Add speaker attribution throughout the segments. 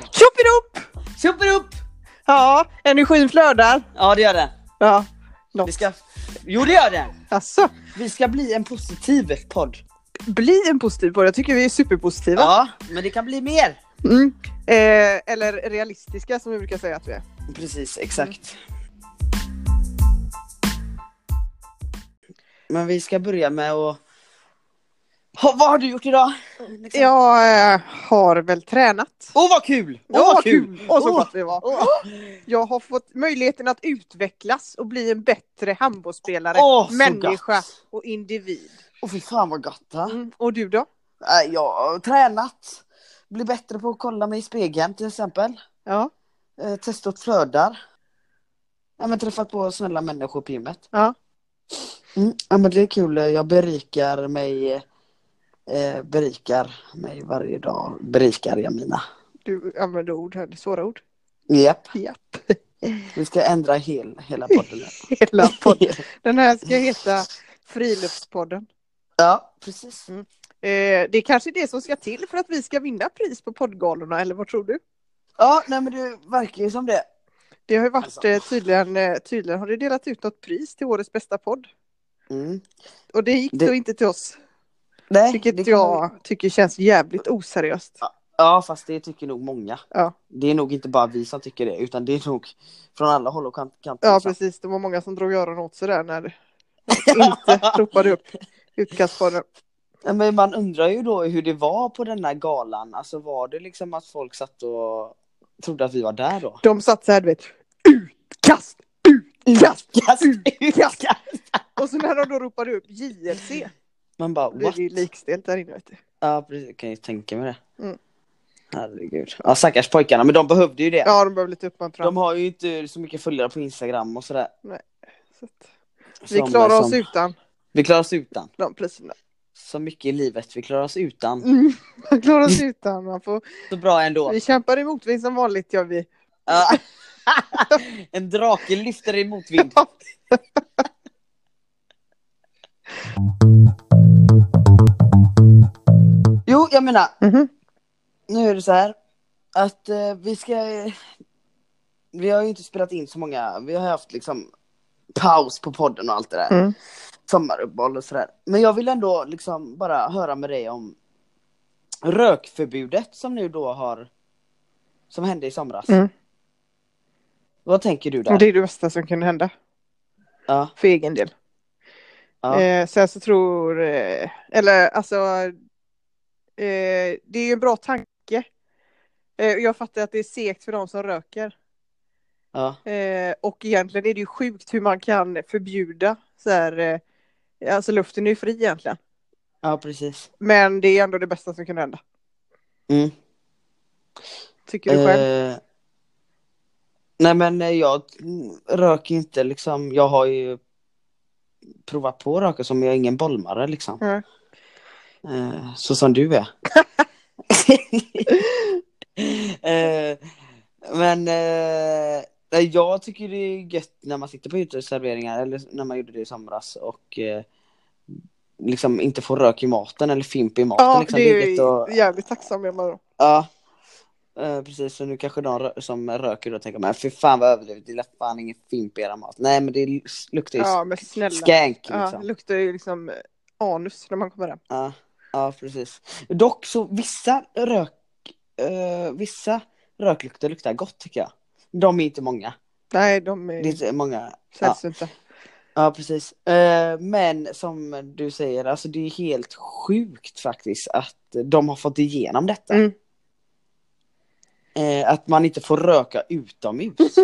Speaker 1: Tjoppidopp!
Speaker 2: Tjoppidopp!
Speaker 1: Ja, energin flödar.
Speaker 2: Ja, det gör den.
Speaker 1: Ja,
Speaker 2: Vi ska... Jo, det gör den.
Speaker 1: alltså.
Speaker 2: Vi ska bli en positiv podd.
Speaker 1: Bli en positiv podd. Jag tycker vi är superpositiva.
Speaker 2: Ja, men det kan bli mer.
Speaker 1: Mm. Eh, eller realistiska som vi brukar säga att vi är.
Speaker 2: Precis, exakt. Men vi ska börja med att... Ha, vad har du gjort idag?
Speaker 1: Jag eh, har väl tränat.
Speaker 2: Åh, vad kul! Åh,
Speaker 1: Åh,
Speaker 2: vad kul!
Speaker 1: Åh, så
Speaker 2: Åh,
Speaker 1: gott det var!
Speaker 2: åh,
Speaker 1: Jag har fått möjligheten att utvecklas och bli en bättre handbollsspelare,
Speaker 2: Åh, så
Speaker 1: människa
Speaker 2: gott.
Speaker 1: och individ.
Speaker 2: Åh, fy fan vad gott! Va?
Speaker 1: Mm. Och du då?
Speaker 2: Äh, Jag har tränat. Blir bättre på att kolla mig i spegeln till exempel.
Speaker 1: Ja.
Speaker 2: Eh, testat flödar. Ja, men träffat på snälla människor på gymmet.
Speaker 1: Ja.
Speaker 2: Mm, ja, men det är kul. Jag berikar mig. Eh, berikar mig varje dag. Berikar jag mina.
Speaker 1: Du använder ord här, svåra ord.
Speaker 2: Japp.
Speaker 1: Japp.
Speaker 2: Vi ska ändra hel, hela podden. här.
Speaker 1: Hela podden. Den här ska heta Friluftspodden.
Speaker 2: ja, precis.
Speaker 1: Eh, det är kanske det som ska till för att vi ska vinna pris på poddgalorna, eller vad tror du?
Speaker 2: Ja, nej men det verkar ju som det.
Speaker 1: Det har ju varit
Speaker 2: Alltså.
Speaker 1: eh, tydligen, eh, tydligen har det delat ut något pris till årets bästa podd.
Speaker 2: Mm.
Speaker 1: Och det gick
Speaker 2: Det-
Speaker 1: då inte till oss,
Speaker 2: Nej, det
Speaker 1: vilket
Speaker 2: kan-
Speaker 1: jag tycker känns jävligt oseriöst.
Speaker 2: Ja, fast det tycker nog många.
Speaker 1: Ja.
Speaker 2: Det är nog inte bara vi som tycker det, utan det är nog från alla håll och kant- kanter.
Speaker 1: Ja precis, det var många som drog öronen åt sig där när inte ropade upp utkastpodden.
Speaker 2: Ja, Men man undrar ju då hur det var på den här galan. Alltså var det liksom att folk satt och trodde att vi var där då?
Speaker 1: De satt så här du vet, utkast, utkast!
Speaker 2: Utkast! Utkast!
Speaker 1: Och så när de då ropade upp JLC
Speaker 2: Man bara
Speaker 1: blev
Speaker 2: what?
Speaker 1: det ju likstelt där inne vet du.
Speaker 2: Ja precis, jag kan ju tänka mig det.
Speaker 1: Mm.
Speaker 2: Herregud. Ja stackars pojkarna, men de behövde ju det.
Speaker 1: Ja de behöver lite uppmuntran.
Speaker 2: De har ju inte så mycket följare på Instagram och sådär.
Speaker 1: Så att Vi
Speaker 2: Som-
Speaker 1: klarar oss
Speaker 2: som-
Speaker 1: utan
Speaker 2: Vi klarar oss utan.
Speaker 1: de priserna.
Speaker 2: Så mycket i livet, vi klarar oss utan.
Speaker 1: Mm, man klarar oss utan. Man får...
Speaker 2: Så bra ändå.
Speaker 1: Vi kämpar i motvind som vanligt gör vi.
Speaker 2: Ja. en drake lyfter i motvind. Jo, jag menar,
Speaker 1: Mhm.
Speaker 2: nu är det så här att eh, vi ska... Vi har ju inte spelat in så många, vi har haft liksom paus på podden och allt det där.
Speaker 1: Mm.
Speaker 2: Sommaruppehåll och sådär. Men jag vill ändå liksom bara höra med dig om rökförbudet som nu då har, som hände i somras.
Speaker 1: Mm.
Speaker 2: Vad tänker du där?
Speaker 1: Och det är det bästa som kunde hända.
Speaker 2: Ja,
Speaker 1: För egen del.
Speaker 2: ja.
Speaker 1: Eh, sen så tror, eh, eller alltså, eh, det är ju en bra tanke. Eh, och jag fattar att det är segt för de som röker.
Speaker 2: ja.
Speaker 1: Eh, och egentligen är det ju sjukt hur man kan förbjuda så här, eh, alltså luften är ju fri egentligen.
Speaker 2: ja precis.
Speaker 1: Men det är ändå det bästa som kunde hända.
Speaker 2: Mm.
Speaker 1: Tycker du själv?
Speaker 2: Eh, nej men eh, jag mm, röker inte liksom. Jag har ju provat på att röka som jag är ingen bollmare liksom.
Speaker 1: Mm.
Speaker 2: Eh, så som du är. eh, men eh, nej, jag tycker det är gött när man sitter på uteserveringar eller när man gjorde det i somras och eh, liksom inte får rök i maten eller fimp i maten.
Speaker 1: Ja,
Speaker 2: liksom.
Speaker 1: det är
Speaker 2: gött
Speaker 1: ju
Speaker 2: att-
Speaker 1: jävligt tacksam jag bara.
Speaker 2: Ja. Eh, precis, så nu kanske de rö- som röker då tänker men fy fan vad överdrivet, det är fan ingen fimp i era mat. Nej men det lus- luktar ju
Speaker 1: Ja men snälla.
Speaker 2: skänk
Speaker 1: Ja, det
Speaker 2: liksom.
Speaker 1: luktar ju liksom eh, anus när man kommer hem.
Speaker 2: Ja. ja, precis. Dock så vissa rök, eh, vissa röklukter luktar gott tycker jag. De är inte många.
Speaker 1: Nej de är
Speaker 2: Det är inte många.
Speaker 1: sällsynta.
Speaker 2: Ja, precis. Eh, men som du säger, alltså det är helt sjukt faktiskt att de har fått igenom detta.
Speaker 1: Mm.
Speaker 2: Eh, att man inte får röka utomhus.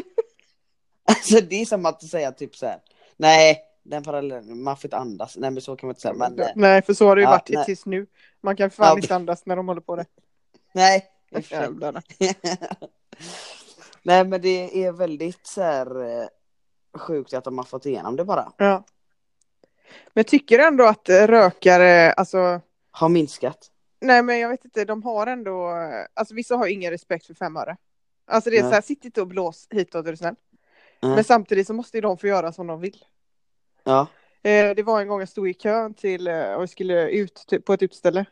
Speaker 2: alltså det är som att säga typ så här. Nej, den parallellen, man får inte andas. Nej men så kan man inte säga. Men, eh,
Speaker 1: nej för så har det ju
Speaker 2: Ja,
Speaker 1: varit
Speaker 2: nej.
Speaker 1: tills nu. Man kan fan
Speaker 2: Ja,
Speaker 1: inte andas när de håller på det.
Speaker 2: nej. i och för sig.
Speaker 1: Jävlarna.
Speaker 2: nej men det är väldigt så här eh, sjukt att de har fått igenom det bara.
Speaker 1: Ja. Men tycker du ändå att eh, rökare, alltså
Speaker 2: Har minskat.
Speaker 1: nej men jag vet inte, de har ändå, eh, alltså vissa har ju ingen respekt för fem öre. Alltså det är
Speaker 2: Nej.
Speaker 1: så här, sitt inte och blås hitåt är du snäll.
Speaker 2: Nej.
Speaker 1: Men samtidigt så måste ju de få göra som de vill.
Speaker 2: Ja.
Speaker 1: Eh, det var en gång jag stod i kön till eh, och skulle ut till- på ett typ, utställe.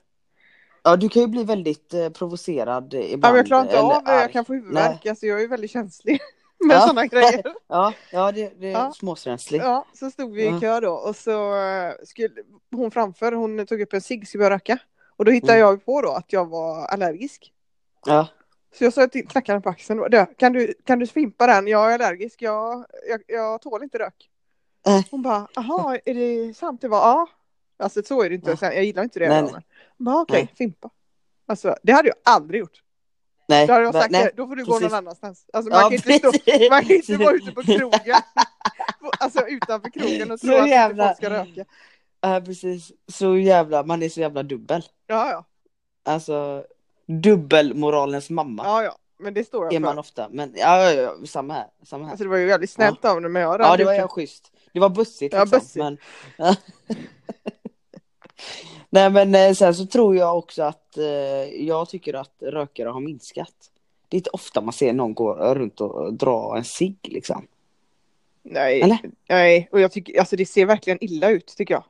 Speaker 2: Ja, du kan ju bli väldigt eh, provocerad ibland.
Speaker 1: Ja, men jag klarar inte
Speaker 2: eller
Speaker 1: av det, jag
Speaker 2: arg.
Speaker 1: kan få huvudvärk. Alltså, jag är ju väldigt känslig med
Speaker 2: Ja.
Speaker 1: sådana grejer.
Speaker 2: Ja, ja det, det Mm. är
Speaker 1: Ja.
Speaker 2: småsrensligt.
Speaker 1: Ja, så stod vi i
Speaker 2: Ja.
Speaker 1: kö då och så eh, skulle hon framför, hon tog upp en cigg, skulle börja röka. Och då hittade
Speaker 2: Mm.
Speaker 1: jag ju på då att jag var allergisk.
Speaker 2: Ja.
Speaker 1: Så jag sa till knackade henne på axeln. och bara, "Du, Kan du, kan du fimpa den? Jag är allergisk. Jag, jag, jag tål inte rök.
Speaker 2: Äh.
Speaker 1: Hon bara, jaha, är det sant? Jag bara, ja. Alltså så är det inte.
Speaker 2: Ja.
Speaker 1: Sen, jag gillar inte det.
Speaker 2: Nej,
Speaker 1: Nej,
Speaker 2: nej.
Speaker 1: nej. Hon bara, okej,
Speaker 2: Nej.
Speaker 1: fimpa. Alltså det hade jag aldrig gjort.
Speaker 2: Nej,
Speaker 1: Då hade jag
Speaker 2: va-
Speaker 1: sagt,
Speaker 2: nej.
Speaker 1: då får du gå
Speaker 2: precis.
Speaker 1: någon annanstans. Alltså man
Speaker 2: Ja,
Speaker 1: kan inte stå
Speaker 2: precis.
Speaker 1: man kan inte vara ute typ på krogen. Alltså utanför krogen och
Speaker 2: Så
Speaker 1: tro att inte
Speaker 2: jävla-
Speaker 1: folk ska röka.
Speaker 2: Ja, precis. Så jävla, man är så jävla dubbel.
Speaker 1: Ja, ja.
Speaker 2: Alltså, dubbelmoralens mamma
Speaker 1: ja, ja. Men det står jag
Speaker 2: är
Speaker 1: för.
Speaker 2: man ofta. Men ja, ja, ja samma här. Samma här.
Speaker 1: Alltså det var ju väldigt snällt av henne men jag
Speaker 2: ja, det var
Speaker 1: ju-
Speaker 2: ju schysst. Det var bussigt
Speaker 1: Ja,
Speaker 2: liksom.
Speaker 1: bussigt.
Speaker 2: Men... Nej men eh, sen så tror jag också att eh, jag tycker att rökare har minskat. Det är inte ofta man ser någon gå runt och dra en cigg liksom.
Speaker 1: Nej,
Speaker 2: Eller?
Speaker 1: nej. Och jag tycker, alltså det ser verkligen illa ut tycker jag.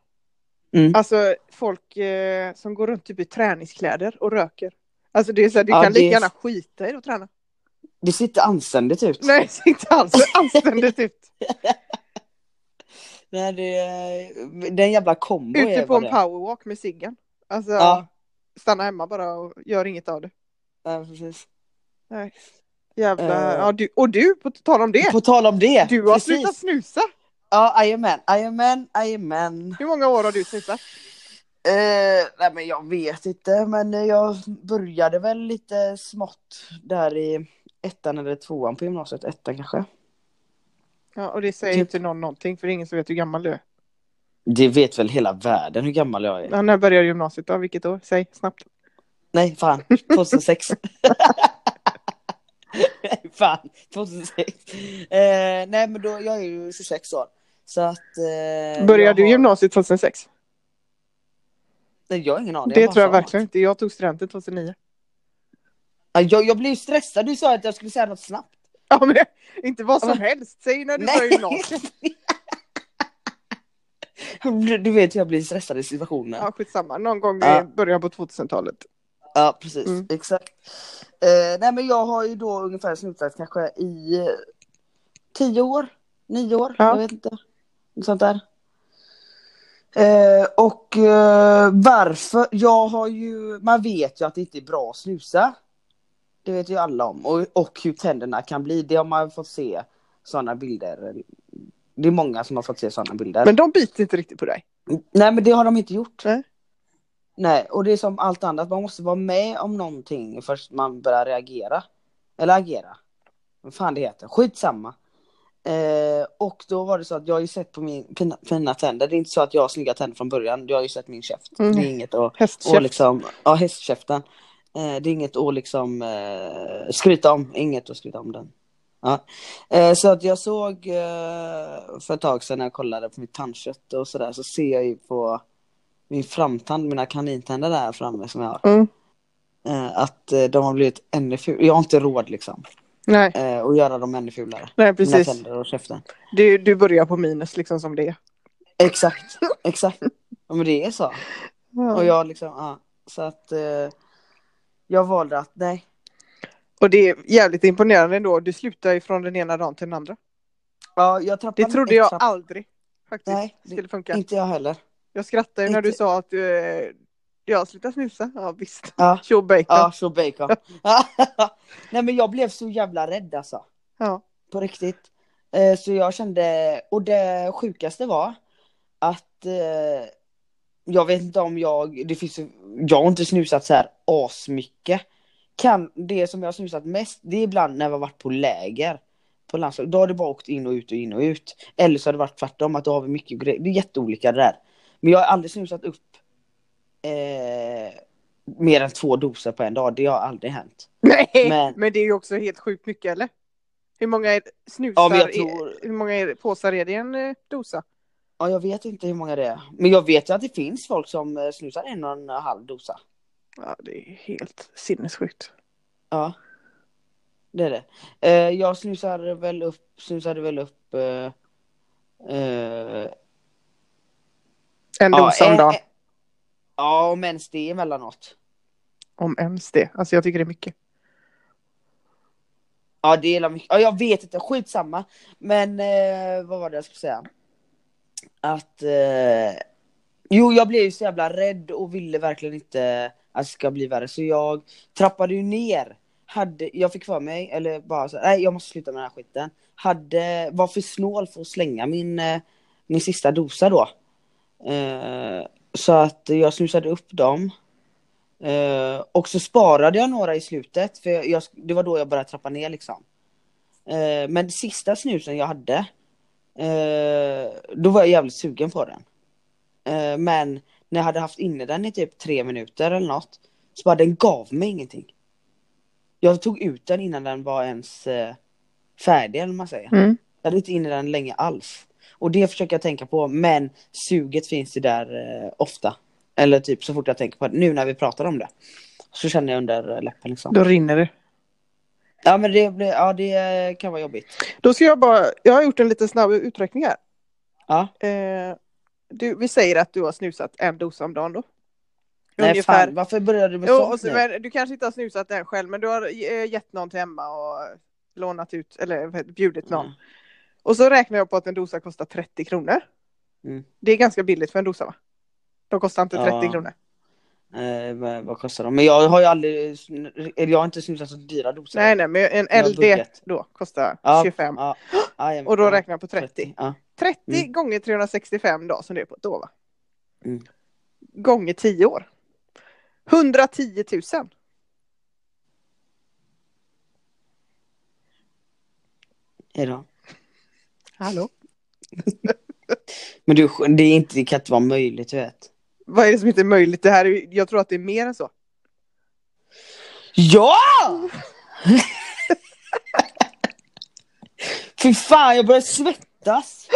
Speaker 2: Mm.
Speaker 1: Alltså folk eh, som går runt typ i träningskläder och röker. Alltså det är så här, du
Speaker 2: Ja,
Speaker 1: kan
Speaker 2: det-
Speaker 1: lika gärna skita i att träna.
Speaker 2: Det ser inte anständigt ut.
Speaker 1: Nej, det ser inte alls anständigt ut.
Speaker 2: Nej, det, eh, den jävla kombo är
Speaker 1: Ute på
Speaker 2: vad
Speaker 1: en
Speaker 2: det är.
Speaker 1: powerwalk med ciggen. Alltså,
Speaker 2: Ja.
Speaker 1: stanna hemma bara och gör inget av det.
Speaker 2: Ja, precis.
Speaker 1: Nej. Jävla,
Speaker 2: Eh.
Speaker 1: ja, du, och du, på tal om det.
Speaker 2: På tal om det.
Speaker 1: Du har
Speaker 2: precis.
Speaker 1: slutat snusa.
Speaker 2: Ja, jajamän, jajamän, jajamän.
Speaker 1: Hur många år har du snusat?
Speaker 2: Eh, nej men jag vet inte men eh, jag började väl lite smått där i ettan eller tvåan på gymnasiet, ettan kanske.
Speaker 1: Ja, och det säger
Speaker 2: Typ.
Speaker 1: inte någon någonting för det är ingen som vet hur gammal du är.
Speaker 2: Det vet väl hela världen hur gammal jag är?
Speaker 1: Ja, när började gymnasiet då? Vilket år? Säg snabbt.
Speaker 2: Eh, Nej fan, 2006. nej fan, 2006. Eh, nej men då, jag är ju 26 år. Så att... Eh, jag
Speaker 1: Började du
Speaker 2: har-
Speaker 1: gymnasiet 2006?
Speaker 2: Nej jag har ingen aning.
Speaker 1: Det
Speaker 2: bara
Speaker 1: tror jag
Speaker 2: sa något.
Speaker 1: verkligen inte. Jag tog studenten 2009.
Speaker 2: Ja, jag, jag blev ju stressad, du sa att jag skulle säga något snabbt.
Speaker 1: Ja, men inte vad som
Speaker 2: Ja,
Speaker 1: helst. Säg när du
Speaker 2: Nej.
Speaker 1: började gymnasiet.
Speaker 2: Du, du vet hur jag blir stressad i situationer.
Speaker 1: Ja, skitsamma. Någon gång
Speaker 2: Ja.
Speaker 1: i början på 2000-talet.
Speaker 2: Ja, precis.
Speaker 1: Mm.
Speaker 2: Exakt. Eh, nej, men jag har ju då ungefär snuttat kanske i eh, tio år, nio år,
Speaker 1: Ja.
Speaker 2: jag vet inte. Något sånt där. Eh, och eh, varför? Jag har ju, man vet ju att det inte är bra att snusa. Det vet ju alla om. Och, och hur tänderna kan bli. Det har man fått se sådana bilder. Det är många som har fått se sådana bilder.
Speaker 1: Men de biter inte riktigt på dig.
Speaker 2: Nej men det har de inte gjort.
Speaker 1: Nej.
Speaker 2: Nej, och det är som allt annat, man måste vara med om någonting först man börjar reagera. Eller agera. Vad fan det heter, skitsamma. Eh, och då var det så att jag har ju sett på min, mina, mina tänder, det är inte så att jag har snygga tänder från början, jag har ju sett min käft.
Speaker 1: Mm.
Speaker 2: Det är inget att,
Speaker 1: Hästkäft.
Speaker 2: att liksom, ja hästkäften. Eh, det är inget att liksom eh, skryta om, inget att skryta om den. Ja. Eh, så att jag såg eh, för ett tag sedan när jag kollade på mitt tandkött och sådär så ser jag ju på min framtand, mina kanintänder där framme som jag har.
Speaker 1: Mm.
Speaker 2: Eh, att eh, de har blivit ännu fulare. Jag har inte råd liksom.
Speaker 1: Nej,
Speaker 2: Eh, att göra dem ännu fulare.
Speaker 1: nej,
Speaker 2: Mina
Speaker 1: precis.
Speaker 2: tänder och käften.
Speaker 1: Du, du börjar på minus liksom som det är.
Speaker 2: Exakt, exakt. Ja, men det är så. Och jag liksom, ja. Så att eh, jag valde att nej.
Speaker 1: Och det är jävligt imponerande ändå. Du slutar ju från den ena dagen till den andra.
Speaker 2: Ja, jag
Speaker 1: Det
Speaker 2: trappade
Speaker 1: trodde jag
Speaker 2: extra-
Speaker 1: aldrig faktiskt
Speaker 2: Nej, det-
Speaker 1: skulle funka.
Speaker 2: Inte jag heller.
Speaker 1: Jag skrattade ju när du
Speaker 2: inte-
Speaker 1: sa att du, eh, jag slutar snusa. Ja, visst.
Speaker 2: Ja.
Speaker 1: Tjo bacon.
Speaker 2: Ja, så bacon. Nej men jag blev så jävla rädd alltså.
Speaker 1: Ja.
Speaker 2: På riktigt. Eh, Så jag kände, och det sjukaste var att eh, jag vet inte om jag, det finns, jag har inte snusat så här asmycket. Kan, det som jag har snusat mest, det är ibland när jag har varit på läger. På landslag, då har det bara åkt in och ut och in och ut. Eller så har det varit tvärtom, att då har vi mycket grejer. Det är jätteolika det där. Men jag har aldrig snusat upp eh, mer än två doser på en dag. Det har aldrig hänt.
Speaker 1: Nej, men...
Speaker 2: Men-
Speaker 1: det är ju också helt sjukt mycket eller? Hur många är snusar?
Speaker 2: Ja, men jag
Speaker 1: är-
Speaker 2: tror-
Speaker 1: Hur många är, påsar är det i en eh, dosa?
Speaker 2: Ja, jag vet inte hur många det är. Men jag vet ju att det finns folk som eh, snusar en och en halv dosa.
Speaker 1: Ja, det är helt sinnessjukt.
Speaker 2: Ja. Det är det. Eh, jag snusar väl upp, snusade väl upp... Eh, eh,
Speaker 1: En dosa om
Speaker 2: eh,
Speaker 1: dagen.
Speaker 2: eh, Ja, om ens det emellanåt.
Speaker 1: Om ens det. Alltså jag tycker det är mycket.
Speaker 2: Ja, det är la mycket. Ja, jag vet inte, skitsamma. Men eh, vad var det jag skulle säga? Att... Eh, jo, jag blev ju så jävla rädd och ville verkligen inte att det ska bli värre. Så jag trappade ju ner. Hade, jag fick för mig, eller bara så, nej jag måste sluta med den här skiten. Hade, var för snål för att slänga min, eh, min sista dosa då. Eh, så att jag snusade upp dem. Eh, och så sparade jag några i slutet, för jag, jag, det var då jag började trappa ner liksom. Eh, men sista snusen jag hade, eh, då var jag jävligt sugen på den. Eh, men när jag hade haft inne den i typ tre minuter eller något, så bara den gav mig ingenting. Jag tog ut den innan den var ens eh, färdig eller vad man säger.
Speaker 1: Mm.
Speaker 2: Jag hade inte inne den länge alls. Och det försöker jag tänka på, men suget finns ju där eh, ofta. Eller typ så fort jag tänker på det, nu när vi pratar om det. Så känner jag under läppen liksom.
Speaker 1: Då rinner det.
Speaker 2: Ja men det, blir, ja, det eh, kan vara jobbigt.
Speaker 1: Då ska jag bara, jag har gjort en liten snabb uträkning här.
Speaker 2: Ja.
Speaker 1: Eh, du, vi säger att du har snusat en dosa om dagen då.
Speaker 2: Nej fan, varför började du med
Speaker 1: Jo,
Speaker 2: sånt
Speaker 1: och så,
Speaker 2: nu?
Speaker 1: men du kanske inte har snusat den själv men du har eh, gett någon till Emma och lånat ut eller vad heter det, bjudit någon.
Speaker 2: Mm.
Speaker 1: Och så räknar jag på att en dosa kostar 30 kronor.
Speaker 2: Mm.
Speaker 1: Det är ganska billigt för en dosa va? De kostar inte 30
Speaker 2: Ja.
Speaker 1: kronor.
Speaker 2: Eh, vad, vad kostar de? Men jag har ju aldrig, sn- eller jag har inte snusat så dyra doser.
Speaker 1: Nej nej men en
Speaker 2: Jag har
Speaker 1: LD
Speaker 2: budget.
Speaker 1: då kostar
Speaker 2: Ja,
Speaker 1: 25.
Speaker 2: Ja, ja, jag-
Speaker 1: Och då
Speaker 2: ja,
Speaker 1: räknar jag på 30.
Speaker 2: Ja.
Speaker 1: 30
Speaker 2: Mm.
Speaker 1: gånger 365 dagar som det är på ett år va?
Speaker 2: Mm.
Speaker 1: Gånger 10 år. 110 000.
Speaker 2: Hejdå.
Speaker 1: Hallå?
Speaker 2: Men du, det, är inte, det kan inte vara möjligt du vet.
Speaker 1: Vad är det som inte är möjligt? Det här är, ju- jag tror att det är mer än så.
Speaker 2: Ja! Fy fan, jag börjar svettas.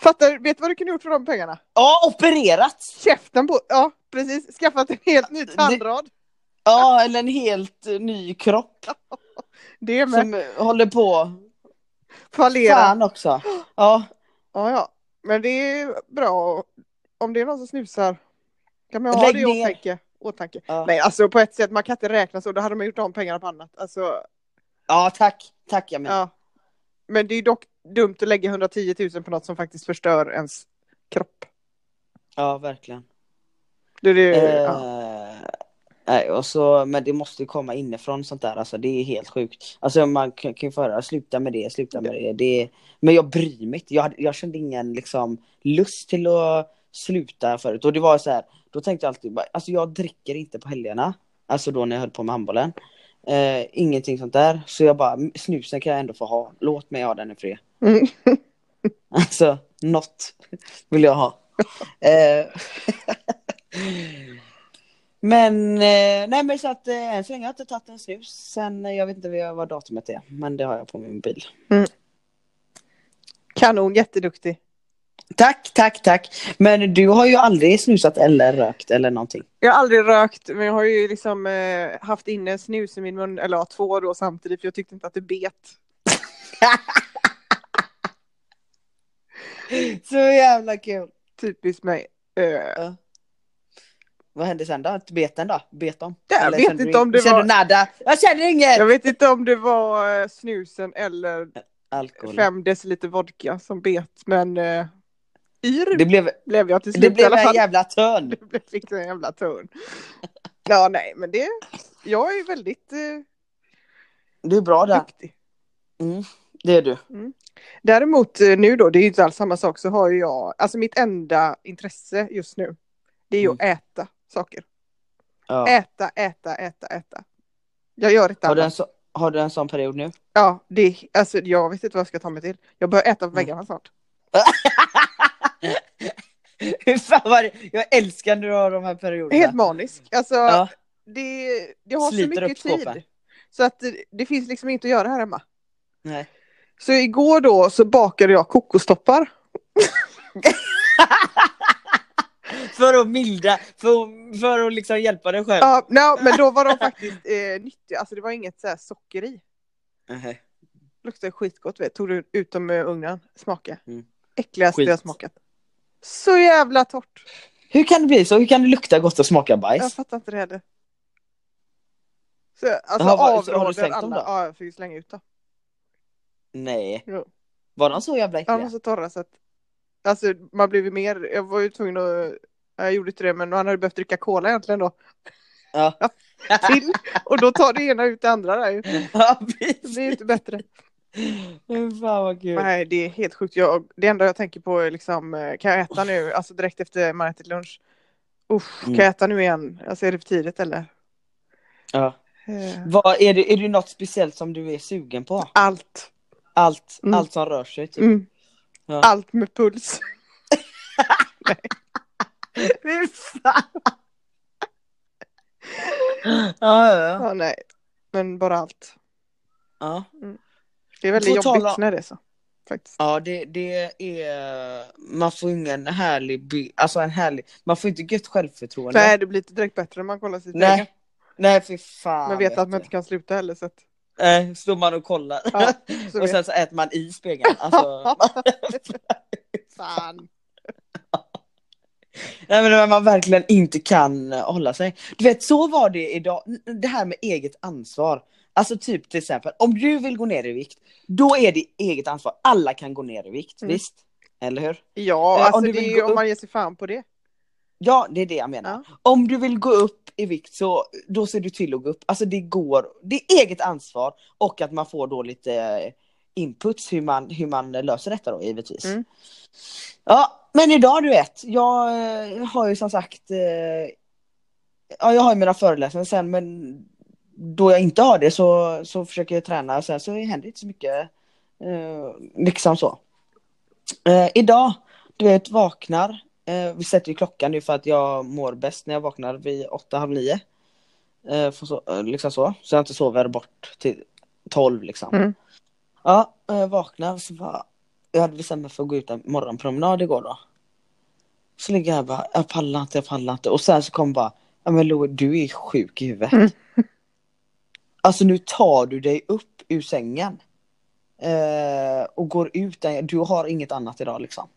Speaker 1: Fattar du? Vet du vad du kunde gjort för de pengarna?
Speaker 2: Ja, opererats.
Speaker 1: Käften på... Ja, precis. Skaffat en helt ny tandrad.
Speaker 2: Ja, eller en helt eh, ny kropp
Speaker 1: Det med.
Speaker 2: som eh, håller på.
Speaker 1: Fallera.
Speaker 2: Fan också. Ja,
Speaker 1: Ja, ja. Men det är bra. Om det är någon som snusar kan man ha
Speaker 2: Lägg
Speaker 1: det i
Speaker 2: ner.
Speaker 1: åtanke. åtanke.
Speaker 2: ja.
Speaker 1: Nej, alltså på ett sätt, man kan inte räkna så. Då hade man gjort om pengarna på annat. Alltså,
Speaker 2: ja tack. Tack jag menar.
Speaker 1: Ja. Men det är dock dumt att lägga 110 000 på något som faktiskt förstör ens kropp.
Speaker 2: Ja, verkligen.
Speaker 1: Det, är det,
Speaker 2: Eh,
Speaker 1: ja.
Speaker 2: Nej, och så, men det måste ju komma inifrån sånt där, alltså det är helt sjukt. Alltså man kan kan ju få höra, sluta med det, sluta med det. det men jag bryr mig inte, jag, hade- jag kände ingen liksom lust till att sluta förut. Och det var så här, då tänkte jag alltid, bara, alltså jag dricker inte på helgerna. Alltså då när jag höll på med handbollen. Eh, ingenting sånt där. Så jag bara, snusen kan jag ändå få ha, låt mig ha den i fred.
Speaker 1: Mm.
Speaker 2: Alltså, något vill jag ha. Eh, men, eh, nej men så att eh, än så länge har jag inte tagit en snus. Sen, eh, jag vet inte vad jag- vad datumet är, men det har jag på min mobil.
Speaker 1: Kanon, jätteduktig.
Speaker 2: Tack, tack, tack. Men du har ju aldrig snusat eller rökt eller någonting.
Speaker 1: Jag har aldrig rökt, men jag har ju liksom eh, haft inne en snus i min mun, eller ja, två då samtidigt, för jag tyckte inte att det bet.
Speaker 2: Så jävla kul.
Speaker 1: Typiskt mig. Eh,
Speaker 2: Vad hände sen då? Beten då? Bet dem?
Speaker 1: Jag
Speaker 2: Eller
Speaker 1: vet
Speaker 2: kände du
Speaker 1: inte
Speaker 2: ing-
Speaker 1: om det
Speaker 2: kände
Speaker 1: var-
Speaker 2: du nada? Jag känner inget!
Speaker 1: jag vet inte om det var eh, snusen eller
Speaker 2: Alkohol.
Speaker 1: fem deciliter vodka som bet, men eh, yr
Speaker 2: Det blev,
Speaker 1: blev jag till slut
Speaker 2: det blev
Speaker 1: i alla
Speaker 2: en
Speaker 1: fall.
Speaker 2: jävla törn.
Speaker 1: Det blev liksom en jävla ton. Ja, nej, men det... Jag är väldigt eh,
Speaker 2: Du är bra där.
Speaker 1: duktig.
Speaker 2: Det är du.
Speaker 1: Däremot eh, nu då, det är ju inte alls samma sak, så har ju jag... Alltså mitt enda intresse just nu, det är ju att äta saker.
Speaker 2: Mm. Ja.
Speaker 1: Äta, äta, äta, äta. Jag gör inte
Speaker 2: Har du,
Speaker 1: annat.
Speaker 2: en så, har du en sån period nu?
Speaker 1: Ja, det är, alltså jag vet inte vad jag ska ta mig till. Jag börjar äta
Speaker 2: Mm.
Speaker 1: på väggarna snart.
Speaker 2: Hur fan var det? Jag älskar när du har de här perioderna.
Speaker 1: Helt manisk. Alltså,
Speaker 2: ja.
Speaker 1: det, jag har
Speaker 2: Sliter
Speaker 1: så mycket
Speaker 2: upp skåpen.
Speaker 1: tid. Så att eh, det finns liksom inte att göra här hemma.
Speaker 2: Nej.
Speaker 1: Så igår då så bakade jag kokostoppar.
Speaker 2: För att mildra, för, för att liksom hjälpa dig själv.
Speaker 1: Ja, no, men då var de faktiskt eh, nyttiga. Alltså det var inget så här socker i.
Speaker 2: Nej.
Speaker 1: Luktade skitgott. Vet. du. Tog du ut dem ur ugnen. Smaka.
Speaker 2: Mm.
Speaker 1: Äckligaste
Speaker 2: Skit.
Speaker 1: jag smakat. Så jävla torrt.
Speaker 2: Hur kan det bli så? Hur kan det lukta gott och smaka
Speaker 1: Jag
Speaker 2: bajs?
Speaker 1: fattar inte det heller. Så, alltså
Speaker 2: Jaha, vad- så har du
Speaker 1: avråder
Speaker 2: slängt dem
Speaker 1: alla.
Speaker 2: då?
Speaker 1: Ja, jag fick ju slänga ut dem.
Speaker 2: Nej.
Speaker 1: Jo.
Speaker 2: Var de så jävla
Speaker 1: Ja,
Speaker 2: äckliga?
Speaker 1: de var så torra så att. Alltså man blev ju mer, jag var ju tvungen att, jag gjorde inte det men han hade behövt dricka cola egentligen då.
Speaker 2: Ja.
Speaker 1: Till. Och då tar det ena ut det andra där ju.
Speaker 2: Ja,
Speaker 1: Det
Speaker 2: precis.
Speaker 1: blir ju inte bättre.
Speaker 2: Fan vad kul.
Speaker 1: Nej, det är helt sjukt. Jag, det enda jag tänker på är liksom, eh, kan jag äta nu, alltså direkt efter man ätit lunch? Usch,
Speaker 2: Mm.
Speaker 1: kan jag äta nu igen? Alltså är det för tidigt eller?
Speaker 2: Ja.
Speaker 1: Eh,
Speaker 2: Vad, är, det, är det något speciellt som du är sugen på?
Speaker 1: Allt.
Speaker 2: Allt,
Speaker 1: Mm.
Speaker 2: allt som rör sig? Typ.
Speaker 1: Mm.
Speaker 2: Ja.
Speaker 1: Allt med puls.
Speaker 2: Fy fan! ja, ja,
Speaker 1: Ja, nej. Men bara allt.
Speaker 2: ja.
Speaker 1: Det är väldigt
Speaker 2: På tal
Speaker 1: jobbigt
Speaker 2: om-
Speaker 1: när det är så. Faktiskt.
Speaker 2: Ja, det, det är... Man får ingen härlig... by- Alltså en härlig... Man får inte gött självförtroende.
Speaker 1: Nej, det blir inte direkt bättre när man kollar sitt eget.
Speaker 2: Nej, Nej fy fan.
Speaker 1: Man vet att man
Speaker 2: du.
Speaker 1: inte kan sluta heller. Så att,
Speaker 2: Nej, står man och kollar.
Speaker 1: ja, så
Speaker 2: och
Speaker 1: vet.
Speaker 2: sen så äter man i spegeln. Alltså...
Speaker 1: Fan.
Speaker 2: Nej men när man verkligen inte kan eh, hålla sig. Du vet så var det idag, N- det här med eget ansvar. Alltså typ till exempel, om du vill gå ner i vikt, då är det eget ansvar. Alla kan gå ner i vikt,
Speaker 1: Mm.
Speaker 2: visst? Eller hur?
Speaker 1: Ja,
Speaker 2: Eh, om
Speaker 1: alltså
Speaker 2: du
Speaker 1: det
Speaker 2: vill
Speaker 1: är
Speaker 2: gå
Speaker 1: ju om
Speaker 2: upp-
Speaker 1: man ger sig fan på det.
Speaker 2: Ja, det är det jag menar. Om du vill gå upp i vikt så då ser du till att gå upp. Alltså det går, det är eget ansvar och att man får då lite eh, inputs hur man, hur man löser detta då givetvis.
Speaker 1: Mm.
Speaker 2: Ja, men idag du vet, jag eh, har ju som sagt, eh, ja jag har ju mina föreläsningar sen men då jag inte har det så, så försöker jag träna sen så händer det inte så mycket. Eh, liksom så. Eh, idag, du vet vaknar, Eh, vi sätter ju klockan nu för att jag mår bäst när jag vaknar vid åtta, halv nio. Eh, för så, eh, liksom så. Så jag inte sover bort till 12 liksom.
Speaker 1: Mm.
Speaker 2: Ja, eh, vaknar så bara, Jag hade bestämt mig för att gå ut en morgonpromenad igår då. Så ligger jag här bara, jag pallar inte, jag pallar inte. Och sen så kom bara, ja men Lo, du är sjuk i huvudet.
Speaker 1: Mm.
Speaker 2: Alltså nu tar du dig upp ur sängen. Eh, och går ut, du har inget annat idag liksom.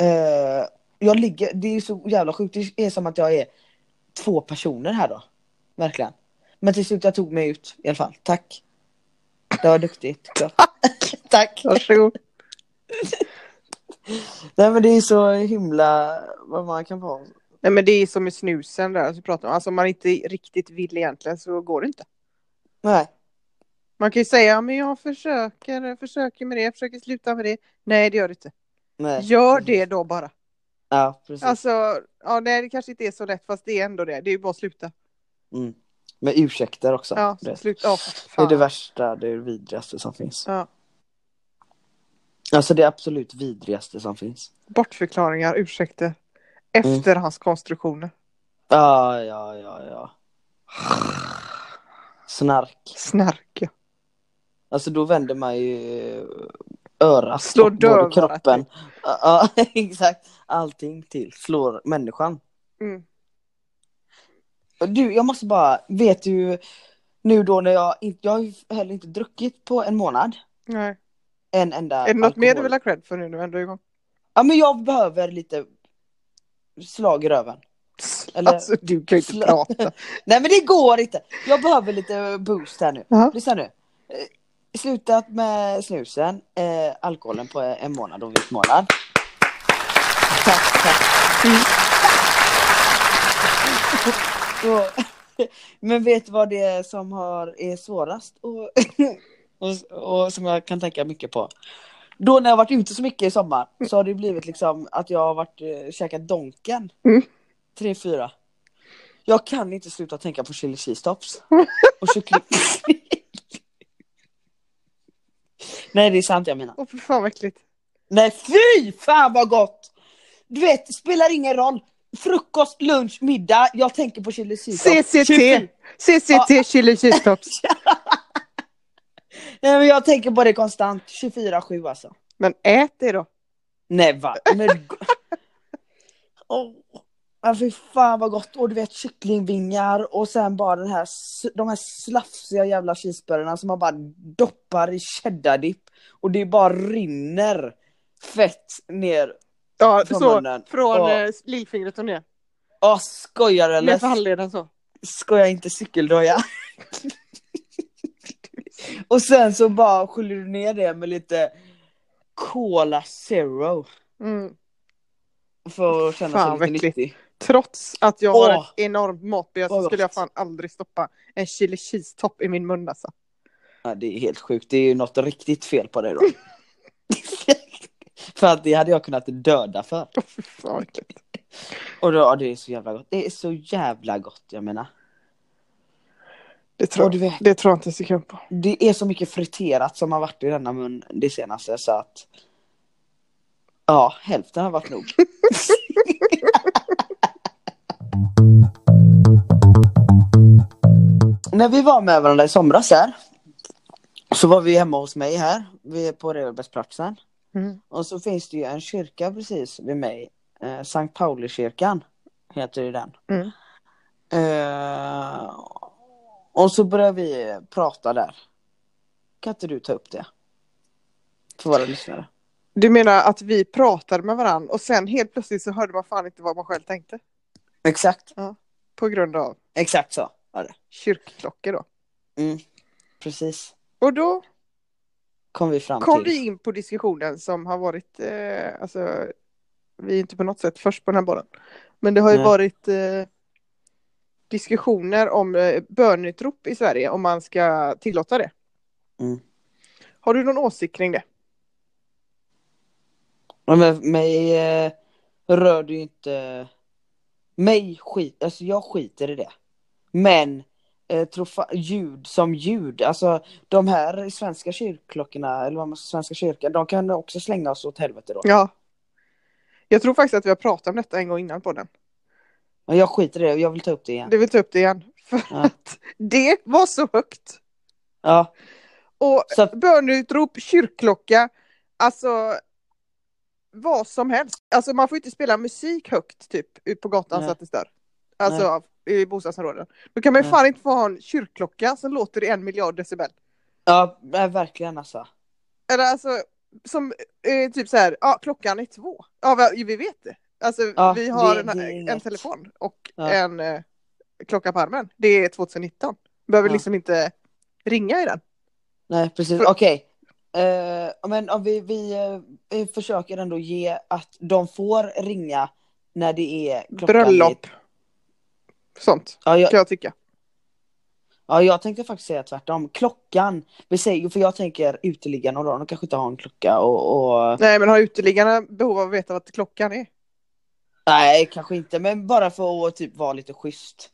Speaker 2: Eh, jag ligger, det är så jävla sjukt. Det är som att jag är två personer här då. Verkligen. Men till slut jag tog mig ut i alla fall. Tack. Det var duktigt. Ja. Tack.
Speaker 1: Varsågod.
Speaker 2: Nej men det är så himla vad man kan vara.
Speaker 1: Nej men det är som med snusen där som vi pratar om. Alltså om man inte riktigt vill egentligen så går det inte.
Speaker 2: Nej.
Speaker 1: Man kan ju säga ja, men jag försöker, jag försöker med det, jag försöker sluta med det. Nej det gör det inte.
Speaker 2: Nej.
Speaker 1: Gör det då bara.
Speaker 2: Ja precis.
Speaker 1: Alltså, ja nej det kanske inte är så lätt fast det är ändå det. Det är ju bara att sluta.
Speaker 2: Mm. Med ursäkter också.
Speaker 1: Ja,
Speaker 2: det.
Speaker 1: sluta. Ja,
Speaker 2: det är det
Speaker 1: fan.
Speaker 2: värsta, det är det vidrigaste som finns.
Speaker 1: Ja.
Speaker 2: Alltså det absolut vidrigaste som finns.
Speaker 1: Bortförklaringar, ursäkter.
Speaker 2: Mm.
Speaker 1: Efterhandskonstruktioner.
Speaker 2: Ja, ja, ja, ja. Snark.
Speaker 1: Snark. ja.
Speaker 2: Alltså då vänder man ju örat
Speaker 1: Slår
Speaker 2: och både
Speaker 1: dövörat typ.
Speaker 2: kroppen. Ja, ja, exakt. Allting till slår människan.
Speaker 1: Mm.
Speaker 2: Och Du, jag måste bara, vet du nu då när jag inte, jag har ju heller inte druckit på en månad.
Speaker 1: Nej.
Speaker 2: En enda
Speaker 1: Är det något mer du
Speaker 2: alkohol.
Speaker 1: vill ha cred för nu när vi ändå är igång?
Speaker 2: Ja men jag behöver lite slag i röven. Eller-
Speaker 1: Alltså du kan ju inte
Speaker 2: Slå-
Speaker 1: prata.
Speaker 2: Nej men det går inte. Jag behöver lite boost här nu.
Speaker 1: Ja.
Speaker 2: Lyssna nu. Eh, Slutat med snusen, eh, alkoholen på en månad och viss månad. Tack, tack.
Speaker 1: Mm.
Speaker 2: Så, men vet du vad det är som har, är svårast och, och, och som jag kan tänka mycket på? Då när jag har varit ute så mycket i sommar så har det blivit liksom att jag har varit, eh, käkat Donken.
Speaker 1: Mm.
Speaker 2: Tre, fyra. Jag kan inte sluta tänka på chili cheese tops. Och kyckling. Nej det är sant jag menar.
Speaker 1: Åh fy fan vad
Speaker 2: Typ
Speaker 1: äckligt.
Speaker 2: Nej fy fan vad gott! Du vet, spelar ingen roll. Frukost, lunch, middag. Jag tänker på chili cheese tops. Typ-
Speaker 1: CCT! CCT chili cheese tops.
Speaker 2: Nej men jag tänker på det konstant. 24-7 alltså.
Speaker 1: Men ät det då.
Speaker 2: Nej va? Men... oh. Ja fy fan vad gott. Och du vet kycklingvingar och sen bara den här, s- de här slafsiga jävla cheeseburgarna som man bara doppar i cheddardipp. Och det bara rinner fett ner.
Speaker 1: Ja,
Speaker 2: Från
Speaker 1: så.
Speaker 2: munnen.
Speaker 1: Från
Speaker 2: Ja.
Speaker 1: eh, lillfingret och ner.
Speaker 2: Åh skojar du eller?
Speaker 1: Ner för handleden så.
Speaker 2: Skoja inte cykeldroja. och sen så bara sköljer du ner det med lite Cola Zero.
Speaker 1: Mm.
Speaker 2: För att känna
Speaker 1: Fan,
Speaker 2: sig
Speaker 1: vad
Speaker 2: lite
Speaker 1: äckligt.
Speaker 2: nyttig.
Speaker 1: Trots att jag har
Speaker 2: Åh.
Speaker 1: ett enormt matbe
Speaker 2: Vad
Speaker 1: så
Speaker 2: gott.
Speaker 1: skulle jag fan aldrig stoppa en chili cheese-topp i min mun alltså.
Speaker 2: Ja, det är helt sjukt. Det är ju något riktigt fel på dig då. för att det hade jag kunnat döda för.
Speaker 1: Åh, fy fan, vad äckligt.
Speaker 2: Och då, ja, det är så jävla gott. Det är så jävla gott, jag menar.
Speaker 1: Det
Speaker 2: Och
Speaker 1: tror,
Speaker 2: du
Speaker 1: jag,
Speaker 2: vet-
Speaker 1: det tror jag inte en sekund på.
Speaker 2: Det är så mycket friterat som har varit i denna mun det senaste så att... Ja, hälften har varit nog. När vi var med varandra i somras där så var vi hemma hos mig här, vi är på Revelbergsplatsen.
Speaker 1: Mm.
Speaker 2: Och så finns det ju en kyrka precis vid mig. Eh, Sankt Paulikyrkan heter ju den.
Speaker 1: Mm.
Speaker 2: Eh, och så börjar vi prata där. Kan inte du ta upp det? För våra lyssnare.
Speaker 1: Du menar att vi pratade med varandra och sen helt plötsligt så hörde man fan inte vad man själv tänkte.
Speaker 2: Exakt.
Speaker 1: På grund av
Speaker 2: Exakt så var det.
Speaker 1: kyrkklockor då.
Speaker 2: Mm. Precis.
Speaker 1: Och då
Speaker 2: Kom vi fram
Speaker 1: kom
Speaker 2: till.
Speaker 1: vi in på diskussionen som har varit, eh, alltså, vi är inte på något sätt först på den här bollen. Men det har ju
Speaker 2: Nej.
Speaker 1: varit eh, diskussioner om eh, bönutrop i Sverige, om man ska tillåta det.
Speaker 2: Mm.
Speaker 1: Har du någon åsikt kring det?
Speaker 2: Men med mig eh, rör du inte... Mig skit, alltså jag skiter i det. Men eh, tro fa- ljud som ljud, alltså de här svenska kyrkklockorna, eller vad man svenska kyrkan, de kan också slänga oss åt helvete då.
Speaker 1: Ja. Jag tror faktiskt att vi har pratat om detta en gång innan på den.
Speaker 2: Men jag skiter i det, jag vill ta upp det igen.
Speaker 1: Du vill ta upp det igen. För
Speaker 2: Ja.
Speaker 1: att det var så högt.
Speaker 2: Ja,
Speaker 1: Och
Speaker 2: så att,
Speaker 1: bönutrop, kyrkklocka, alltså vad som helst. Alltså man får inte spela musik högt typ ut på gatan
Speaker 2: Nej.
Speaker 1: så att det stör. Alltså i bostadsområden. Då kan man ju
Speaker 2: Nej.
Speaker 1: fan inte få ha en kyrkklocka som låter i en miljard decibel.
Speaker 2: ja nej, verkligen alltså.
Speaker 1: Eller alltså som eh, typ så här, ja klockan är två. Ja va- vi vet det. Alltså
Speaker 2: Ja,
Speaker 1: vi har
Speaker 2: det-
Speaker 1: en,
Speaker 2: det är
Speaker 1: en
Speaker 2: inget.
Speaker 1: telefon och
Speaker 2: Ja.
Speaker 1: en eh, klocka på armen. Det är 2019. Behöver
Speaker 2: Ja.
Speaker 1: liksom inte ringa i den.
Speaker 2: Nej, precis.
Speaker 1: För-
Speaker 2: Okej. Eh, men om vi, vi, eh, vi försöker ändå ge att de får ringa när det är klockan
Speaker 1: Bröllop. Sånt
Speaker 2: Ja, jag,
Speaker 1: kan jag tycka.
Speaker 2: ja, jag tänkte faktiskt säga tvärtom. Klockan. Vi säger, för jag tänker uteliggarna och då, de kanske inte har en klocka och, och...
Speaker 1: Nej men har uteliggarna behov av att veta vad klockan är?
Speaker 2: Nej, kanske inte. Men bara för att typ vara lite schysst.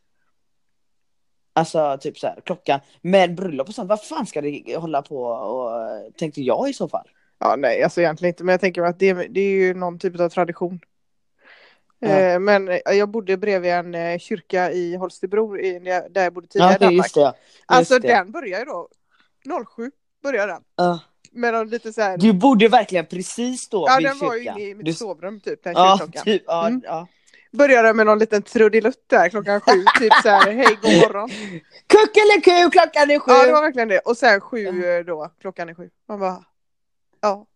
Speaker 2: Alltså typ så här, klockan. Men bröllop och sånt, vad fan ska det hålla på och tänkte jag i så fall.
Speaker 1: Ja nej alltså egentligen inte men jag tänker mig att det, det är ju någon typ av tradition.
Speaker 2: Ja.
Speaker 1: Eh, men eh, jag bodde bredvid en eh, kyrka i Holstebro i, där där jag bodde tidigare
Speaker 2: Ja,
Speaker 1: i
Speaker 2: det,
Speaker 1: Danmark.
Speaker 2: just det. Just
Speaker 1: alltså
Speaker 2: det.
Speaker 1: den börjar ju då 07 börjar den.
Speaker 2: Ja.
Speaker 1: Med de lite så här,
Speaker 2: Du bodde verkligen precis stå
Speaker 1: ja
Speaker 2: vid
Speaker 1: den var ju
Speaker 2: kyrkan.
Speaker 1: inne i mitt
Speaker 2: Du-
Speaker 1: sovrum typ den
Speaker 2: Ja,
Speaker 1: kyrkklockan.
Speaker 2: typ, ja,
Speaker 1: Mm.
Speaker 2: ja.
Speaker 1: Började med någon liten trudelutt där klockan sju typ så här hej god morgon.
Speaker 2: Kuck eller ku, klockan är sju!
Speaker 1: Ja det var verkligen det. Och sen sju eh, då, klockan är sju. Man bara, ja.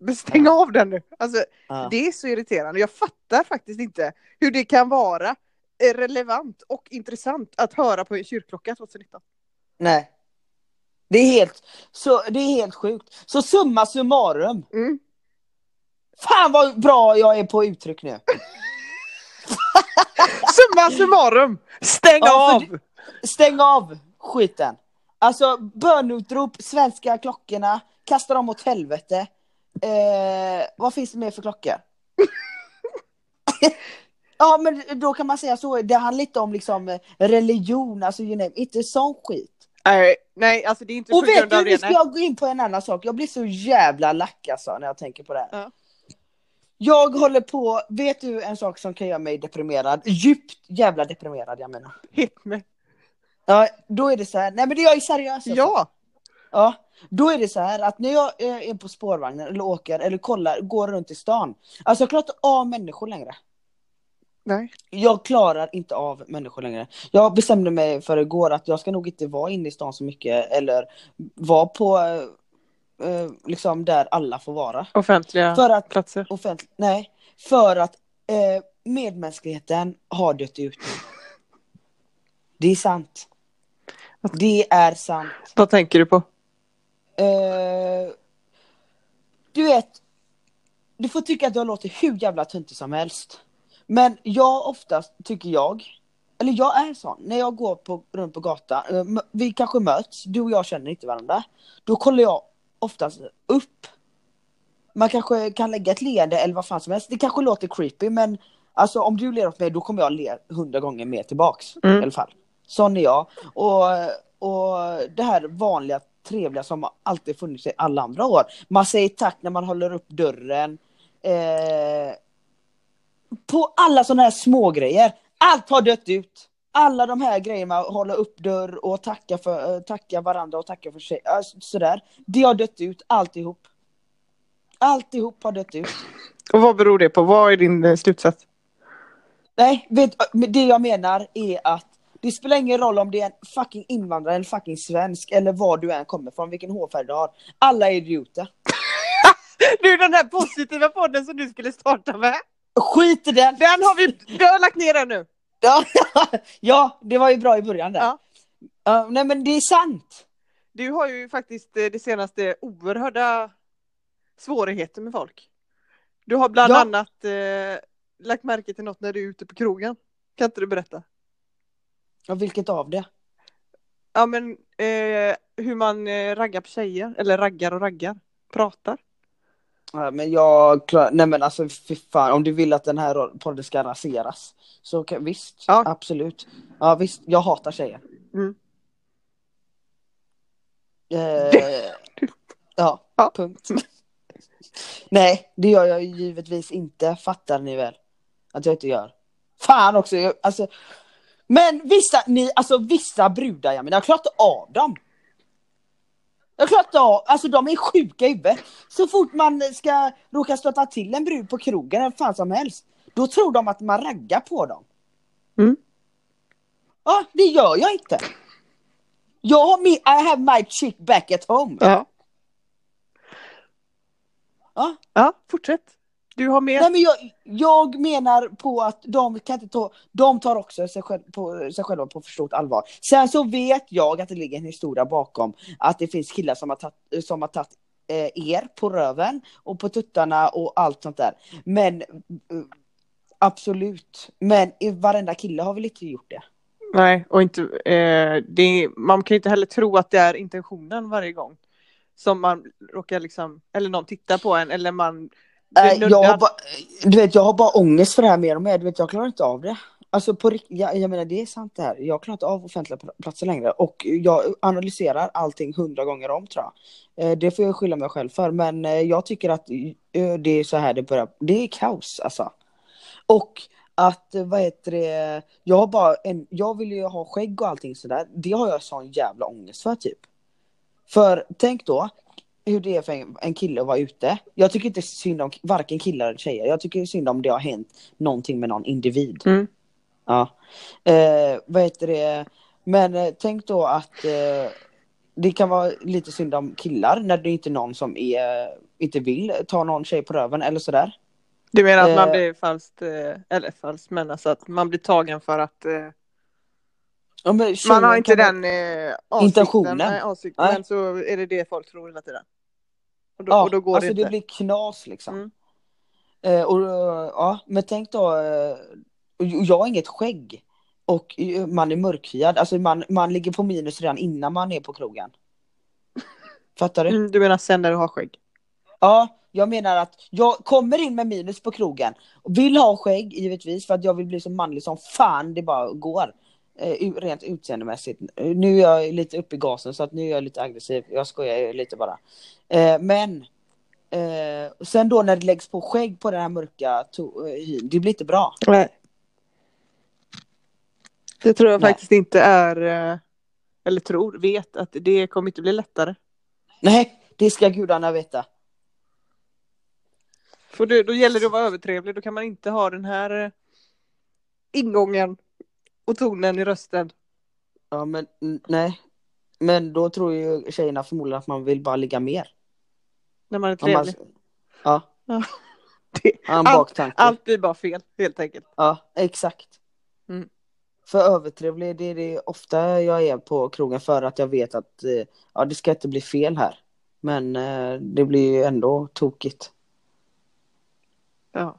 Speaker 1: Men stäng av den nu. Alltså
Speaker 2: Ja.
Speaker 1: det är så irriterande. Jag fattar faktiskt inte hur det kan vara eh, relevant och intressant att höra på en kyrkklocka 2019.
Speaker 2: Nej. Det är, helt, så, det är helt sjukt. Så summa summarum.
Speaker 1: Mm.
Speaker 2: Fan vad bra jag är på uttryck nu.
Speaker 1: Summa summarum! Stäng
Speaker 2: Ja, för
Speaker 1: av!
Speaker 2: Stäng av skiten. Alltså bönutrop, svenska klockorna, kasta dem åt helvete. Eh, vad finns det mer för klockor? ja men då kan man säga så, det handlar lite om liksom eh, religion, alltså you know, inte sån skit.
Speaker 1: Nej, nej, alltså det är inte
Speaker 2: Och
Speaker 1: på
Speaker 2: vet
Speaker 1: grund
Speaker 2: du,
Speaker 1: av
Speaker 2: nu
Speaker 1: det.
Speaker 2: ska
Speaker 1: nej.
Speaker 2: jag gå in på en annan sak. Jag blir så jävla lack alltså, när jag tänker på det här.
Speaker 1: Ja.
Speaker 2: Jag håller på, vet du en sak som kan göra mig deprimerad? Djupt jävla deprimerad jag menar.
Speaker 1: Hit mig.
Speaker 2: Ja, då är det så här, nej men det jag är seriös. alltså.
Speaker 1: Ja!
Speaker 2: ja. Då är det så här att när jag eh, är på spårvagnen eller åker eller kollar, går runt i stan. Alltså jag klarar inte av människor längre.
Speaker 1: Nej.
Speaker 2: Jag klarar inte av människor längre. Jag bestämde mig för igår att jag ska nog inte vara inne i stan så mycket eller vara på eh, eh, liksom där alla får vara.
Speaker 1: Offentliga
Speaker 2: För att
Speaker 1: platser.
Speaker 2: offentlig, nej, för att eh, medmänskligheten har dött ut. Det är sant. Det är sant.
Speaker 1: Vad tänker du på?
Speaker 2: Eh, du vet, du får tycka att jag låter hur jävla töntig som helst. Men jag oftast tycker jag, eller jag är sån, när jag går på, runt på gatan, eh, m- vi kanske möts, du och jag känner inte varandra. Då kollar jag oftast upp. Man kanske kan lägga ett leende eller vad fan som helst. Det kanske låter creepy men alltså om du ler åt mig då kommer jag le hundra gånger mer tillbaks.
Speaker 1: Mm.
Speaker 2: I alla fall. Sån är jag. Och, och det här vanliga trevliga som har alltid funnits i alla andra år. Man säger tack när man håller upp dörren. Eh, på alla sådana här små grejer. Allt har dött ut. Alla de här grejerna, att hålla upp dörr och tacka, för, eh, tacka varandra och tacka för sig. eh, så- Sådär. Det har dött ut, alltihop. Alltihop har dött ut.
Speaker 1: Och vad beror det på? Vad är din eh, slutsats?
Speaker 2: Nej, vet, men det jag menar är att det spelar ingen roll om det är en fucking invandrare eller fucking svensk eller var du än kommer från, vilken hårfärg du har. Alla är idioter.
Speaker 1: Du, den här positiva podden som du skulle starta med.
Speaker 2: Skit i den!
Speaker 1: Den har vi, du har lagt ner den nu.
Speaker 2: Ja, ja, det var ju bra i början där.
Speaker 1: Ja.
Speaker 2: Ja, nej men det är sant.
Speaker 1: Du har ju faktiskt eh, det senaste oerhörda svårigheter med folk. Du har bland
Speaker 2: Ja.
Speaker 1: annat eh, lagt märke till något när du är ute på krogen. Kan inte du berätta?
Speaker 2: Ja, vilket av det?
Speaker 1: Ja men eh, hur man eh, raggar på tjejer, eller raggar och raggar, pratar.
Speaker 2: Ja, men jag klarar, nej men alltså fy fan, om du vill att den här podden ska raseras. Så kan, visst,
Speaker 1: Ja.
Speaker 2: absolut. Ja visst, jag hatar tjejer.
Speaker 1: Mm.
Speaker 2: Eh, ja,
Speaker 1: Ja.
Speaker 2: punkt. nej, det gör jag ju givetvis inte, fattar ni väl? Att jag inte gör. Fan också, jag, alltså. Men vissa, ni, alltså vissa brudar jag menar, jag klarar inte av dem. Jag klarar inte av, alltså de är sjuka i huvudet. Så fort man ska råka stöta till en brud på krogen eller fan som helst, då tror de att man raggar på dem.
Speaker 1: Mm.
Speaker 2: Ja, det gör jag inte. Jag har min, I have my chick back at home.
Speaker 1: Ja.
Speaker 2: Ja.
Speaker 1: Ja, fortsätt. Du har mer.
Speaker 2: Nej, men jag, jag menar på att de kan inte ta, de tar också sig, själv, på, sig själva på för stort allvar. Sen så vet jag att det ligger en historia bakom att det finns killar som har tagit, som har tagit eh, er på röven och på tuttarna och allt sånt där. Men eh, absolut, men i- varenda kille har väl inte gjort det?
Speaker 1: Nej, och inte, eh, det är, man kan ju inte heller tro att det är intentionen varje gång. Som man råkar liksom, eller någon tittar på en eller man
Speaker 2: Nej,
Speaker 1: blir
Speaker 2: Eh, jag, har
Speaker 1: nuddad.
Speaker 2: bara, du vet, jag har bara ångest för det här mer och mer. Du vet, jag klarar inte av det. Alltså på rikt- jag, jag menar det är sant det här. Jag klarar inte av offentliga pl- platser längre. Och jag analyserar allting hundra gånger om tror jag. Eh, det får jag skylla mig själv för. Men eh, jag tycker att eh, det är så här det börjar. Det är kaos alltså. Och att, eh, vad heter det, jag har bara en, jag vill ju ha skägg och allting sådär. Det har jag sån jävla ångest för typ. För tänk då hur det är för en, en kille att vara ute. Jag tycker inte synd om k- varken killar eller tjejer. Jag tycker synd om det har hänt någonting med någon individ.
Speaker 1: Mm.
Speaker 2: Ja. Eh, vad heter det? Men eh, tänk då att eh, det kan vara lite synd om killar när det inte är någon som är, eh, inte vill ta någon tjej på röven eller sådär.
Speaker 1: Du menar att man
Speaker 2: Eh.
Speaker 1: blir falskt, eh, eller falskt men alltså att man blir tagen för att eh,
Speaker 2: Ja, men
Speaker 1: man har
Speaker 2: tjejer
Speaker 1: inte
Speaker 2: kan vara-
Speaker 1: den eh, avsikten.
Speaker 2: Intentionen.
Speaker 1: Nej, avsikten
Speaker 2: Nej.
Speaker 1: men så är det det folk tror hela tiden. Och då,
Speaker 2: Ja,
Speaker 1: och då går
Speaker 2: alltså
Speaker 1: det
Speaker 2: det,
Speaker 1: inte.
Speaker 2: blir knas liksom.
Speaker 1: Mm.
Speaker 2: Eh, och, eh, ja, men tänk då, eh, och jag har inget skägg. Och eh, man är mörkhyad, alltså man, man ligger på minus redan innan man är på krogen. Fattar du?
Speaker 1: Mm, du menar sen när du har skägg?
Speaker 2: Ja, jag menar att jag kommer in med minus på krogen. Vill ha skägg givetvis för att jag vill bli så manlig som fan det bara går. Eh, u- rent utseendemässigt. Eh, Nu är jag lite uppe i gasen så att nu är jag lite aggressiv. Jag skojar ju lite bara. Eh, men eh, sen då när det läggs på skägg på den här mörka to- eh, hyn, det blir inte bra.
Speaker 1: Nej. Det tror jag
Speaker 2: Nej.
Speaker 1: faktiskt inte är, eh, eller tror, vet att det kommer inte bli lättare.
Speaker 2: Nej, det ska gudarna veta.
Speaker 1: För då, då gäller det att vara övertrevlig, då kan man inte ha den här eh, ingången och tonen i rösten.
Speaker 2: Ja men n- nej. Men då tror ju tjejerna förmodligen att man vill bara ligga mer.
Speaker 1: När man är
Speaker 2: Om man-
Speaker 1: trevlig.
Speaker 2: Ja.
Speaker 1: Ja. Det-
Speaker 2: Ja, en
Speaker 1: Allt-
Speaker 2: baktanke.
Speaker 1: Allt blir bara fel helt enkelt.
Speaker 2: Ja, exakt.
Speaker 1: Mm.
Speaker 2: för övertrevlig, det är det ofta jag är på krogen för att jag vet att eh, ja, det ska inte bli fel här. Men eh, det blir ju ändå tokigt.
Speaker 1: Ja.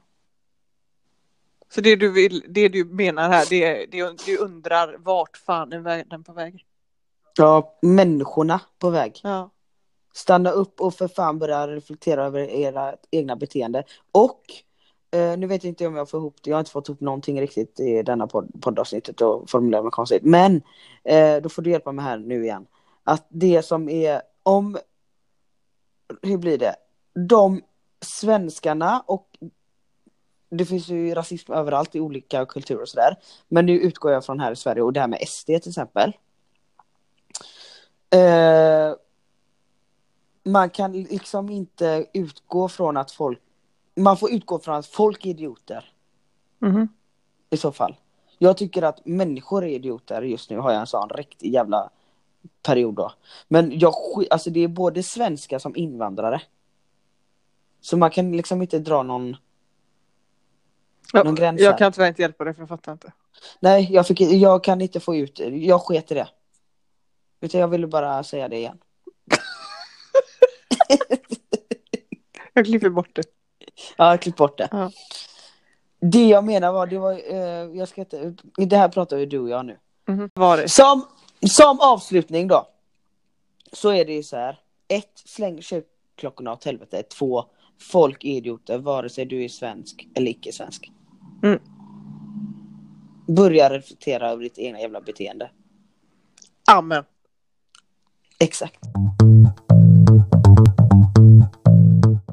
Speaker 1: Så det du, vill, det du menar här, det, det, du undrar vart fan är världen på väg?
Speaker 2: Ja, människorna på väg.
Speaker 1: Ja.
Speaker 2: Stanna upp och för fan börja reflektera över era egna beteende. Och eh, nu vet jag inte om jag får ihop det, jag har inte fått ihop någonting riktigt i denna podd, poddavsnittet och formulera mig konstigt. Men eh, då får du hjälpa mig här nu igen. Att det som är om, hur blir det? De svenskarna och det finns ju rasism överallt i olika kulturer och sådär. Men nu utgår jag från här i Sverige och det här med SD till exempel. Eh, man kan liksom inte utgå från att folk... Man får utgå från att folk är idioter Mm-hmm.
Speaker 1: Mhm.
Speaker 2: i så fall. Jag tycker att människor är idioter just nu, har jag en sån riktig jävla period då. Men jag sk- alltså det är både svenskar som invandrare. Så man kan liksom inte dra någon...
Speaker 1: Ja,
Speaker 2: Någon gräns
Speaker 1: jag
Speaker 2: här.
Speaker 1: kan tyvärr inte hjälpa dig för jag fattar inte.
Speaker 2: Nej, jag, fick, jag kan inte få ut... Jag sket i det. Utan jag ville bara säga det igen.
Speaker 1: Jag klipper bort det.
Speaker 2: Ja, klipp bort det.
Speaker 1: Ja.
Speaker 2: Det jag menar var, det var, eh, jag ska inte, det här pratar ju du och jag nu.
Speaker 1: Mhm. Var det?
Speaker 2: Som, som avslutning då. Så är det ju så här. Ett, släng kyrkklockorna åt helvete. Två, folk är idioter vare sig du är svensk eller icke svensk.
Speaker 1: Mm.
Speaker 2: Börja reflektera över ditt egna jävla beteende.
Speaker 1: Amen.
Speaker 2: Exakt.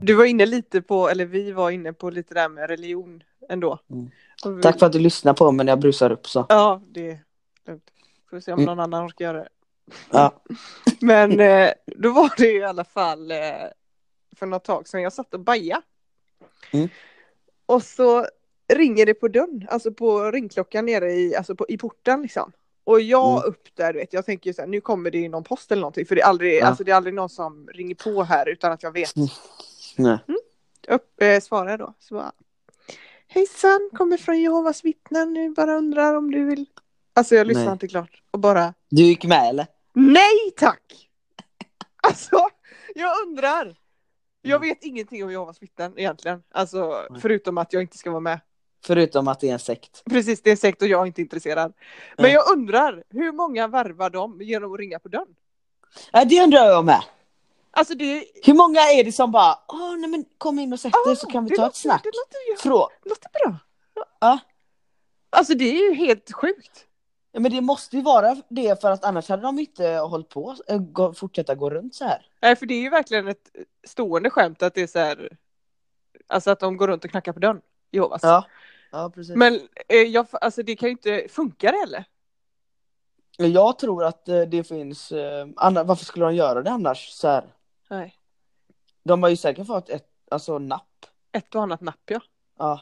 Speaker 1: Du var inne lite på, eller vi var inne på lite där med religion ändå.
Speaker 2: Mm.
Speaker 1: Och vi-
Speaker 2: Tack för att du lyssnar på mig när jag brusar upp så.
Speaker 1: Ja, det är lugnt. Får vi se om
Speaker 2: Mm.
Speaker 1: någon annan orkar göra det.
Speaker 2: Ja.
Speaker 1: Men eh, då var det i alla fall eh, för något tag sedan jag satt och baja.
Speaker 2: Mm.
Speaker 1: Och så ringer det på dörren, alltså på ringklockan nere i, alltså på, i porten liksom. Och jag
Speaker 2: Mm.
Speaker 1: upp där, du vet, jag tänker ju så här, nu kommer det ju någon post eller någonting, för det är aldrig,
Speaker 2: Ja.
Speaker 1: alltså det är aldrig någon som ringer på här utan att jag vet.
Speaker 2: Nej.
Speaker 1: Upp, eh, svarar jag då, så bara, Hejsan, kommer från Jehovas vittnen, nu bara undrar om du vill. Alltså jag lyssnar
Speaker 2: Nej.
Speaker 1: inte klart och bara,
Speaker 2: Du gick med eller?
Speaker 1: Nej tack! Alltså, jag undrar. Jag vet ingenting om Jehovas vittnen egentligen. Alltså,
Speaker 2: Mm. Nej.
Speaker 1: förutom att jag inte ska vara med.
Speaker 2: Förutom att det är en sekt.
Speaker 1: Precis, det är en sekt och jag är inte intresserad. Men
Speaker 2: Nej.
Speaker 1: jag undrar, hur många värvar de genom att ringa på dörren?
Speaker 2: Ja, det undrar jag med.
Speaker 1: Alltså det...
Speaker 2: Hur många är det som bara Åh, nej men kom in och sätt dig så
Speaker 1: Ah,
Speaker 2: kan vi
Speaker 1: det
Speaker 2: ta ett
Speaker 1: låter-
Speaker 2: snack.
Speaker 1: Det låter, ju-
Speaker 2: Frå
Speaker 1: låter bra.
Speaker 2: Ja.
Speaker 1: Alltså det är ju helt sjukt.
Speaker 2: ja, men det måste ju vara det för att annars hade de inte hållit på eh, gå, fortsätta gå runt så här.
Speaker 1: Nej, för det är ju verkligen ett stående skämt att det är så här... Alltså att de går runt och knackar på dörren, Jehovas.
Speaker 2: Ja, ja precis. Men...
Speaker 1: Men eh, jag, alltså det kan ju inte... Funkar det heller?
Speaker 2: Jag tror att eh, det finns, eh, anna- varför skulle de göra det annars? Så här.
Speaker 1: Nej.
Speaker 2: De har ju säkert fått ett alltså, napp.
Speaker 1: ett och annat napp ja.
Speaker 2: Ja.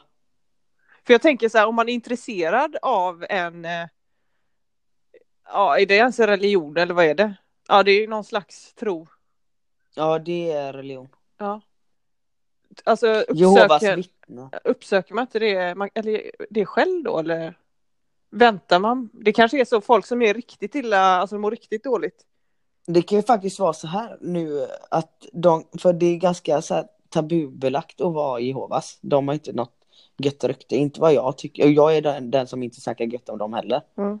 Speaker 1: För jag tänker så här om man är intresserad av en, eh, ja är det ens en religion eller vad är det? Ja det är ju någon slags tro.
Speaker 2: ja, det är religion.
Speaker 1: Ja. Alltså
Speaker 2: Jehovas
Speaker 1: uppsöker,
Speaker 2: vittnen.
Speaker 1: uppsöker man inte det, man, eller det själv då eller? Väntar man? Det kanske är så folk som är riktigt illa, alltså mår riktigt dåligt.
Speaker 2: Det kan ju faktiskt vara så här nu att de, för det är ganska så här tabubelagt att vara Jehovas. De har inte något gött rykte, inte vad jag tycker. Och jag är den, den som inte snackar gött om dem heller.
Speaker 1: Mm.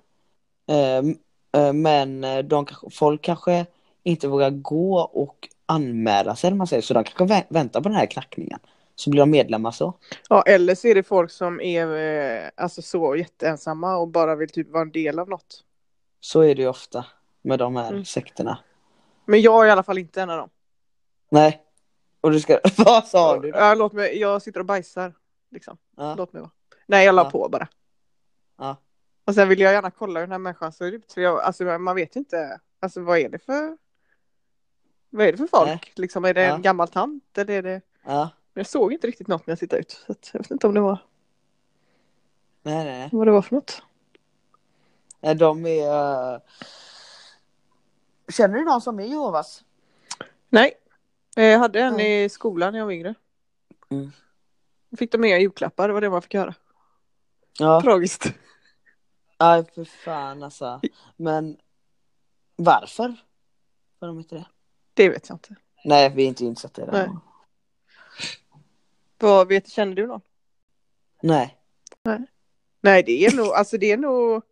Speaker 2: Ehm, eh, men eh, de, kanske- folk kanske inte vågar gå och anmäla sig, eller man säger. så de kanske vä- väntar på den här knackningen. Så blir de medlemmar så.
Speaker 1: Ja eller så är det folk som är eh, alltså så jätteensamma och bara vill typ vara en del av något.
Speaker 2: Så är det ju ofta med de här
Speaker 1: Mm.
Speaker 2: sekterna.
Speaker 1: Men jag är i alla fall inte en av dem.
Speaker 2: Nej. Och du ska, vad sa du?
Speaker 1: Ja, låt mig, jag sitter och bajsar. Liksom.
Speaker 2: Ja.
Speaker 1: Låt mig vara. Nej, jag la
Speaker 2: Ja.
Speaker 1: på bara.
Speaker 2: Ja.
Speaker 1: Och sen vill jag gärna kolla hur den här människan ser ut. För jag, alltså, man vet ju inte. Alltså vad är det för... Vad är det för folk?
Speaker 2: Nej.
Speaker 1: Liksom, är det
Speaker 2: Ja.
Speaker 1: en gammal tant? Eller är det...
Speaker 2: ja.
Speaker 1: Jag såg inte riktigt något när jag tittade ut. Så att jag vet inte om det var
Speaker 2: Nej, nej, nej.
Speaker 1: vad det var för något.
Speaker 2: Nej, de är... eh, Känner du någon som är Jehovas?
Speaker 1: Nej. Eh, Jag hade en i skolan när jag var yngre.
Speaker 2: Mm.
Speaker 1: Fick de med julklappar, det var det man fick göra.
Speaker 2: Ja.
Speaker 1: Tragiskt.
Speaker 2: Aj för fan alltså. Men varför? Får de inte det?
Speaker 1: Det vet jag inte.
Speaker 2: Nej vi är inte insatta i det.
Speaker 1: Nej. Vad vet, känner du någon?
Speaker 2: Nej.
Speaker 1: Nej det är nog, alltså det är nog,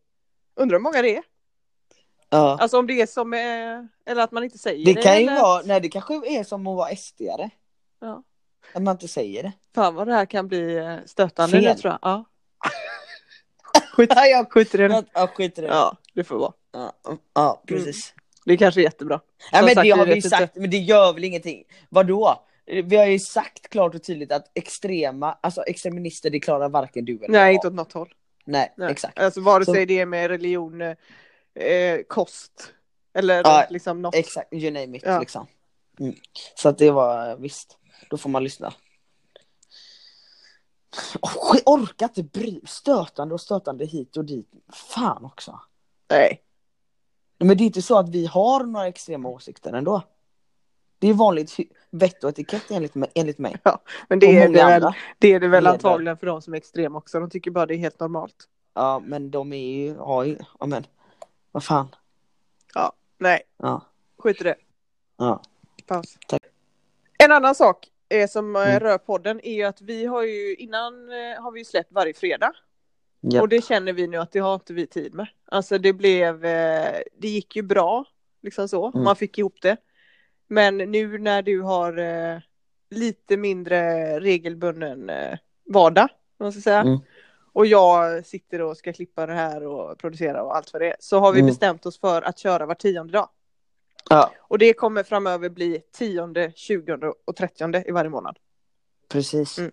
Speaker 1: undrar hur många det är.
Speaker 2: Ja.
Speaker 1: Alltså om det är som, eh, eller att man inte säger
Speaker 2: Det kan ju
Speaker 1: eller...
Speaker 2: vara, nej det kanske är som att vara SD-are.
Speaker 1: Ja.
Speaker 2: Att man inte säger det.
Speaker 1: Fan vad det här kan bli eh, stötande
Speaker 2: Fel.
Speaker 1: nu tror jag. Ja. Skit,
Speaker 2: Nej, jag-
Speaker 1: skit i det nu.
Speaker 2: Men- Ja skit i det.
Speaker 1: Ja, det får vara.
Speaker 2: Ja, ja precis.
Speaker 1: Det är kanske är jättebra.
Speaker 2: Ja,
Speaker 1: Som
Speaker 2: men
Speaker 1: sagt,
Speaker 2: det
Speaker 1: vi
Speaker 2: har vi
Speaker 1: vet
Speaker 2: ju
Speaker 1: inte.
Speaker 2: sagt, men det gör väl ingenting. Vadå? Vi har ju sagt klart och tydligt att extrema, alltså extremister det klarar varken du eller
Speaker 1: Nej,
Speaker 2: jag.
Speaker 1: inte åt något håll.
Speaker 2: Nej,
Speaker 1: Nej.
Speaker 2: exakt.
Speaker 1: Alltså vare
Speaker 2: Så-
Speaker 1: sig det är med religion, eh, kost eller
Speaker 2: Ja,
Speaker 1: liksom något.
Speaker 2: Exakt, you name it
Speaker 1: Ja.
Speaker 2: liksom. Mm. Så att det var visst, då får man lyssna. Oh, sk- orkar inte bry stötande och stötande hit och dit. Fan också.
Speaker 1: Nej.
Speaker 2: Men det är inte så att vi har några extrema åsikter ändå. Det är vanligt hy- vett och etikett enligt, mig- enligt mig.
Speaker 1: Men
Speaker 2: och
Speaker 1: det är
Speaker 2: många
Speaker 1: det, väl,
Speaker 2: andra.
Speaker 1: det är det väl
Speaker 2: Ledare.
Speaker 1: antagligen för de som är extrema också. De tycker bara det är helt normalt.
Speaker 2: Ja men de är ju, har ju, ja men. Vad fan.
Speaker 1: Nej,
Speaker 2: Ja.
Speaker 1: skit i det.
Speaker 2: Ja.
Speaker 1: Paus.
Speaker 2: Tack.
Speaker 1: En annan sak eh, som eh,
Speaker 2: Mm.
Speaker 1: rör podden är ju att vi har ju innan eh, har vi ju släppt varje fredag.
Speaker 2: Japp.
Speaker 1: Och det känner vi nu att det har inte vi tid med. Alltså det blev, eh, det gick ju bra, liksom så,
Speaker 2: Mm.
Speaker 1: man fick ihop det. Men nu när du har eh, lite mindre regelbunden eh, vardag, om man ska säga.
Speaker 2: Mm.
Speaker 1: Och jag sitter och ska klippa det här och producera och allt vad det är. Så har vi
Speaker 2: Mm.
Speaker 1: bestämt oss för att köra var tionde dag.
Speaker 2: ja.
Speaker 1: Och det kommer framöver bli tionde, tjugonde och trettionde i varje månad.
Speaker 2: Precis.
Speaker 1: Mm.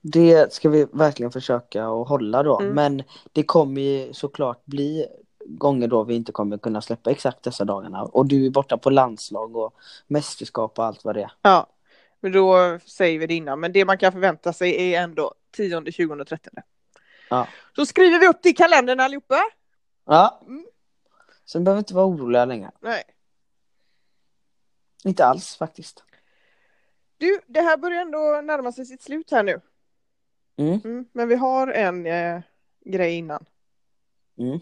Speaker 2: Det ska vi verkligen försöka att hålla då.
Speaker 1: Mm.
Speaker 2: Men det kommer ju såklart bli gånger då vi inte kommer kunna släppa exakt dessa dagarna. Och du är borta på landslag och mästerskap och allt vad det är.
Speaker 1: Ja, men då säger vi det innan. Men det man kan förvänta sig är ändå 10, 20 och 30.
Speaker 2: Ja.
Speaker 1: Då skriver vi upp det i kalendern allihopa.
Speaker 2: Ja.
Speaker 1: Mm.
Speaker 2: Så ni behöver inte vara oroliga längre.
Speaker 1: Nej.
Speaker 2: Inte alls faktiskt.
Speaker 1: Du, det här börjar ändå närma sig sitt slut här nu.
Speaker 2: Mm.
Speaker 1: Mm, men vi har en eh, grej innan.
Speaker 2: Mm.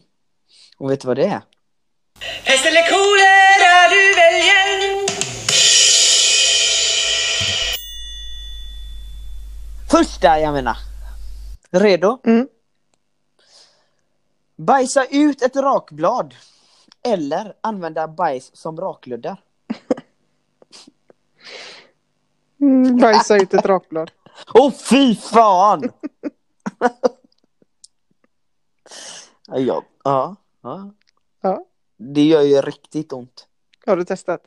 Speaker 2: Och vet du vad det är?
Speaker 3: Pest eller kolera du väljer
Speaker 2: Första jag menar. Redo?
Speaker 1: Mm.
Speaker 2: Bajsa ut ett rakblad. Eller använda bajs som raklöddar.
Speaker 1: Mm, bajsa ut ett rakblad.
Speaker 2: Åh fy fan! ja, ja, ja.
Speaker 1: Ja.
Speaker 2: Det gör ju riktigt ont.
Speaker 1: Har du testat?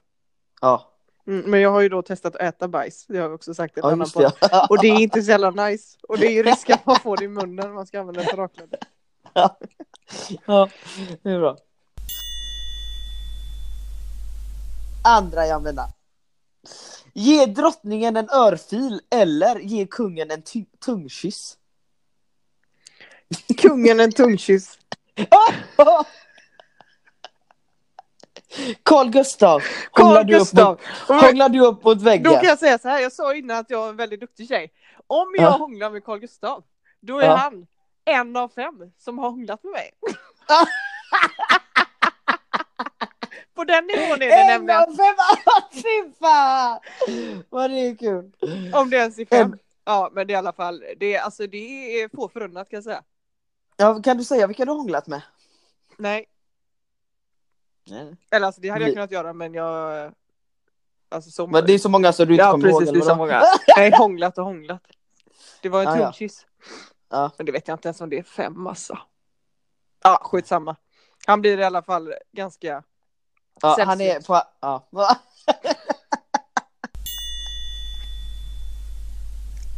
Speaker 2: Ja,
Speaker 1: Mm, men jag har ju då testat att äta bajs. Det har vi också sagt i en
Speaker 2: ja
Speaker 1: annan
Speaker 2: just
Speaker 1: podd.
Speaker 2: det. Ja.
Speaker 1: Och det är inte så jävla nice. Och det är ju risk att man får det i munnen när man ska använda ett rakblad.
Speaker 2: ja, det är bra. Andra jag menar. Ge drottningen en örfil eller ge kungen en ty- tungkyss.
Speaker 1: Kungen en tungkyss.
Speaker 2: Carl Gustav, hånglar
Speaker 1: Carl
Speaker 2: du upp
Speaker 1: Gustav.
Speaker 2: mot- hånglar du upp mot väggen?
Speaker 1: Då kan jag säga så här, jag sa innan att jag är en väldigt duktig tjej. Om jag
Speaker 2: Ja.
Speaker 1: hånglar med Carl Gustav, då är
Speaker 2: Ja.
Speaker 1: han en av fem som har hånglat med mig. På den nivån är det
Speaker 2: En av
Speaker 1: nämligen,
Speaker 2: fem! Fy fan! Vad det är kul.
Speaker 1: om det ens är fem.
Speaker 2: En.
Speaker 1: Ja, men det är i alla fall, det är, alltså, det är få förunnat kan jag säga.
Speaker 2: Ja, kan du säga vilka du har hånglat med?
Speaker 1: Nej, eller alltså det hade jag
Speaker 2: Vi-
Speaker 1: kunnat göra men jag... Alltså så
Speaker 2: Men det är så många så du inte
Speaker 1: Ja
Speaker 2: kommer ihåg.
Speaker 1: precis,
Speaker 2: eller
Speaker 1: det är så
Speaker 2: vadå?
Speaker 1: många. Nej, hånglat och hånglat. Det var en
Speaker 2: Ah, ja. Ah.
Speaker 1: tumkyss.
Speaker 2: Ja.
Speaker 1: Men det vet jag inte ens om det är fem alltså. Ja, skitsamma. Han blir i alla fall ganska...
Speaker 2: Ja,
Speaker 1: Sämst
Speaker 2: han är
Speaker 1: ut.
Speaker 2: på... Ja.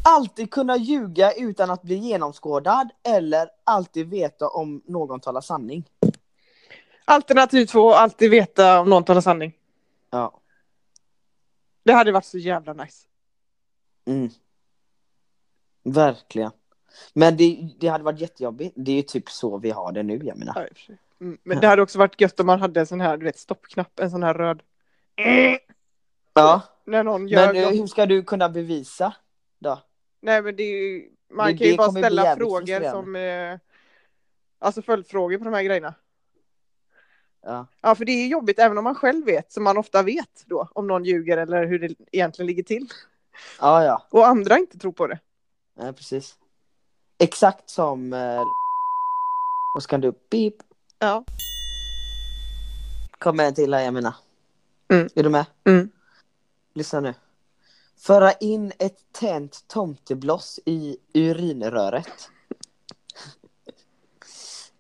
Speaker 2: Alltid kunna ljuga utan att bli genomskådad eller alltid veta om någon talar sanning.
Speaker 1: Alternativ två, alltid veta om någon talar sanning.
Speaker 2: Ja.
Speaker 1: Det hade varit så jävla nice.
Speaker 2: Mm. Verkligen. Men det, det hade varit jättejobbigt. Det är ju typ så vi har det nu jag menar.
Speaker 1: Ja, i och för sig. Mm, men det hade också varit gött om man hade en sån här, du vet, stoppknapp, en sån här röd.
Speaker 2: Ja.
Speaker 1: När någon gör
Speaker 2: Men eh,
Speaker 1: något.
Speaker 2: hur ska du kunna bevisa då?
Speaker 1: Nej men det är ju, man
Speaker 2: Det-
Speaker 1: kan ju
Speaker 2: det
Speaker 1: bara
Speaker 2: kommer bli
Speaker 1: ställa
Speaker 2: jävligt
Speaker 1: frågor
Speaker 2: frustrerande.
Speaker 1: som eh, Alltså följdfrågor på de här grejerna.
Speaker 2: Ja.
Speaker 1: Ja, för det är jobbigt även om man själv vet, som man ofta vet då, om någon ljuger eller hur det egentligen ligger till.
Speaker 2: Ja, ja.
Speaker 1: Och andra inte tror på det.
Speaker 2: Nej, precis. Exakt som... Eh, och så kan du... Beep.
Speaker 1: Ja.
Speaker 2: Kommer en till här, Jamina.
Speaker 1: Mm.
Speaker 2: Är du med?
Speaker 1: Mm.
Speaker 2: Lyssna nu. Föra in ett tänt tomtebloss i urinröret.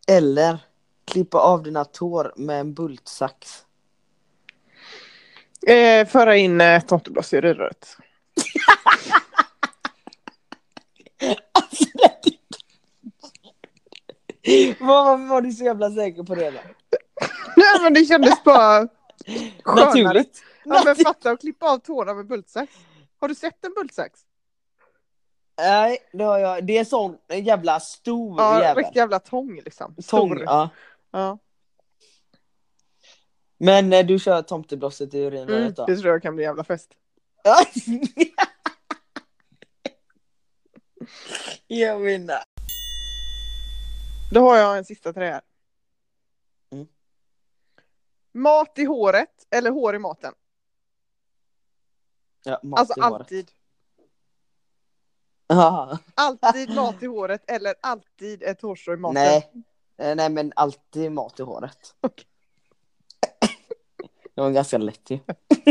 Speaker 2: Eller klippa av dina tår med en bultsax.
Speaker 1: Eh, föra in eh, tomtebloss i röret.
Speaker 2: Alltså, det- Varför var du så jävla säker på det då?
Speaker 1: Nej, men det kändes bara skönare.
Speaker 2: Naturligt.
Speaker 1: Ja, men fatta att klippa av tårna med bultsax. Har du sett en bultsax?
Speaker 2: Nej, det har jag. Det är en sån en jävla stor
Speaker 1: Ja,
Speaker 2: jävel.
Speaker 1: riktig jävla tång liksom.
Speaker 2: Tång,
Speaker 1: Stor.
Speaker 2: ja.
Speaker 1: Ja.
Speaker 2: Men eh, du kör tomteblosset i urinröret
Speaker 1: Mm,
Speaker 2: då?
Speaker 1: det tror jag kan bli jävla fest.
Speaker 2: Ja. jag vinner.
Speaker 1: Då har jag en sista till dig här.
Speaker 2: Mm.
Speaker 1: Mat i håret eller hår i maten?
Speaker 2: Ja, mat
Speaker 1: alltså
Speaker 2: i håret.
Speaker 1: alltid.
Speaker 2: Ja.
Speaker 1: Alltid mat i håret eller alltid ett hårstrå i maten.
Speaker 2: Nej. Eh, Nej men alltid mat i håret.
Speaker 1: Okej.
Speaker 2: det var ganska lätt ju.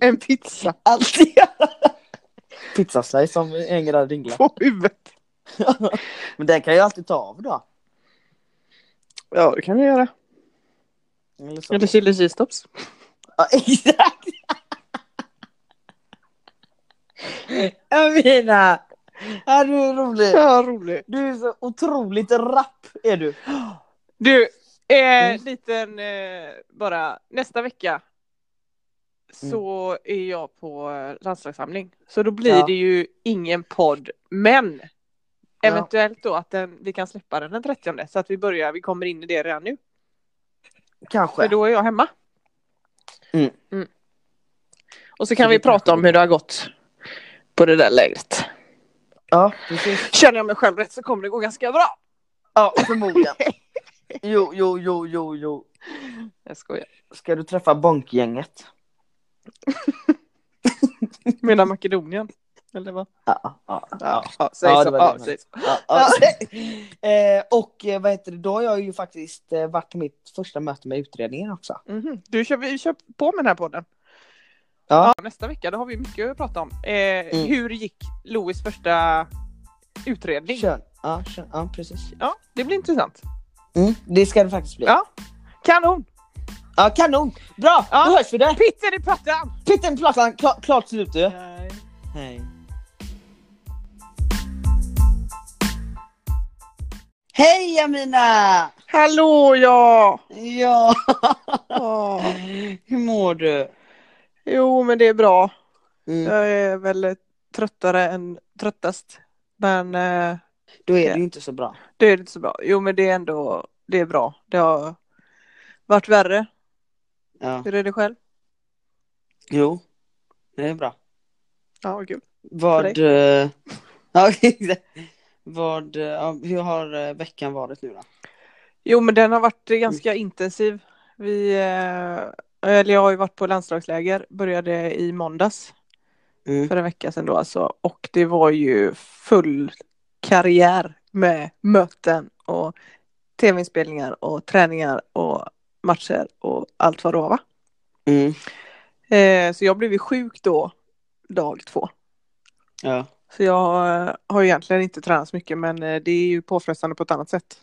Speaker 1: En pizza
Speaker 2: Alltid. Pizzaslice som hänger där och dinglar.
Speaker 1: på huvudet.
Speaker 2: Men den kan jag alltid ta av då.
Speaker 1: Ja, det kan vi göra.
Speaker 2: Eller så.
Speaker 1: Eller chili cheese tops.
Speaker 2: Ja, exakt! Amina! Ja, du är rolig.
Speaker 1: Ja, roligt.
Speaker 2: Du är så otroligt rapp är du.
Speaker 1: Du, eh,
Speaker 2: Mm.
Speaker 1: liten eh, bara. Nästa vecka så är jag på eh, landslagssamling. Så då blir
Speaker 2: Mm. Ja.
Speaker 1: det ju ingen podd. Men eventuellt då att den, vi kan släppa den den 30 så att vi börjar, vi kommer in i det redan nu.
Speaker 2: Kanske.
Speaker 1: För då är jag hemma.
Speaker 2: Mm.
Speaker 1: Och så kan
Speaker 2: Så det
Speaker 1: vi
Speaker 2: kanske
Speaker 1: prata om hur det har gått på det där lägret.
Speaker 2: Ja, precis.
Speaker 1: Känner jag mig själv rätt så kommer det gå ganska bra.
Speaker 2: Ja, förmodligen. Jo, jo, jo, jo, jo.
Speaker 1: Jag skojar.
Speaker 2: Ska du träffa bonkgänget?
Speaker 1: Menar Makedonien. Eller vad?
Speaker 2: Ja, ja, ja.
Speaker 1: Ja, ja, säg
Speaker 2: Ja,
Speaker 1: så.
Speaker 2: det var
Speaker 1: Ja,
Speaker 2: det.
Speaker 1: säg så.
Speaker 2: ja, ja. Eh, Och eh, vad heter det, då har jag ju faktiskt eh, varit på mitt första möte med utredningen också.
Speaker 1: Mhm. Du kör, vi kör på med den här podden.
Speaker 2: Ja.
Speaker 1: Nästa vecka då har vi mycket att prata om. Eh,
Speaker 2: Mm.
Speaker 1: Hur gick Louis första utredning?
Speaker 2: Kön. Ja, kön. ja precis.
Speaker 1: Ja, det blir intressant.
Speaker 2: Mm, det ska det faktiskt bli.
Speaker 1: Ja. Kanon!
Speaker 2: Ja, kanon! Bra!
Speaker 1: Ja.
Speaker 2: Då hörs vi där!
Speaker 1: Pitten i plattan!
Speaker 2: Pitten Plattan, kla- klart slut du! Hej! Hej Amina!
Speaker 1: Hallå ja!
Speaker 2: Ja,
Speaker 1: Åh.
Speaker 2: hur mår du?
Speaker 1: Jo men det är bra.
Speaker 2: Mm.
Speaker 1: Jag är väl tröttare än tröttast. Men eh,
Speaker 2: Då är det ju inte så bra.
Speaker 1: det är inte så bra. Jo men det är ändå det är bra. Det har varit värre.
Speaker 2: Ja.
Speaker 1: Hur är det själv?
Speaker 2: Jo, det är bra.
Speaker 1: Ja, vad kul.
Speaker 2: Vad... eh, Ja, exakt. Vad... eh, ja, Hur har eh, veckan varit nu då?
Speaker 1: Jo men den har varit eh, ganska intensiv. Vi, eh, eller jag har ju varit på landslagsläger, började i måndags
Speaker 2: Mm.
Speaker 1: för en vecka sedan då alltså. Och det var ju full karriär med möten och tv-inspelningar och träningar och matcher och allt vad det var va?
Speaker 2: Mm.
Speaker 1: Eh, så jag blev ju sjuk då, dag två.
Speaker 2: Ja.
Speaker 1: Så jag eh, har ju egentligen inte tränat så mycket men eh, det är ju påfrestande på ett annat sätt.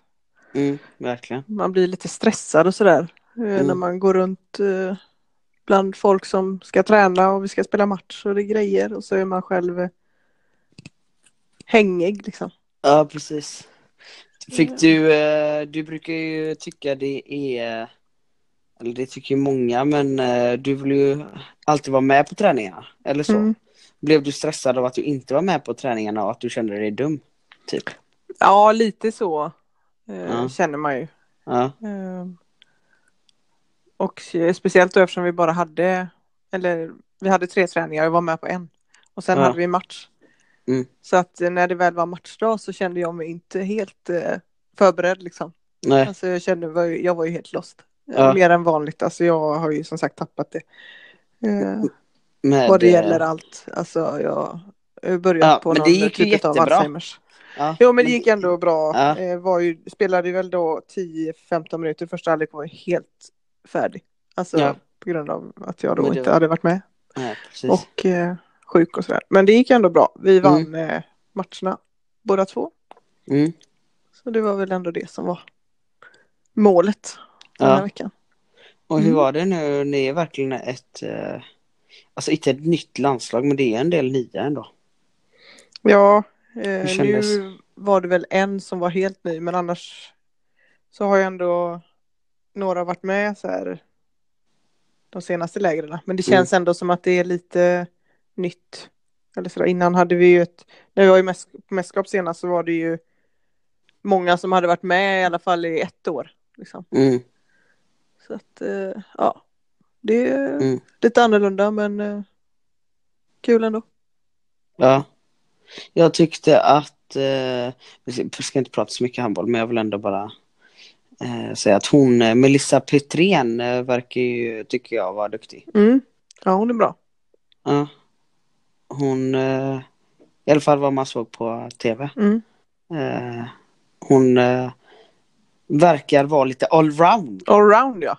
Speaker 2: Mm, verkligen.
Speaker 1: man blir lite stressad och sådär. eh,
Speaker 2: Mm.
Speaker 1: När man går runt eh, bland folk som ska träna och vi ska spela match och det är grejer och så är man själv eh, hängig liksom.
Speaker 2: Ja, precis. Fick du, eh, du brukar ju tycka det är, eller det tycker ju många, men eh, du vill ju alltid vara med på träningarna, eller så.
Speaker 1: Mm.
Speaker 2: Blev du stressad av att du inte var med på träningarna och att du kände dig dum? Typ.
Speaker 1: Ja, lite så eh,
Speaker 2: Ja.
Speaker 1: känner man ju.
Speaker 2: Ja,
Speaker 1: Eh, och eh, speciellt då eftersom vi bara hade, eller vi hade tre träningar och jag var med på en. Och sen
Speaker 2: Ja.
Speaker 1: hade vi match.
Speaker 2: Mm.
Speaker 1: Så att eh, när det väl var matchdag så kände jag mig inte helt eh, förberedd liksom.
Speaker 2: Nej.
Speaker 1: Alltså jag kände, var ju- jag var ju helt lost.
Speaker 2: Ja.
Speaker 1: Mer än vanligt, alltså jag har ju som sagt tappat det. Eh,
Speaker 2: Men,
Speaker 1: vad det
Speaker 2: eh,
Speaker 1: gäller allt. Alltså jag har börjat
Speaker 2: Ja,
Speaker 1: på
Speaker 2: men
Speaker 1: någon
Speaker 2: det gick ju
Speaker 1: typ av
Speaker 2: jättebra.
Speaker 1: Alzheimers.
Speaker 2: Ja.
Speaker 1: Jo men det gick ändå bra.
Speaker 2: Ja.
Speaker 1: Eh, var ju, spelade väl då 10-15 minuter första halvlek och var helt färdig. Alltså
Speaker 2: Ja.
Speaker 1: på grund av att jag då
Speaker 2: Men det
Speaker 1: inte
Speaker 2: var-
Speaker 1: hade varit med.
Speaker 2: Nej, precis.
Speaker 1: Och eh, sjuk och sådär. Men det gick ändå bra. Vi vann eh, matcherna båda två.
Speaker 2: Mm.
Speaker 1: Så det var väl ändå det som var målet den här
Speaker 2: Ja.
Speaker 1: veckan.
Speaker 2: Och hur
Speaker 1: Mm.
Speaker 2: var det nu? Ni är verkligen ett, eh, alltså inte ett nytt landslag, men det är en del nya ändå.
Speaker 1: Ja, eh,
Speaker 2: kändes?
Speaker 1: nu var det väl en som var helt ny men annars så har jag ändå några varit med så här de senaste lägren. Men det
Speaker 2: Mm.
Speaker 1: känns ändå som att det är lite nytt. Eller så där. Innan hade vi ju ett, när vi var i mäs- på mästerskap senast så var det ju många som hade varit med i alla fall i ett år. Liksom.
Speaker 2: Mm.
Speaker 1: Så att eh, ja, det är
Speaker 2: Mm.
Speaker 1: lite annorlunda men eh, kul ändå.
Speaker 2: Ja. Jag tyckte att, eh, vi ska inte prata så mycket handboll, men jag vill ändå bara eh, säga att hon, eh, Melissa Petrén, eh, verkar ju, tycker jag, vara duktig.
Speaker 1: Mm. Ja, hon är bra.
Speaker 2: Ja. Hon, eh, i alla fall vad man såg på tv.
Speaker 1: Mm.
Speaker 2: Eh, hon eh, verkar vara lite allround.
Speaker 1: Allround ja.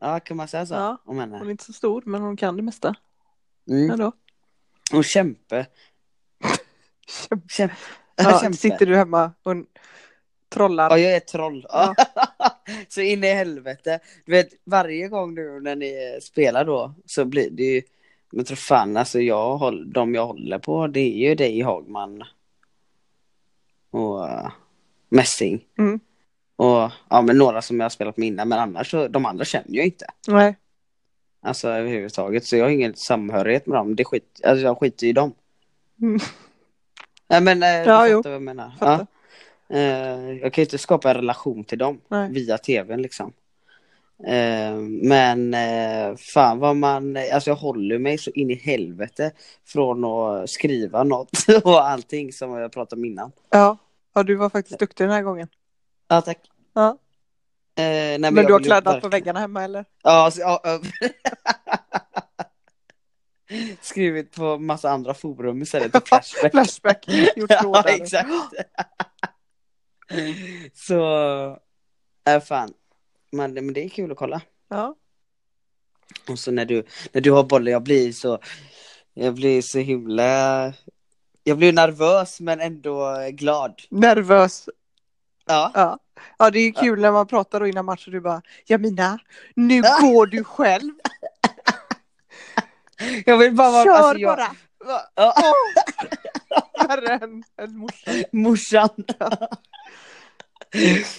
Speaker 2: Ja, kan man säga så?
Speaker 1: Ja.
Speaker 2: Om henne.
Speaker 1: Hon är inte så stor men hon kan det mesta
Speaker 2: Mm.
Speaker 1: ändå.
Speaker 2: Hon kämpar. Kämp
Speaker 1: Ja,
Speaker 2: kämpar.
Speaker 1: sitter du hemma och trollar.
Speaker 2: Ja, jag är ett troll. så in i helvete. Du vet, varje gång nu när ni spelar då så blir det ju... Men tro fan, alltså jag håller, de jag håller på det är ju dig Hagman och eh, Messing.
Speaker 1: Mm.
Speaker 2: Och ja, men några som jag har spelat med innan, men annars så, de andra känner jag inte.
Speaker 1: Nej.
Speaker 2: Alltså överhuvudtaget, så jag har ingen samhörighet med dem. Det skit, alltså jag skiter i dem.
Speaker 1: Mm.
Speaker 2: Nej men, eh,
Speaker 1: Ja,
Speaker 2: du
Speaker 1: jo.
Speaker 2: fattar vad jag menar.
Speaker 1: Fattar.
Speaker 2: Ja. Eh, jag kan ju inte skapa en relation till dem
Speaker 1: Nej.
Speaker 2: via tvn liksom. Eh, men eh, fan vad man, alltså jag håller mig så in i helvete från att skriva något och allting som jag pratade om innan.
Speaker 1: Ja. ja, du var faktiskt duktig den här gången.
Speaker 2: Ja tack.
Speaker 1: Ja.
Speaker 2: Eh, nej,
Speaker 1: Men,
Speaker 2: jag
Speaker 1: du har
Speaker 2: vill ju
Speaker 1: kladdat på
Speaker 2: verkligen-
Speaker 1: väggarna hemma eller?
Speaker 2: Ja, alltså, ja, ja. Skrivit på massa andra forum istället för Flashback.
Speaker 1: Flashback. Gjort
Speaker 2: ja,
Speaker 1: trådar.
Speaker 2: exakt. Mm. Så, äh, fan. Men, men det är kul att kolla.
Speaker 1: Ja.
Speaker 2: Och så när du, när du har bollen, jag blir så, jag blir så himla, jag blir nervös men ändå glad.
Speaker 1: Nervös.
Speaker 2: Ja,
Speaker 1: Ja. ja, det är ju kul när man pratar och innan match och du bara Jamina, nu går du själv.
Speaker 2: jag vill bara vara,
Speaker 1: Kör
Speaker 2: alltså, jag,
Speaker 1: bara.
Speaker 2: Ja,
Speaker 1: Värre än, än morsan.
Speaker 2: morsan.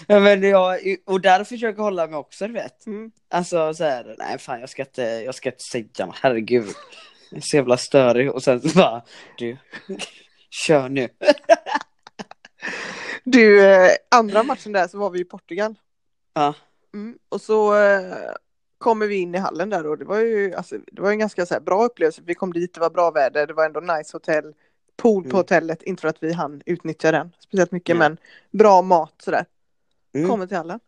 Speaker 2: ja, men jag, och där försöker jag hålla mig också, du vet.
Speaker 1: Mm.
Speaker 2: Alltså så här, nej fan jag ska inte, jag ska inte säga något, herregud. Jag är så jävla störig och sen så bara, du, kör nu.
Speaker 1: Du, eh, andra matchen där så var vi i Portugal.
Speaker 2: Ja.
Speaker 1: Mm. Och så eh, kommer vi in i hallen där och det var ju alltså, det var ju en ganska så här, bra upplevelse. Vi kom dit, det var bra väder, det var ändå nice hotell. Pool på
Speaker 2: Mm.
Speaker 1: hotellet, inte för att vi hann utnyttja den speciellt mycket
Speaker 2: Nej.
Speaker 1: men bra mat sådär.
Speaker 2: Mm.
Speaker 1: Kommer till hallen.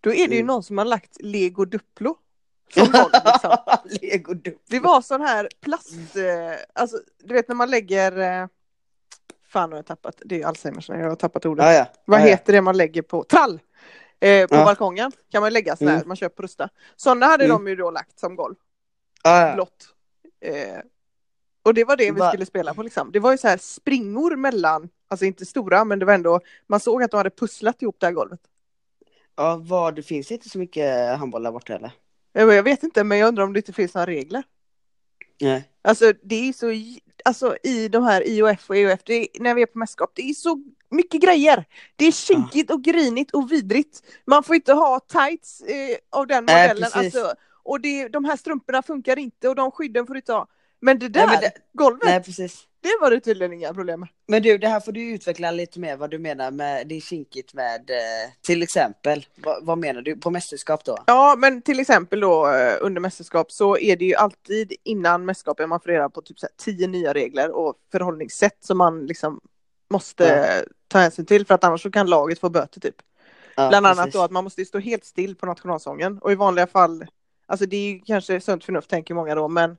Speaker 1: Då är det ju
Speaker 2: Mm.
Speaker 1: någon som har lagt lego duplo. Som boll, liksom.
Speaker 2: Lego du.
Speaker 1: Det var sån här plast, eh, alltså du vet när man lägger eh, Fan har jag tappat, det är ju Alzheimers, jag har tappat ordet.
Speaker 2: Ja, ja.
Speaker 1: Vad
Speaker 2: ja, ja.
Speaker 1: heter det man lägger på? Trall! Eh, på
Speaker 2: Eh. Ja.
Speaker 1: balkongen kan man lägga sådana här,
Speaker 2: Mm.
Speaker 1: man köper på Rusta. Sådana hade
Speaker 2: Mm.
Speaker 1: de ju då lagt som golv,
Speaker 2: Ja, ja.
Speaker 1: blått. Eh, och det var det vi
Speaker 2: Va-
Speaker 1: skulle spela på liksom. Det var ju så här springor mellan, alltså inte stora men det var ändå, man såg att de hade pusslat ihop det här golvet.
Speaker 2: ja vad, det finns inte så mycket handboll där borta eller?
Speaker 1: Jag, bara, jag vet inte men jag undrar om det inte finns några regler.
Speaker 2: Nej.
Speaker 1: Alltså det är så, j- alltså i de här IOF och EOF, det är, när vi är på mästerskap, det är så mycket grejer. Det är kinkigt och grinigt och vidrigt. Man får inte ha tights eh, av den
Speaker 2: Nej,
Speaker 1: modellen.
Speaker 2: precis.
Speaker 1: alltså, och det, de här strumporna funkar inte och de skydden får du inte ha. Men det där
Speaker 2: Nej, men det-
Speaker 1: golvet,
Speaker 2: Nej precis.
Speaker 1: det var det tydligen inga problem med.
Speaker 2: Men du, det här får du utveckla lite mer vad du menar med, det är kinkigt med, eh, till exempel, vad, vad menar du på mästerskap då?
Speaker 1: Ja, men till exempel då eh, under mästerskap så är det ju alltid innan mästerskapen man får reda på typ så här tio nya regler och förhållningssätt som man liksom måste ta hänsyn till för att annars så kan laget få böter typ.
Speaker 2: Ja,
Speaker 1: Bland annat
Speaker 2: precis.
Speaker 1: då att man måste stå helt still på nationalsången och i vanliga fall, alltså det är ju kanske sunt förnuft tänker många då, men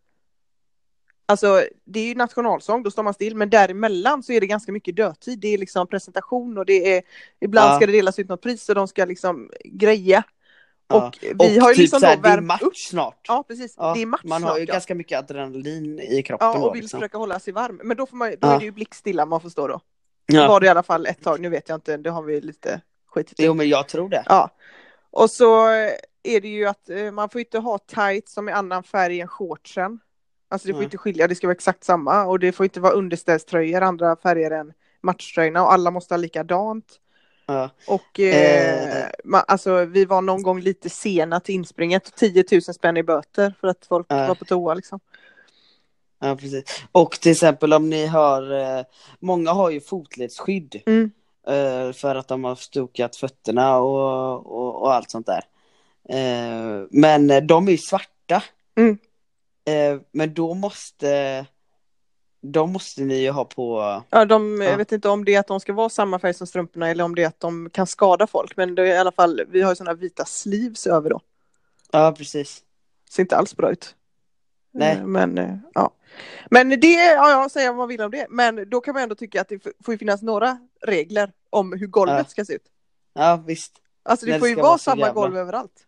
Speaker 1: alltså det är ju nationalsång, då står man still, men däremellan så är det ganska mycket dödtid, det är liksom presentation och det är, ibland
Speaker 2: Ja.
Speaker 1: ska det delas ut något pris och de ska liksom greja.
Speaker 2: Ja.
Speaker 1: Och vi har ju
Speaker 2: typ
Speaker 1: liksom
Speaker 2: så här,
Speaker 1: då
Speaker 2: det är
Speaker 1: värmt
Speaker 2: match
Speaker 1: upp.
Speaker 2: snart.
Speaker 1: Ja precis,
Speaker 2: Ja,
Speaker 1: det är match
Speaker 2: man har
Speaker 1: snart,
Speaker 2: ju
Speaker 1: ja.
Speaker 2: ganska mycket adrenalin i kroppen
Speaker 1: Ja,
Speaker 2: då,
Speaker 1: och vill
Speaker 2: liksom.
Speaker 1: försöka hålla sig varm. Men då, får man, då
Speaker 2: Ja.
Speaker 1: är det ju blickstilla man får stå då.
Speaker 2: ja.
Speaker 1: Var det i alla fall ett tag, nu vet jag inte, det har vi lite skitit i.
Speaker 2: Jo men jag tror det.
Speaker 1: Ja. Och så eh, är det ju att eh, man får inte ha tights som är annan färg än shortsen. Alltså det får
Speaker 2: Nej.
Speaker 1: inte skilja, det ska vara exakt samma. Och det får inte vara underställströjor, andra färger än matchtröjorna. Och alla måste ha likadant.
Speaker 2: Ja.
Speaker 1: Och eh,
Speaker 2: Eh.
Speaker 1: Man, alltså, vi var någon gång lite sena till inspringet. 10 000 spänn i böter för att folk
Speaker 2: Ja.
Speaker 1: var på toa liksom.
Speaker 2: Ja, precis. Och till exempel om ni har, eh, många har ju fotledsskydd
Speaker 1: Mm.
Speaker 2: eh, för att de har stukat fötterna och, och, och allt sånt där. Eh, men eh, de är ju svarta.
Speaker 1: Mm.
Speaker 2: Eh, men då måste, de måste ni ju ha på,
Speaker 1: Ja, de, Jag
Speaker 2: Ja.
Speaker 1: vet inte om det är att de ska vara samma färg som strumporna eller om det är att de kan skada folk. Men det är i alla fall, vi har ju sådana vita sleeves över då.
Speaker 2: ja precis.
Speaker 1: ser inte alls bra ut.
Speaker 2: Nej.
Speaker 1: Eh, Men eh, ja. Men det, ja, ja säga vad man vill om det. Men då kan man ändå tycka att det f- får ju finnas några regler om hur golvet
Speaker 2: Ja.
Speaker 1: ska se ut.
Speaker 2: Ja visst.
Speaker 1: Alltså det
Speaker 2: Nej, det
Speaker 1: får ju
Speaker 2: ska
Speaker 1: vara,
Speaker 2: vara så
Speaker 1: samma
Speaker 2: jävla-
Speaker 1: golv överallt.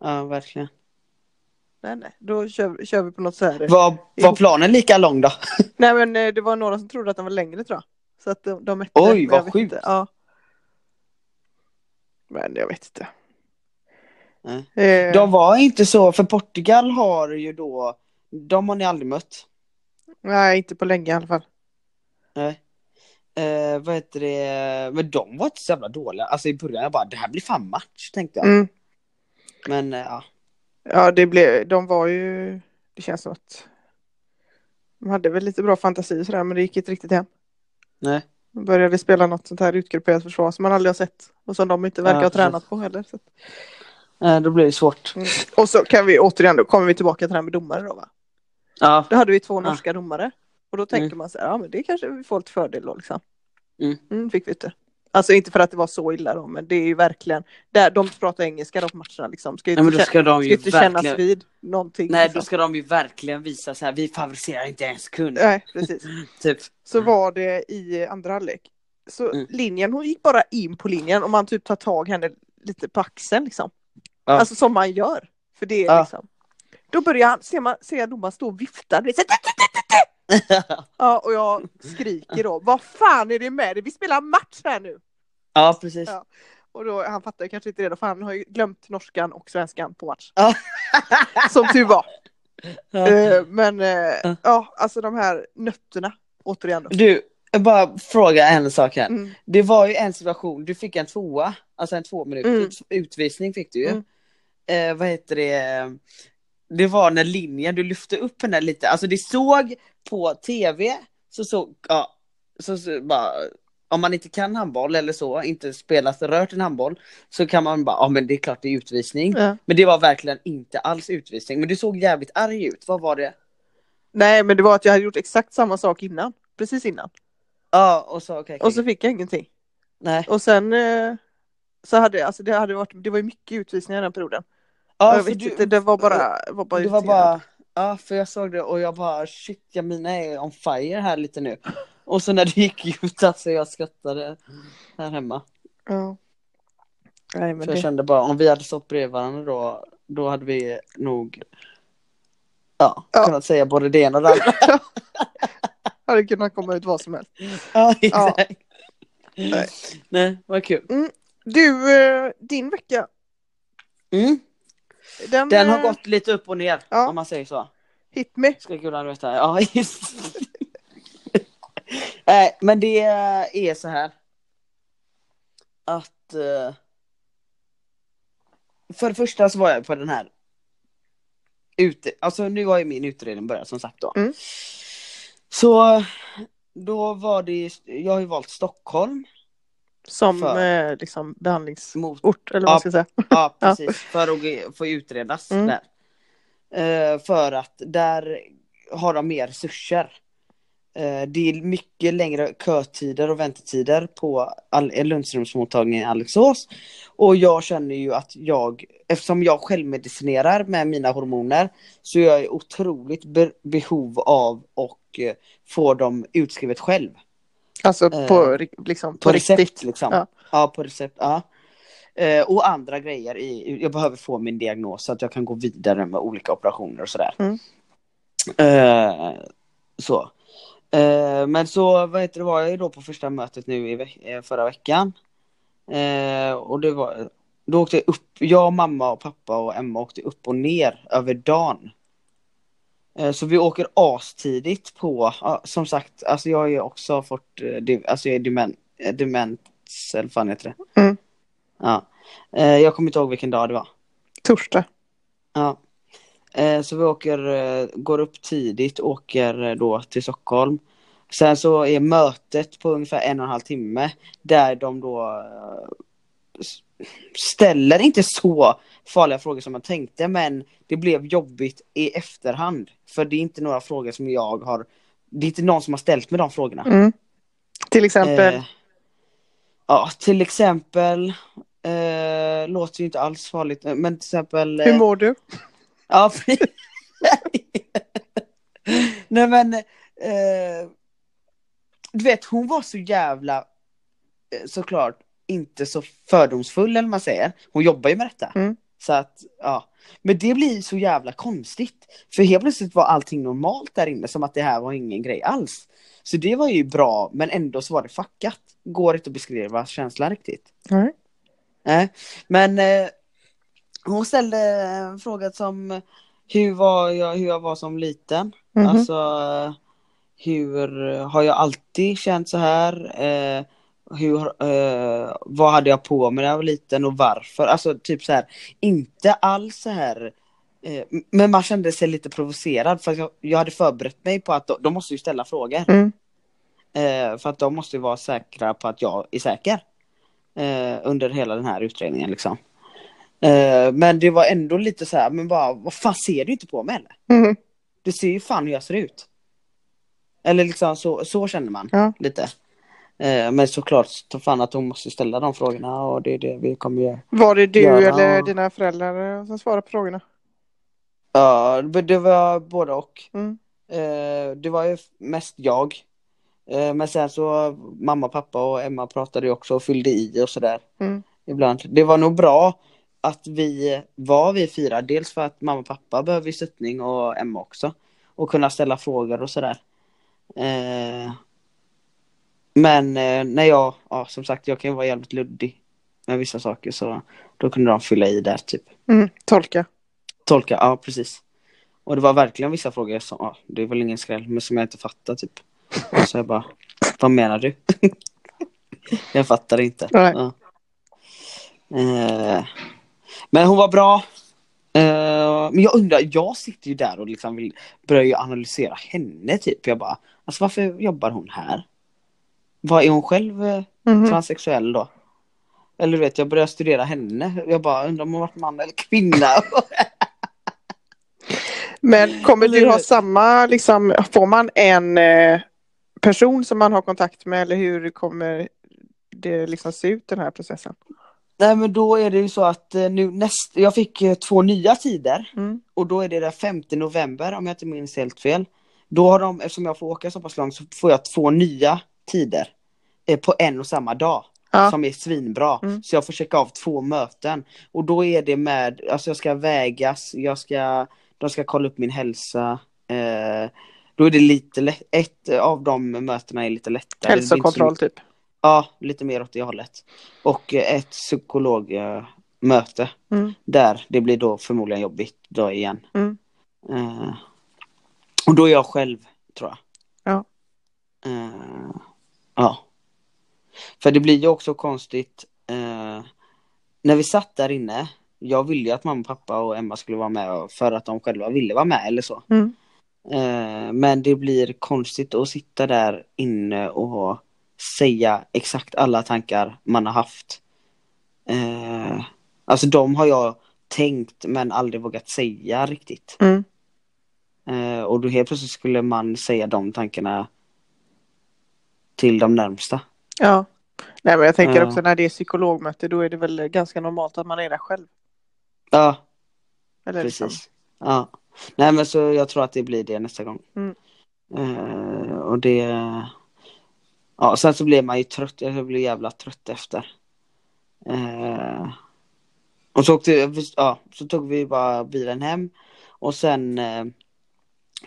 Speaker 2: Ja verkligen.
Speaker 1: Nej, nej, då kör, kör vi på något så här.
Speaker 2: Var, var planen lika lång då?
Speaker 1: Nej men eh, det var några som trodde att den var längre tror jag. Så att de, de mätte.
Speaker 2: Oj,
Speaker 1: men jag
Speaker 2: vad
Speaker 1: vet
Speaker 2: sjukt.
Speaker 1: inte, Ja. Men jag vet inte.
Speaker 2: Nej.
Speaker 1: Eh,
Speaker 2: De var inte så, för Portugal har ju då, de har ni aldrig mött.
Speaker 1: Nej, inte på länge i alla fall.
Speaker 2: Nej. Eh, vad heter det? Men de var inte så jävla dåliga. Alltså i början jag bara det här blir fan match tänkte jag.
Speaker 1: Mm.
Speaker 2: Men eh, ja.
Speaker 1: Ja, det blev, de var ju, det känns som att de hade väl lite bra fantasi och sådär, men det gick inte riktigt hem.
Speaker 2: Nej.
Speaker 1: De började spela något sånt här utgrupperat försvar som man aldrig har sett och som de inte verkar
Speaker 2: Ja,
Speaker 1: ha
Speaker 2: precis.
Speaker 1: tränat på heller. Så. att-
Speaker 2: Eh, då blir det svårt.
Speaker 1: Mm. Och så kan vi återigen, då kommer vi tillbaka till det här med domare då va?
Speaker 2: Ja.
Speaker 1: Då hade vi två
Speaker 2: Ja.
Speaker 1: norska domare och då tänker man så här, ja men det kanske vi får lite fördel då liksom.
Speaker 2: Mm.
Speaker 1: fick vi inte. Alltså inte för att det var så illa då, men det är ju verkligen, där, de pratar engelska då på matcherna liksom, ska ju
Speaker 2: Nej, men då
Speaker 1: inte, kä-
Speaker 2: ska de
Speaker 1: ska
Speaker 2: ju
Speaker 1: ju inte kännas
Speaker 2: verkligen,
Speaker 1: vid någonting.
Speaker 2: nej,
Speaker 1: liksom.
Speaker 2: då ska de ju verkligen visa så här, vi favoriserar inte ens kund.
Speaker 1: nej precis.
Speaker 2: Typ.
Speaker 1: så
Speaker 2: Mm.
Speaker 1: var det i andra halvlek. Så
Speaker 2: Mm.
Speaker 1: linjen, hon gick bara in på linjen och man typ tar tag henne lite på axeln liksom.
Speaker 2: Ja.
Speaker 1: Alltså som man gör. För det är
Speaker 2: Ja.
Speaker 1: liksom. Då börjar han, ser, man, ser jag domaren stå och vifta. du vet, så här, "Tut, tut, tut, tut!" Ja, och jag skriker då, vad fan är det med dig? Vi spelar match här nu!
Speaker 2: ja, precis.
Speaker 1: Ja. Och då, han fattar ju kanske inte det då, för han har ju glömt norskan och svenskan på match.
Speaker 2: Ja.
Speaker 1: Som tur var.
Speaker 2: Ja.
Speaker 1: Eh, Men eh,
Speaker 2: Ja.
Speaker 1: ja, alltså de här nötterna, återigen då.
Speaker 2: Du, jag bara fråga en sak här.
Speaker 1: Mm.
Speaker 2: Det var ju en situation, du fick en tvåa, alltså en två
Speaker 1: Mm.
Speaker 2: utvisning fick du ju.
Speaker 1: Mm.
Speaker 2: Eh, vad heter det? Det var när linjen, du lyfte upp henne lite, alltså det såg på tv, så såg, ja, så, så bara, om man inte kan handboll eller så, inte spelat, rört en handboll, så kan man bara, ja men det är klart det är utvisning.
Speaker 1: Ja.
Speaker 2: Men det var verkligen inte alls utvisning, men du såg jävligt arg ut, vad var det?
Speaker 1: Nej, men det var att jag hade gjort exakt samma sak innan. Precis innan.
Speaker 2: Ja, och så, okej.
Speaker 1: Och så fick jag ingenting.
Speaker 2: Nej.
Speaker 1: Och sen eh, så hade alltså det hade varit, det var ju mycket utvisningar den perioden.
Speaker 2: Ja,
Speaker 1: Och jag
Speaker 2: för
Speaker 1: vet
Speaker 2: du-
Speaker 1: inte, det var bara, var bara
Speaker 2: Det var
Speaker 1: irriterande.
Speaker 2: bara, ja för jag såg det och jag bara shit Jamina är on fire här lite nu. Och så när det gick ut alltså jag skrattade här hemma.
Speaker 1: Ja. Nej, men
Speaker 2: För jag
Speaker 1: det...
Speaker 2: kände bara om vi hade stått bredvid varandra då, då hade vi nog ja,
Speaker 1: Ja.
Speaker 2: kunnat säga både det ena och det andra.
Speaker 1: hade kunnat komma ut vad som helst.
Speaker 2: ja,
Speaker 1: Ja.
Speaker 2: exakt. Nej. Nej, vad kul.
Speaker 1: Du, eh, din vecka,
Speaker 2: Mm.
Speaker 1: den,
Speaker 2: Den har
Speaker 1: eh,
Speaker 2: gått lite upp och ner
Speaker 1: Ja.
Speaker 2: om man säger så.
Speaker 1: hit me.
Speaker 2: Ska gudarna veta. Ja, just. Nej, men det är så här. Att... eh, För det första så var jag på den här... Ute, alltså nu har ju min utredning börjat som sagt då.
Speaker 1: Mm.
Speaker 2: Så då var det, jag har ju valt Stockholm
Speaker 1: Som
Speaker 2: För-
Speaker 1: eh, liksom behandlingsort
Speaker 2: mot
Speaker 1: eller vad man
Speaker 2: Ja.
Speaker 1: ska säga.
Speaker 2: Ja,
Speaker 1: Ja.
Speaker 2: precis. För att ge- få utredas
Speaker 1: Mm.
Speaker 2: där. Eh, för att där har de mer resurser. Eh, Det är mycket längre kötider och väntetider på all- Lundströmsmottagningen i Alingsås. Och jag känner ju att jag, eftersom jag självmedicinerar med mina hormoner, så jag är otroligt be- behov av och eh, få dem utskrivet själv.
Speaker 1: Alltså
Speaker 2: Eh,
Speaker 1: på, ri- liksom, på,
Speaker 2: På recept
Speaker 1: riktigt.
Speaker 2: liksom.
Speaker 1: Ja.
Speaker 2: Ja. på recept. Ja. Eh, Och andra grejer. I, jag behöver få min diagnos så att jag kan gå vidare med olika operationer och sådär.
Speaker 1: Mm.
Speaker 2: Eh, så. Eh, men så vad heter det, var jag ju då på första mötet nu i veck- eh, förra veckan. Eh, och det var, då åkte jag upp, jag, mamma och pappa och Emma åkte upp och ner över dagen. Eh, Så vi åker astidigt på, ja, som sagt, alltså jag har ju också fått, eh, det- alltså jag är dement, eh, demens, eller vad fan heter det?
Speaker 1: Mm.
Speaker 2: Ja. Eh, Jag kommer inte ihåg vilken dag det var.
Speaker 1: Torsdag.
Speaker 2: Ja. Eh, Så vi åker, eh, går upp tidigt, åker eh, då till Stockholm. Sen så är mötet på ungefär en och en halv timme där de då eh, s- ställer inte så farliga frågor som man tänkte men det blev jobbigt i efterhand. För det är inte några frågor som jag har, det är inte någon som har ställt mig de frågorna.
Speaker 1: Mm. Till exempel.
Speaker 2: Eh, ja, till exempel, eh, låter ju inte alls farligt men till exempel... eh,
Speaker 1: Hur mår du?
Speaker 2: Ja, för... Nej men, eh, du vet hon var så jävla, eh, såklart, inte så fördomsfull eller vad man säger. Hon jobbar ju med detta.
Speaker 1: Mm.
Speaker 2: Så att, ja. Men det blir så jävla konstigt. För helt plötsligt var allting normalt där inne, som att det här var ingen grej alls. Så det var ju bra, men ändå så var det fuckat. Går inte att beskriva känslan riktigt.
Speaker 1: Nej.
Speaker 2: Nej, men eh, hon ställde en fråga som hur var jag, hur jag var som liten.
Speaker 1: Mhm.
Speaker 2: Alltså eh, hur har jag alltid känt så här? Eh, hur, eh, vad hade jag på mig när jag var liten och varför? Alltså typ så här, inte alls så här. Eh, m- men man kände sig lite provocerad för att jag, jag hade förberett mig på att de, de måste ju ställa frågor.
Speaker 1: Mm.
Speaker 2: Eh, för att de måste ju vara säkra på att jag är säker. Eh, under hela den här utredningen liksom. Eh, men det var ändå lite så här, men bara, vad fan ser du inte på mig eller?
Speaker 1: Mhm.
Speaker 2: Du ser ju fan hur jag ser ut. Eller liksom så, så känner man
Speaker 1: Ja.
Speaker 2: lite. Eh, men såklart, ta fan att hon måste ställa de frågorna och det är det vi kommer göra.
Speaker 1: Var det du
Speaker 2: Göra-
Speaker 1: eller dina föräldrar som svarade på frågorna?
Speaker 2: Ja, men det var både och.
Speaker 1: Mm.
Speaker 2: Eh, det var ju mest jag. Eh, men sen så mamma, pappa och Emma pratade ju också och fyllde i och sådär.
Speaker 1: Mm.
Speaker 2: Ibland. Det var nog bra att vi var vi fyra. Dels för att mamma och pappa behöver ju stöttning och Emma också. Och kunna ställa frågor och sådär. Eh, men eh, när jag, ja som sagt jag kan ju vara jävligt luddig. Med vissa saker så då kunde de fylla i där typ.
Speaker 1: Mm. Tolka.
Speaker 2: Tolka, ja precis. Och det var verkligen vissa frågor som, ja, det är väl ingen skräll, men som jag inte fattar typ. Så jag bara, vad menar du? jag fattar inte.
Speaker 1: Nej.
Speaker 2: Ja. Eh, men hon var bra. Eh, men jag undrar, jag sitter ju där och liksom vill börja ju analysera henne typ. Jag bara, alltså varför jobbar hon här? Vad är hon själv eh,
Speaker 1: Mhm.
Speaker 2: transsexuell då? Eller du vet, jag började studera henne. Jag bara undrar om hon varit man eller kvinna.
Speaker 1: Men kommer du ha samma, liksom, får man en eh, person som man har kontakt med eller hur kommer det liksom se ut den här processen?
Speaker 2: Nej men då är det ju så att eh, nu näst, jag fick eh, två nya tider
Speaker 1: Mm.
Speaker 2: och då är det den 5 november om jag inte minns helt fel. Då har de, eftersom jag får åka så pass långt så får jag två nya tider eh, på en och samma dag
Speaker 1: Ja.
Speaker 2: som är svinbra.
Speaker 1: Mm.
Speaker 2: Så jag får checka av två möten och då är det med, alltså jag ska vägas, jag ska, de ska kolla upp min hälsa. Eh, då är det lite lätt, ett av de mötena är lite lättare. Det blir inte så
Speaker 1: Hälsokontroll typ.
Speaker 2: Ja, lite mer åt det hållet. Och eh, ett psykologmöte
Speaker 1: Mm.
Speaker 2: där det blir då förmodligen jobbigt då igen.
Speaker 1: Mm.
Speaker 2: Eh, och då är jag själv, tror jag.
Speaker 1: Ja.
Speaker 2: Eh, ja. För det blir ju också konstigt. Eh, när vi satt där inne, jag ville ju att mamma, pappa och Emma skulle vara med för att de själva ville vara med eller så.
Speaker 1: Mm.
Speaker 2: Eh, Men det blir konstigt att sitta där inne och säga exakt alla tankar man har haft. Eh, Alltså de har jag tänkt men aldrig vågat säga riktigt.
Speaker 1: Mm.
Speaker 2: Eh, Och då helt plötsligt skulle man säga de tankarna till de närmsta.
Speaker 1: Ja. Nej men jag tänker
Speaker 2: Ja.
Speaker 1: också när det är psykologmöte då är det väl ganska normalt att man är där själv.
Speaker 2: Ja,
Speaker 1: Eller liksom.
Speaker 2: precis. Ja. Nej men så jag tror att det blir det nästa gång.
Speaker 1: Mm.
Speaker 2: Eh, och det... Ja, sen så blir man ju trött. Jag blir jävla trött efter. Eh, och så åkte jag- ja, så tog vi bara bilen hem. Och sen eh,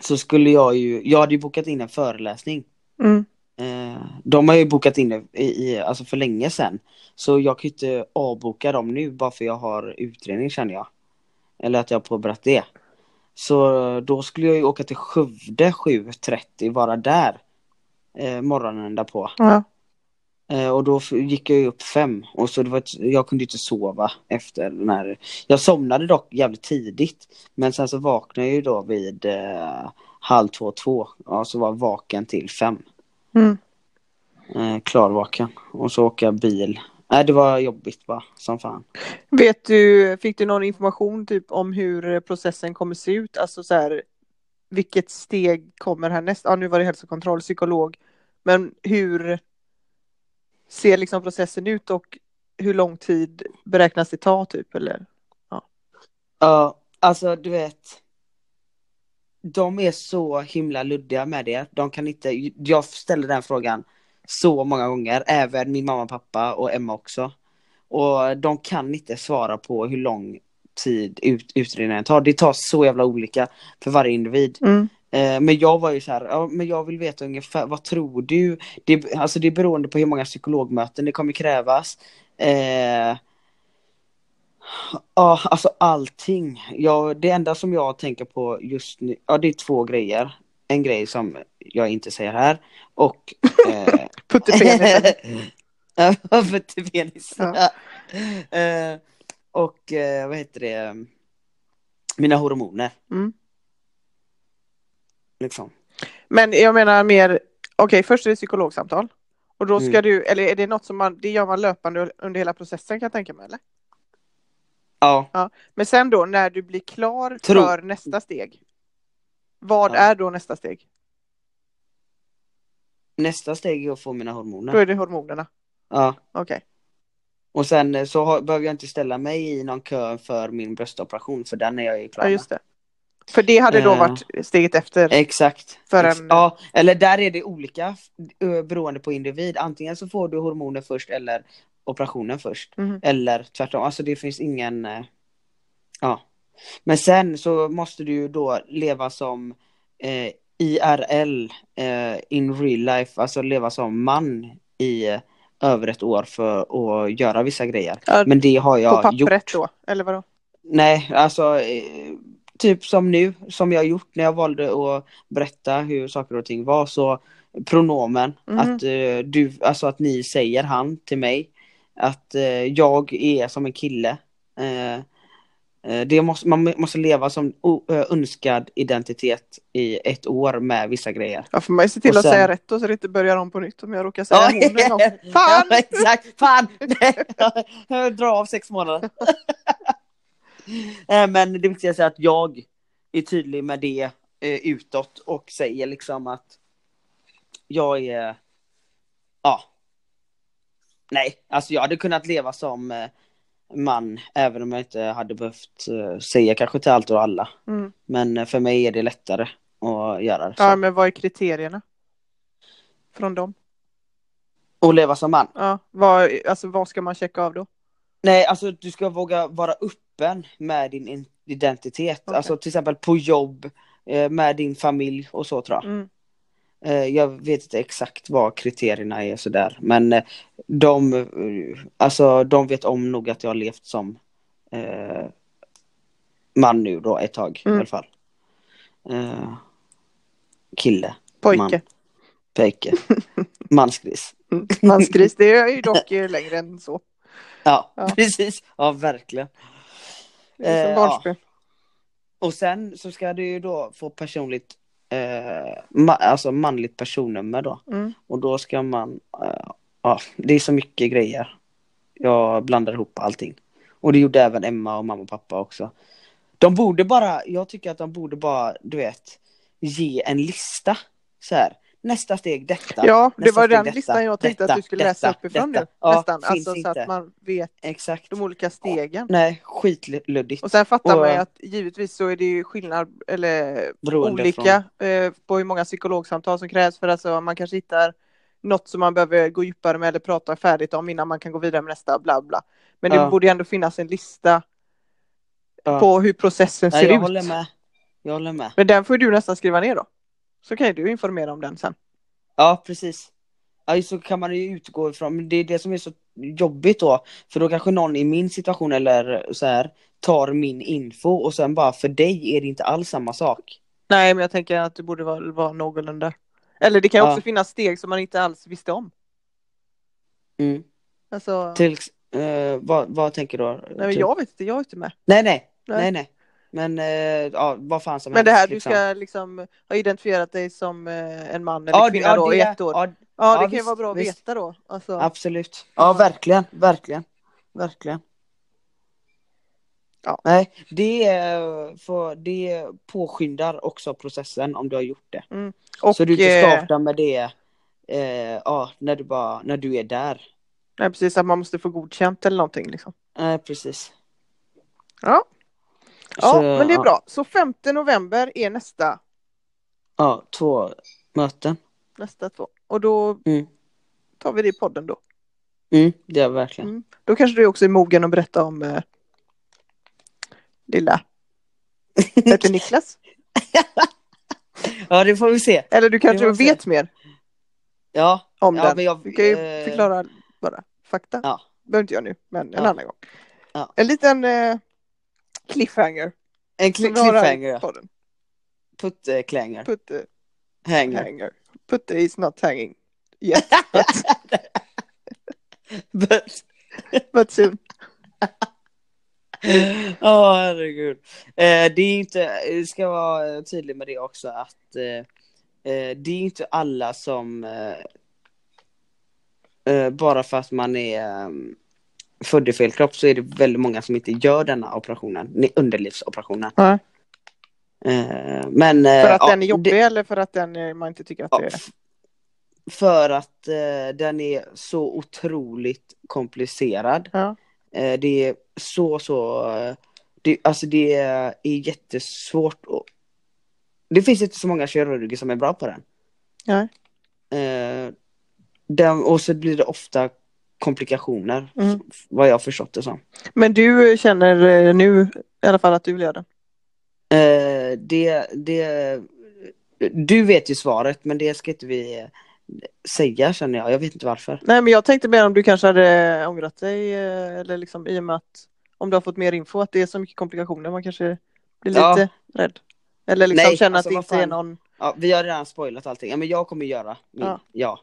Speaker 2: så skulle jag ju, jag hade ju bokat in en föreläsning.
Speaker 1: Mm.
Speaker 2: Eh, de har ju bokat in det i, i, alltså för länge sedan. Så jag kan ju inte avboka dem nu bara för jag har utredning känner jag. Eller att jag har påbörjat det. Så då skulle jag ju åka till Skövde 7.30, vara där. Eh, morgonen därpå.
Speaker 1: Ja.
Speaker 2: Eh, och då f- gick jag ju upp fem. Och så det var ett, jag kunde ju inte sova efter den här. Jag somnade dock jävligt tidigt. Men sen så vaknade jag ju då vid eh, halv två, två. Ja, så var jag vaken till fem
Speaker 1: Mm.
Speaker 2: eh, klarvaken och så åka bil. Nej det var jobbigt bara som fan.
Speaker 1: Vet du, fick du någon information typ om hur processen kommer se ut? Alltså så här, vilket steg kommer härnäst? Ja, nu var det hälsokontroll, psykolog. Men hur ser liksom processen ut och hur lång tid beräknas det ta typ? Eller?
Speaker 2: Ja alltså du vet. De är så himla luddiga med det. De kan inte, jag ställer den frågan så många gånger, även min mamma och pappa och Emma också. Och de kan inte svara på hur lång tid ut, utredningen tar. Det tar så jävla olika för varje individ.
Speaker 1: Mm.
Speaker 2: Eh, Men jag var ju så här, ja, men jag vill veta ungefär, vad tror du? Det, alltså det är beroende på hur många psykologmöten det kommer krävas. Eh, ja, alltså allting. Ja, det enda som jag tänker på just nu, ja det är två grejer. En grej som jag inte säger här och... Eh,
Speaker 1: Puttepenis.
Speaker 2: Ja, för penis.
Speaker 1: Ja.
Speaker 2: Eh, och eh, vad heter det? Mina hormoner.
Speaker 1: Mm.
Speaker 2: Liksom.
Speaker 1: Men jag menar mer, okej först är det psykologsamtal. Och då ska
Speaker 2: Mm.
Speaker 1: du, eller är det något som man, det gör man löpande under hela processen kan jag tänka mig eller?
Speaker 2: Ja.
Speaker 1: Men sen då när du blir klar
Speaker 2: Tro.
Speaker 1: för nästa steg. Vad
Speaker 2: Ja.
Speaker 1: är då nästa steg?
Speaker 2: Nästa steg är att få mina
Speaker 1: Då
Speaker 2: hormoner.
Speaker 1: är det hormonerna.
Speaker 2: Ja.
Speaker 1: Okej.
Speaker 2: Och sen eh, så har, behöver jag inte ställa mig i någon kö för min bröstoperation för den är jag ju klar
Speaker 1: Ja
Speaker 2: med.
Speaker 1: just det. För det hade då
Speaker 2: Eh.
Speaker 1: varit steget efter.
Speaker 2: Exakt.
Speaker 1: För
Speaker 2: Ex-
Speaker 1: en-
Speaker 2: Ja, eller där är det olika f- ö, beroende på individ. Antingen så får du hormoner först eller operationen först.
Speaker 1: Mhm.
Speaker 2: Eller tvärtom. Alltså det finns ingen... eh, Ja. Men sen så måste du ju då leva som eh, IRL, eh, in real life, alltså leva som man i eh, över ett år för att göra vissa grejer.
Speaker 1: Ja,
Speaker 2: Men det har
Speaker 1: på
Speaker 2: jag gjort.
Speaker 1: pappret då, eller vadå?
Speaker 2: Nej, alltså eh, typ som nu, som jag gjort när jag valde att berätta hur saker och ting var, så pronomen,
Speaker 1: Mhm.
Speaker 2: att, eh, du, alltså att ni säger han till mig, att eh, jag är som en kille. Eh, eh, det måste, man måste leva som o- eh, önskad identitet i ett år med vissa grejer.
Speaker 1: Ja får man ju se till
Speaker 2: Och
Speaker 1: att
Speaker 2: sen-
Speaker 1: säga rätt då så det inte börjar om på nytt om jag råkar säga hon en gång. Fan!
Speaker 2: Ja, exakt, fan! Dra av sex månader. Eh, Men det viktigaste är att jag är tydlig med det eh, utåt och säger liksom att jag är, ja. Nej, alltså jag hade kunnat leva som eh, man även om jag inte hade behövt eh, säga kanske till allt och alla.
Speaker 1: Mm.
Speaker 2: Men eh, för mig är det lättare att göra det.
Speaker 1: Ja
Speaker 2: Så.
Speaker 1: men vad är kriterierna? Från dem?
Speaker 2: Och leva som man.
Speaker 1: Ja, vad, alltså vad ska man checka av då?
Speaker 2: Nej, alltså du ska våga vara öppen med din in- identitet.
Speaker 1: Okej.
Speaker 2: Alltså till exempel på jobb, eh, med din familj och så tror jag.
Speaker 1: Mm.
Speaker 2: Eh, Jag vet inte exakt vad kriterierna är och sådär. Men eh, de, eh, alltså, de vet om nog att jag har levt som eh, man nu då ett tag
Speaker 1: Mm.
Speaker 2: i alla fall. Eh, kille,
Speaker 1: Pojke.
Speaker 2: Man. pejke, mansgris.
Speaker 1: Mm. Mansgris, det är ju dock eh, längre än så.
Speaker 2: Ja,
Speaker 1: Ja.
Speaker 2: precis. Ja, verkligen.
Speaker 1: Det är som
Speaker 2: Eh,
Speaker 1: barnspel.
Speaker 2: Och sen så ska du ju då få personligt, eh, ma- alltså manligt personnummer då.
Speaker 1: Mm.
Speaker 2: Och då ska man, eh, ja det är så mycket grejer. Jag blandar ihop allting. Och det gjorde även Emma och mamma och pappa också. De borde bara, jag tycker att de borde bara, du vet, ge en lista. Så här, nästa steg detta.
Speaker 1: Ja, det
Speaker 2: nästa
Speaker 1: var
Speaker 2: steg
Speaker 1: den
Speaker 2: detta,
Speaker 1: listan jag tänkte
Speaker 2: detta,
Speaker 1: att du skulle läsa
Speaker 2: detta,
Speaker 1: uppifrån
Speaker 2: detta.
Speaker 1: nu.
Speaker 2: Ja,
Speaker 1: Nästan.
Speaker 2: finns
Speaker 1: Alltså, så
Speaker 2: inte.
Speaker 1: att man vet
Speaker 2: Exakt.
Speaker 1: de olika stegen.
Speaker 2: Nej, skitluddigt.
Speaker 1: Och sen fattar
Speaker 2: Och-
Speaker 1: man ju att givetvis så är det ju skillnad eller
Speaker 2: Beroende
Speaker 1: olika eh, på hur många psykologsamtal som krävs för alltså man kanske hittar något som man behöver gå djupare med eller prata färdigt om innan man kan gå vidare med nästa bla bla. Men det
Speaker 2: Ja.
Speaker 1: borde ju ändå finnas en lista
Speaker 2: Ja.
Speaker 1: på hur processen
Speaker 2: Nej,
Speaker 1: ser
Speaker 2: jag
Speaker 1: ut.
Speaker 2: håller med. Jag håller med.
Speaker 1: Men den får ju du nästan skriva ner då. Så kan ju du informera om den sen.
Speaker 2: Ja, precis. Ja, så kan man ju utgå ifrån, men det är det som är så jobbigt då. För då kanske någon i min situation eller så här tar min info och sen bara för dig är det inte alls samma sak.
Speaker 1: Nej, men jag tänker att det borde vara, vara någorlunda. Eller det kan ju
Speaker 2: Ja.
Speaker 1: också finnas steg som man inte alls visste om.
Speaker 2: Mm.
Speaker 1: Alltså,
Speaker 2: Till, ex- eh, vad, vad tänker du? då?
Speaker 1: nej, men
Speaker 2: Typ-
Speaker 1: jag vet inte, jag är inte med.
Speaker 2: nej, nej,
Speaker 1: Nej.
Speaker 2: nej, nej. Men eh, ja, vad fan som
Speaker 1: Men det här, du
Speaker 2: liksom.
Speaker 1: ska liksom ha identifierat dig som eh, en man eller
Speaker 2: ja, det-
Speaker 1: kvinna
Speaker 2: ja,
Speaker 1: då
Speaker 2: det,
Speaker 1: i ett år. Ja,
Speaker 2: Ja,
Speaker 1: det kan ju
Speaker 2: visst,
Speaker 1: vara bra att
Speaker 2: visst.
Speaker 1: veta då. Alltså,
Speaker 2: Absolut. Ja, verkligen, verkligen, verkligen.
Speaker 1: Ja.
Speaker 2: Nej, det, är- för det påskyndar också processen om du har gjort det.
Speaker 1: och,
Speaker 2: så du inte
Speaker 1: eh,
Speaker 2: startar med det eh, ja, när, du bara, när du är där.
Speaker 1: nej, precis, att man måste få godkänt eller någonting liksom.
Speaker 2: Nej, precis.
Speaker 1: Ja. Ja,
Speaker 2: Så,
Speaker 1: men det är
Speaker 2: ja.
Speaker 1: bra. Så 5 november är nästa,
Speaker 2: Ja, två möten.
Speaker 1: nästa två. Och då
Speaker 2: Mm.
Speaker 1: tar vi det i podden då.
Speaker 2: Mm, det är verkligen.
Speaker 1: Mm. Då kanske du också är mogen att berätta om eh, lilla heter Niklas. Mm.
Speaker 2: Ja, det får vi se.
Speaker 1: Eller du kanske
Speaker 2: får vi se.
Speaker 1: vet mer
Speaker 2: Ja,
Speaker 1: om
Speaker 2: ja
Speaker 1: den.
Speaker 2: men jag...
Speaker 1: Du kan ju
Speaker 2: eh,
Speaker 1: förklara bara fakta.
Speaker 2: Ja.
Speaker 1: behöver inte jag nu, men en
Speaker 2: Ja.
Speaker 1: annan gång.
Speaker 2: Ja.
Speaker 1: En liten eh, cliffhanger.
Speaker 2: En
Speaker 1: som
Speaker 2: cli-
Speaker 1: vi har här i
Speaker 2: cliffhanger, ja.
Speaker 1: podden.
Speaker 2: Putteklänger.
Speaker 1: Putte
Speaker 2: Hänger.
Speaker 1: hanger. Putte is not hanging. Yes,
Speaker 2: But-
Speaker 1: but soon.
Speaker 2: Ja, herregud. Eh, det är inte, jag ska vara tydlig med det också att eh, eh, det är inte alla som eh, eh, bara för att man är eh, född i fel kropp så är det väldigt många som inte gör denna operationen, ne- underlivsoperationen.
Speaker 1: Nej.
Speaker 2: Eh, men, eh,
Speaker 1: För att
Speaker 2: ja,
Speaker 1: den är
Speaker 2: det-
Speaker 1: jobbig eller för att den eh, man inte tycker att
Speaker 2: Ja,
Speaker 1: det är...
Speaker 2: f- För att eh, den är så otroligt komplicerad.
Speaker 1: Ja.
Speaker 2: Eh, det är så, så... eh, Det, alltså det är jättesvårt att... Det finns inte så många kirurger som är bra på den.
Speaker 1: Nej.
Speaker 2: Eh, den och så blir det ofta komplikationer,
Speaker 1: Mm.
Speaker 2: f- vad jag har förstått det som.
Speaker 1: Men du känner eh, nu i alla fall att du vill göra den?
Speaker 2: Eh, det, det... Du vet ju svaret, men det ska inte vi eh, säga känner jag. Jag vet inte varför.
Speaker 1: Nej, men jag tänkte mer om du kanske hade eh, ångrat dig eh, eller liksom i och med att om du har fått mer info att det är så mycket komplikationer man kanske blir lite
Speaker 2: Ja.
Speaker 1: rädd. Eller liksom
Speaker 2: Nej,
Speaker 1: känner
Speaker 2: alltså,
Speaker 1: att det
Speaker 2: vad
Speaker 1: inte är
Speaker 2: fan.
Speaker 1: någon...
Speaker 2: Ja, vi har redan spoilat allting. Ja, men jag kommer göra min.
Speaker 1: Ja.
Speaker 2: Ja.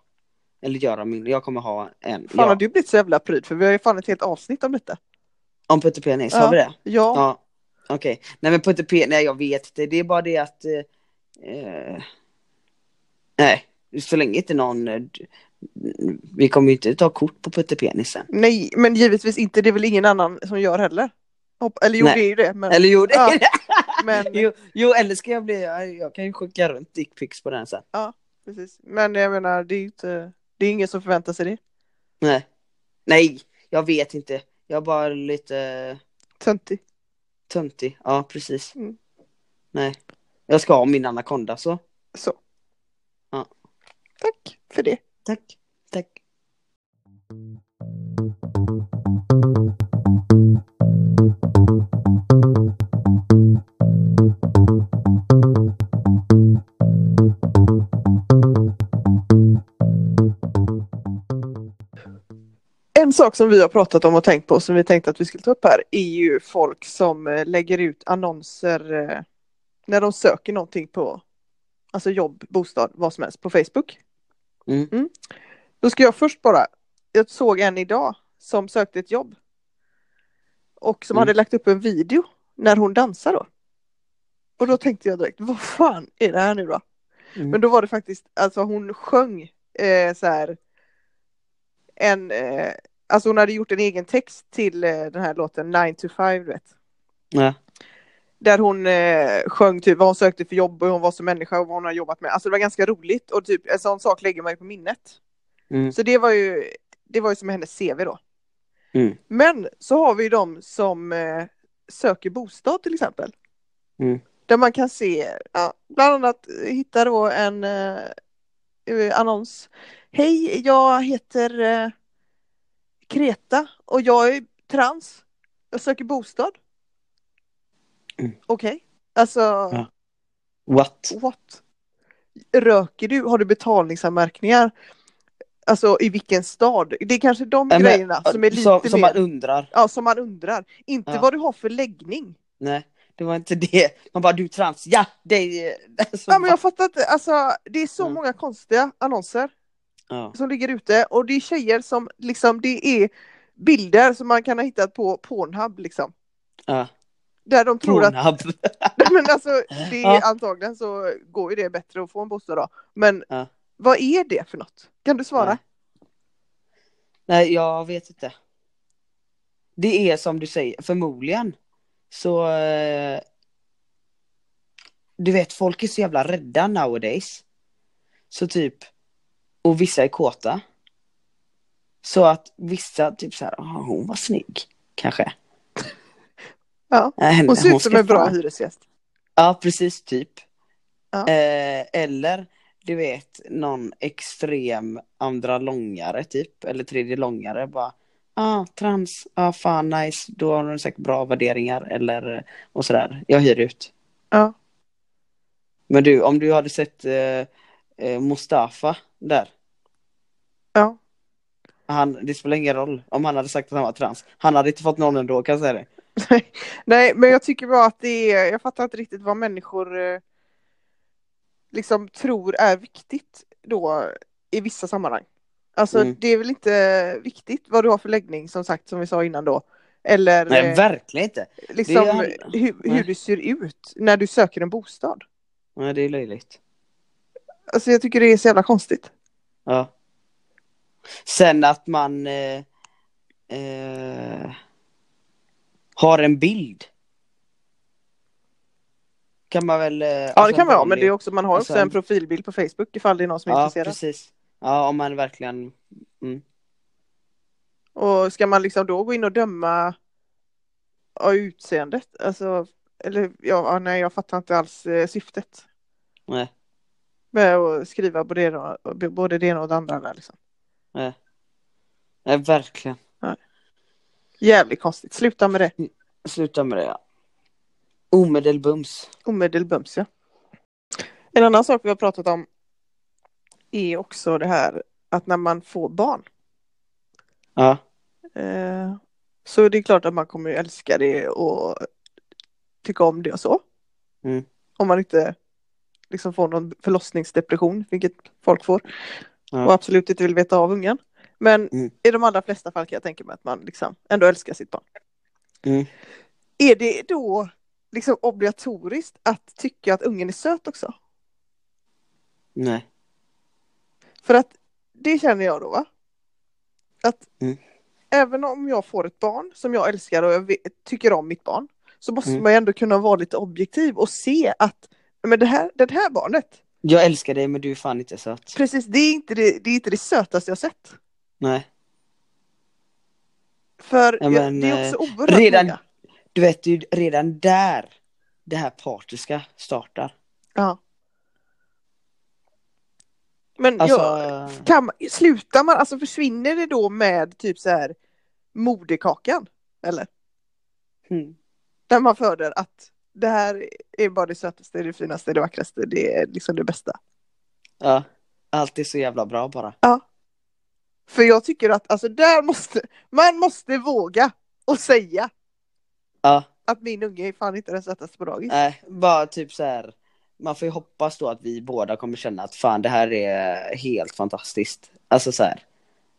Speaker 2: Eller göra min. Jag kommer ha en.
Speaker 1: Fan har
Speaker 2: ja.
Speaker 1: du blivit så jävla pryd för vi har ju fan ett helt avsnitt om detta.
Speaker 2: Om puttepenis,
Speaker 1: Ja.
Speaker 2: har vi det?
Speaker 1: Ja,
Speaker 2: Ja. Okej. Nej men puttepenis, nej jag vet inte. Det är bara det att... eh, Eh, nej, så länge inte någon... eh, d- Vi kommer ju inte ta kort på puttepenisen.
Speaker 1: nej men givetvis inte, det är väl ingen annan som gör heller. Hopp, eller jo
Speaker 2: Nej.
Speaker 1: det är ju det men,
Speaker 2: Eller jo, det
Speaker 1: Ja.
Speaker 2: är det.
Speaker 1: men,
Speaker 2: Jo, jo, eller ska jag bli... ja, Jag kan ju skicka runt dickpics på den sen.
Speaker 1: precis. men jag menar det är ju inte, det är ingen som förväntar sig det.
Speaker 2: Nej. Nej, jag vet inte. Jag är bara lite...
Speaker 1: Töntig.
Speaker 2: Töntig, ja precis.
Speaker 1: Mm.
Speaker 2: Nej. Jag ska ha min anakonda så.
Speaker 1: Så.
Speaker 2: Ja.
Speaker 1: Tack för det.
Speaker 2: Tack. Tack.
Speaker 1: En sak som vi har pratat om och tänkt på som vi tänkte att vi skulle ta upp här är ju folk som eh, lägger ut annonser eh, när de söker någonting på alltså jobb, bostad, vad som helst på Facebook.
Speaker 2: Mm.
Speaker 1: Då ska jag först bara, jag såg en idag som sökte ett jobb och som
Speaker 2: Mm.
Speaker 1: hade lagt upp en video när hon dansar då. Och då tänkte jag direkt, vad fan är det här nu då?
Speaker 2: Mm.
Speaker 1: Men då var det faktiskt, alltså hon sjöng eh, så här en, eh, alltså hon hade gjort en egen text till eh, den här låten 9 to 5 du vet.
Speaker 2: Ja.
Speaker 1: Där hon eh, sjöng typ vad hon sökte för jobb och hur hon var som människa och vad hon har jobbat med. Alltså det var ganska roligt och typ en sån sak lägger man ju på minnet.
Speaker 2: Mm.
Speaker 1: Så det var ju, det var ju som hennes CV då.
Speaker 2: Mm.
Speaker 1: Men så har vi ju de som eh, söker bostad till exempel.
Speaker 2: Mm.
Speaker 1: Där man kan se, ja, bland annat hitta då en eh, eh, annons. Hej, jag heter eh, Kreta och jag är trans. Jag söker bostad.
Speaker 2: Mm.
Speaker 1: Okej, alltså
Speaker 2: What?
Speaker 1: what? Röker du? Har du betalningsanmärkningar? Alltså i vilken stad? Det är kanske de
Speaker 2: Nej, men-
Speaker 1: grejerna som är lite
Speaker 2: som, som
Speaker 1: mer,
Speaker 2: man undrar.
Speaker 1: ja, som man undrar. Inte
Speaker 2: Ja.
Speaker 1: vad du har för läggning.
Speaker 2: Nej, det var inte det. Man bara du är trans, ja! Det är... Alltså,
Speaker 1: Ja, men jag fattar inte, alltså, det är så
Speaker 2: Mm.
Speaker 1: många konstiga annonser
Speaker 2: ja.
Speaker 1: som ligger ute och det är tjejer som liksom, det är bilder som man kan ha hittat på Pornhub liksom.
Speaker 2: Ja.
Speaker 1: Där de tror att
Speaker 2: Pornhub.
Speaker 1: Nej, men alltså, det är,
Speaker 2: Ja.
Speaker 1: antagligen så går ju det bättre att få en bostad då. Men
Speaker 2: Ja.
Speaker 1: vad är det för något? Kan du svara?
Speaker 2: Nej. Nej, jag vet inte. Det är som du säger, förmodligen. Så... eh, Du vet, folk är så jävla rädda nowadays. Så typ... Och vissa är kåta. Så att vissa typ så här, "Ah, hon var snygg, kanske.
Speaker 1: Ja.
Speaker 2: Nej, henne-
Speaker 1: Hon ser ut som
Speaker 2: ska
Speaker 1: en bra
Speaker 2: fan-
Speaker 1: hyresgäst.
Speaker 2: Ja, precis, typ.
Speaker 1: Ja.
Speaker 2: Eh, eller, du vet, någon extrem andra långare, typ. Eller tredje långare, bara. Ah, trans, ah, fan nice, då har de säkert bra värderingar eller eh, och sådär. Jag hyr ut.
Speaker 1: Ja.
Speaker 2: Men du, om du hade sett eh, eh, Mustafa där.
Speaker 1: Ja.
Speaker 2: Han, det spelar ingen roll om han hade sagt att han var trans. Han hade inte fått någon ändå kan jag säga det.
Speaker 1: Nej, men jag tycker bara att det är, jag fattar inte riktigt vad människor eh, liksom tror är viktigt då i vissa sammanhang. Alltså
Speaker 2: Mm.
Speaker 1: det är väl inte viktigt vad du har för läggning som sagt som vi sa innan då. Eller
Speaker 2: Nej,
Speaker 1: eh,
Speaker 2: verkligen inte.
Speaker 1: liksom
Speaker 2: det är-
Speaker 1: hur, hur
Speaker 2: Nej.
Speaker 1: du ser ut när du söker en bostad.
Speaker 2: Nej, det är löjligt.
Speaker 1: Alltså jag tycker det är så jävla
Speaker 2: Eh,
Speaker 1: konstigt.
Speaker 2: Ja. Sen att man eh, eh, har en bild. Kan man väl... eh,
Speaker 1: Ja
Speaker 2: alltså
Speaker 1: det kan man ha
Speaker 2: vanlig-
Speaker 1: men det är också, man har också
Speaker 2: alltså-
Speaker 1: en profilbild på Facebook ifall det är någon som är
Speaker 2: Ja,
Speaker 1: intresserad.
Speaker 2: precis. Ja, om man verkligen...
Speaker 1: Och ska man liksom då gå in och döma av utseendet? Alltså, eller ja, ja, nej jag fattar inte alls eh, syftet
Speaker 2: Nej.
Speaker 1: med att skriva både det, ena och- både det ena och det andra. Där, liksom.
Speaker 2: Nej, eh, verkligen.
Speaker 1: Jävligt konstigt, sluta med det.
Speaker 2: Sluta med det. Ja. Omedelbums.
Speaker 1: Omedelbums ja. En annan sak vi har pratat om är också det här att när man får barn
Speaker 2: Ja.
Speaker 1: eh, så är det klart att man kommer ju älska det och tycka om det och så.
Speaker 2: Mm.
Speaker 1: Om man inte liksom får någon förlossningsdepression, vilket folk får.
Speaker 2: Ja.
Speaker 1: Och absolut inte vill veta av ungen. Men
Speaker 2: Mm.
Speaker 1: i de allra flesta fall kan jag tänka mig att man liksom ändå älskar sitt barn.
Speaker 2: Mm.
Speaker 1: Är det då liksom obligatoriskt att tycka att ungen är söt också?
Speaker 2: Nej.
Speaker 1: För att det känner jag då va? Att
Speaker 2: Mm.
Speaker 1: även om jag får ett barn som jag älskar och jag vet, tycker om mitt barn så måste
Speaker 2: Mm.
Speaker 1: man ju ändå kunna vara lite objektiv och se att men det här, det här barnet,
Speaker 2: Jag älskar dig men du är fan inte söt.
Speaker 1: precis det är, inte det, det är inte det sötaste jag sett.
Speaker 2: Nej.
Speaker 1: För
Speaker 2: Ja, men, eh,
Speaker 1: jag, det är också oerhört
Speaker 2: Redan,
Speaker 1: många.
Speaker 2: du vet, det är ju redan där det här partiska startar.
Speaker 1: Ja. Men
Speaker 2: Alltså...
Speaker 1: jag, kan, man- slutar man, alltså försvinner det då med typ så här moderkakan? Eller?
Speaker 2: Mm.
Speaker 1: Där man föder att det här är bara det sötaste, det finaste, det vackraste, det är liksom det bästa.
Speaker 2: Ja, allt är så jävla bra bara.
Speaker 1: För jag tycker att alltså där måste, man måste våga och säga
Speaker 2: Ja,
Speaker 1: att min unge är fan inte den sötaste på dagis.
Speaker 2: nej, bara typ så här. Man får ju hoppas då att vi båda kommer känna att fan det här är helt fantastiskt. Alltså så här.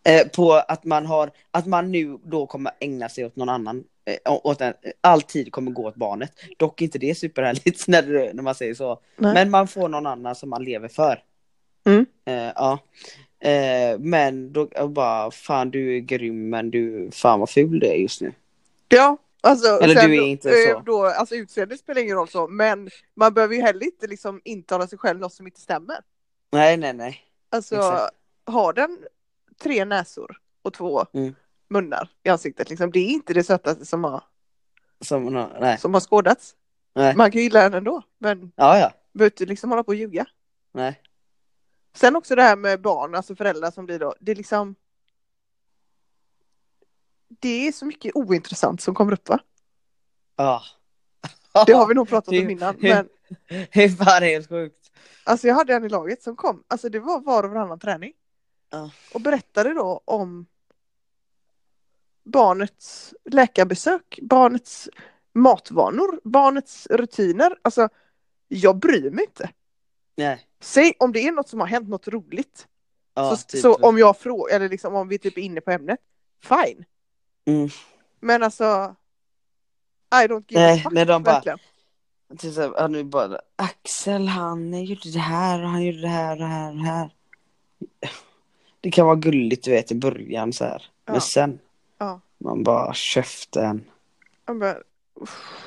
Speaker 2: Eh, på att man har, att man nu då kommer ägna sig åt någon annan. Eh, å- åt en, all tid kommer gå åt barnet. Dock inte det superhärligt när, du- när man säger så.
Speaker 1: Nej.
Speaker 2: Men man får någon annan som man lever för.
Speaker 1: Mm.
Speaker 2: Eh, ja. Eh, men då eh, bara, fan du är grym men du, fan vad ful du är just nu.
Speaker 1: Ja, Alltså,
Speaker 2: Eller
Speaker 1: sen
Speaker 2: du är
Speaker 1: då-
Speaker 2: inte
Speaker 1: eh,
Speaker 2: så.
Speaker 1: Då, alltså utseende spelar ingen roll så, men man behöver ju heller inte liksom intala sig själv något som inte stämmer.
Speaker 2: Nej, nej, nej.
Speaker 1: Alltså,
Speaker 2: Exakt.
Speaker 1: har den tre näsor och två
Speaker 2: Mm.
Speaker 1: munnar i ansiktet, liksom, det är inte det sötaste som har,
Speaker 2: Som, nå- nej.
Speaker 1: som har skådats.
Speaker 2: Nej.
Speaker 1: Man kan ju gilla den ändå, men
Speaker 2: Ja, ja.
Speaker 1: behöver inte liksom hålla på och ljuga.
Speaker 2: Nej.
Speaker 1: Sen också det här med barn, alltså föräldrar som blir då, det är liksom det är så mycket ointressant som kommer upp va?
Speaker 2: Ja.
Speaker 1: Det har vi nog pratat om
Speaker 2: Det-
Speaker 1: innan. Men
Speaker 2: Det är fan helt sjukt.
Speaker 1: Alltså jag hade en i laget som kom, alltså det var var och varannan träning.
Speaker 2: Ja.
Speaker 1: Och berättade då om barnets läkarbesök, barnets matvanor, barnets rutiner. Alltså jag bryr mig inte.
Speaker 2: Nej.
Speaker 1: Säg om det är något som har hänt, något roligt.
Speaker 2: Ja,
Speaker 1: så,
Speaker 2: typ.
Speaker 1: så om jag frågar, eller liksom om vi typ är inne på ämnet, fine.
Speaker 2: Mm.
Speaker 1: Men alltså I don't give
Speaker 2: Nej,
Speaker 1: a fuck.
Speaker 2: när de bara-
Speaker 1: verkligen.
Speaker 2: Typ så här, han är bara Axel han gjorde det här och han gjorde det här och det här och det här. Det kan vara gulligt du vet i början så här.
Speaker 1: Ja.
Speaker 2: Men sen.
Speaker 1: Ja.
Speaker 2: Man bara käften.
Speaker 1: Jag bara, uff.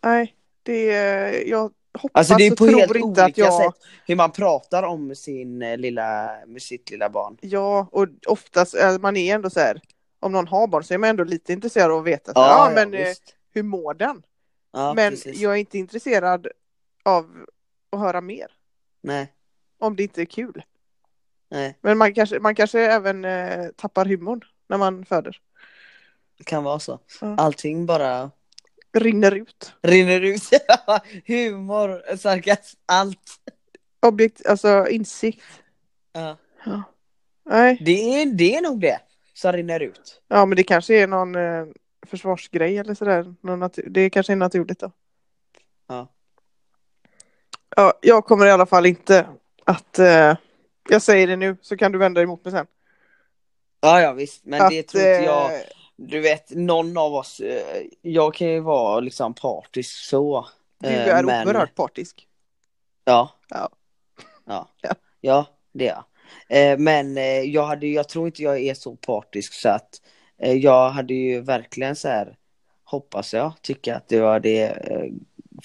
Speaker 1: Nej, det är, jag hoppas
Speaker 2: Alltså det är på
Speaker 1: och
Speaker 2: helt
Speaker 1: tror inte
Speaker 2: olika
Speaker 1: att jag...
Speaker 2: sätt hur man pratar om sin eh, lilla, med sitt lilla barn.
Speaker 1: Ja, och oftast, eh, man är ändå så här, om någon har barn så är man ändå lite intresserad av att veta, så här, ja, men eh,
Speaker 2: visst.
Speaker 1: hur mår den?
Speaker 2: ja,
Speaker 1: men
Speaker 2: precis.
Speaker 1: jag är inte intresserad av att höra mer,
Speaker 2: Nej,
Speaker 1: om det inte är kul.
Speaker 2: nej,
Speaker 1: Men man kanske, man kanske även eh, tappar humorn när man föder.
Speaker 2: det kan vara så.
Speaker 1: Ja.
Speaker 2: Allting bara
Speaker 1: Rinner ut.
Speaker 2: rinner ut. Humor, sarkasm, allt.
Speaker 1: Objekt, alltså insikt.
Speaker 2: Ja.
Speaker 1: Nej.
Speaker 2: Det, är, det är nog det som rinner ut.
Speaker 1: Ja men det kanske är någon eh, försvarsgrej eller sådär. Någon natu- det kanske är naturligt då.
Speaker 2: Ja.
Speaker 1: Ja, jag kommer i alla fall inte att... Eh, jag säger det nu så kan du vända emot mig sen.
Speaker 2: Ja, ja visst, men det
Speaker 1: Att,
Speaker 2: tror inte
Speaker 1: eh,
Speaker 2: jag. Du vet, någon av oss, eh, jag kan ju vara liksom partisk så.
Speaker 1: Du
Speaker 2: eh,
Speaker 1: är
Speaker 2: men-
Speaker 1: oerhört partisk.
Speaker 2: Ja.
Speaker 1: Ja.
Speaker 2: Ja,
Speaker 1: Ja.
Speaker 2: ja det är jag. Eh, Men eh, jag, hade, ju- jag tror inte jag är så partisk så att eh, jag hade ju verkligen så här, hoppas jag, tycka att det var det eh,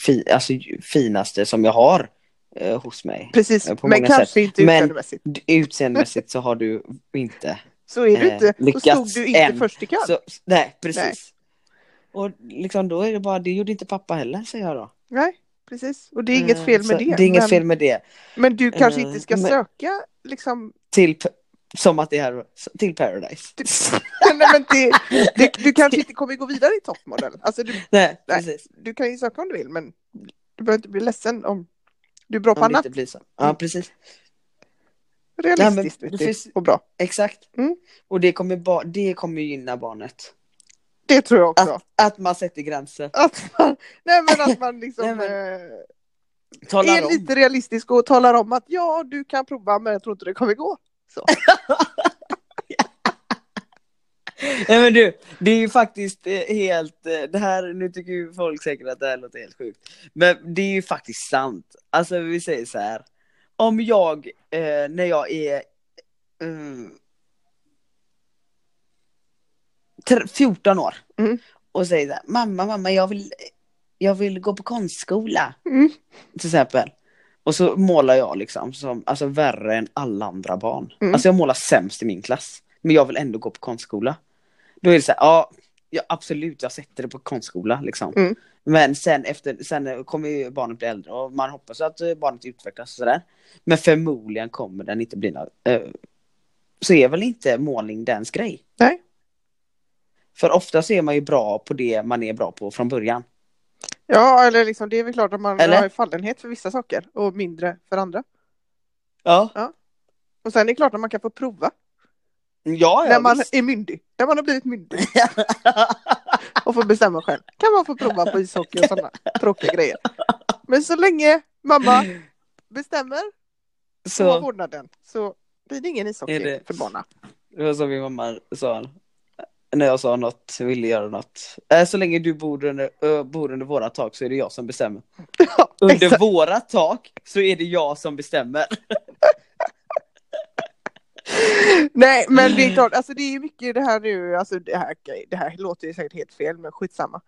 Speaker 2: fi, alltså, ju- finaste som jag har eh, hos mig.
Speaker 1: Precis,
Speaker 2: Eh, på
Speaker 1: men
Speaker 2: många
Speaker 1: kanske
Speaker 2: sätt.
Speaker 1: inte
Speaker 2: Men-
Speaker 1: utseendemässigt.
Speaker 2: D- Utseendemässigt så har du inte.
Speaker 1: Så är du
Speaker 2: eh,
Speaker 1: inte. Då stod
Speaker 2: lyckats
Speaker 1: du inte
Speaker 2: än.
Speaker 1: först i kön.
Speaker 2: Så, nej, precis. Och liksom då är det bara, det gjorde inte pappa heller säger jag då.
Speaker 1: Nej, precis. Och det är inget
Speaker 2: Eh,
Speaker 1: fel
Speaker 2: så
Speaker 1: med det.
Speaker 2: Det är inget
Speaker 1: men,
Speaker 2: fel med det.
Speaker 1: men du kanske
Speaker 2: eh,
Speaker 1: inte ska
Speaker 2: men-
Speaker 1: söka liksom...
Speaker 2: Till, p- som att det är, till Paradise.
Speaker 1: Nej, men det, det, du kanske inte kommer gå vidare i toppmodell. Alltså du
Speaker 2: Nej, precis.
Speaker 1: du kan ju söka om du vill men du behöver inte bli ledsen om du är bra på
Speaker 2: Om det
Speaker 1: annat.
Speaker 2: inte
Speaker 1: Mm.
Speaker 2: blir så. Ja, precis.
Speaker 1: Realistiskt
Speaker 2: Nej, men det
Speaker 1: vet du,
Speaker 2: finns-
Speaker 1: och bra.
Speaker 2: Exakt.
Speaker 1: Mm.
Speaker 2: Och det kommer, ba- det kommer ju gynna barnet.
Speaker 1: Det tror jag också.
Speaker 2: Att man sätter gränser.
Speaker 1: Att man, nej men att man liksom
Speaker 2: Nej, men-
Speaker 1: eh,
Speaker 2: Talar
Speaker 1: är
Speaker 2: om.
Speaker 1: lite realistisk och talar om att ja du kan prova men jag tror inte det kommer gå. Så.
Speaker 2: Nej men du, det är ju faktiskt eh, helt, eh, det här, nu tycker ju folk säkert att det här låter helt sjukt. Men det är ju faktiskt sant. Alltså vi säger så här. Om jag, eh, när jag är mm, tr- 14 år
Speaker 1: Mm.
Speaker 2: och säger så här, mamma, mamma, jag vill, jag vill gå på konstskola.
Speaker 1: Mm.
Speaker 2: Till exempel. Och så målar jag liksom som, alltså värre än alla andra barn.
Speaker 1: Mm.
Speaker 2: Alltså jag målar sämst i min klass. Men jag vill ändå gå på konstskola. Då är det så här, ja, ja absolut jag sätter det på konstskola liksom.
Speaker 1: Mm.
Speaker 2: Men sen efter, sen kommer ju barnet bli äldre och man hoppas att eh, barnet utvecklas och sådär. Men förmodligen kommer den inte bli någon, eh, så är väl inte målning dens grej.
Speaker 1: Nej.
Speaker 2: För ofta så är man ju bra på det man är bra på från början.
Speaker 1: Ja eller liksom det är väl klart att man
Speaker 2: Eller?
Speaker 1: har fallenhet för vissa saker och mindre för andra.
Speaker 2: Ja.
Speaker 1: Och sen är det klart att man kan få prova
Speaker 2: Ja, ja
Speaker 1: när man
Speaker 2: visst.
Speaker 1: är myndig. När man har blivit myndig och får bestämma själv. Kan man få prova på ishockey och sådana tråkiga grejer. Men så länge mamma bestämmer som har
Speaker 2: så,
Speaker 1: vårdnaden så blir det ingen ishockey
Speaker 2: Är det-
Speaker 1: för barnen.
Speaker 2: det var som min mamma sa. När jag sa något, ville göra något. Äh, så länge du bor under, ö, bor under våra tak så är det jag som bestämmer. Under
Speaker 1: Exakt.
Speaker 2: våra tak så är det jag som bestämmer.
Speaker 1: Nej men det är klart, alltså det är mycket det här nu, alltså det här, det här låter ju säkert helt fel men skitsamma.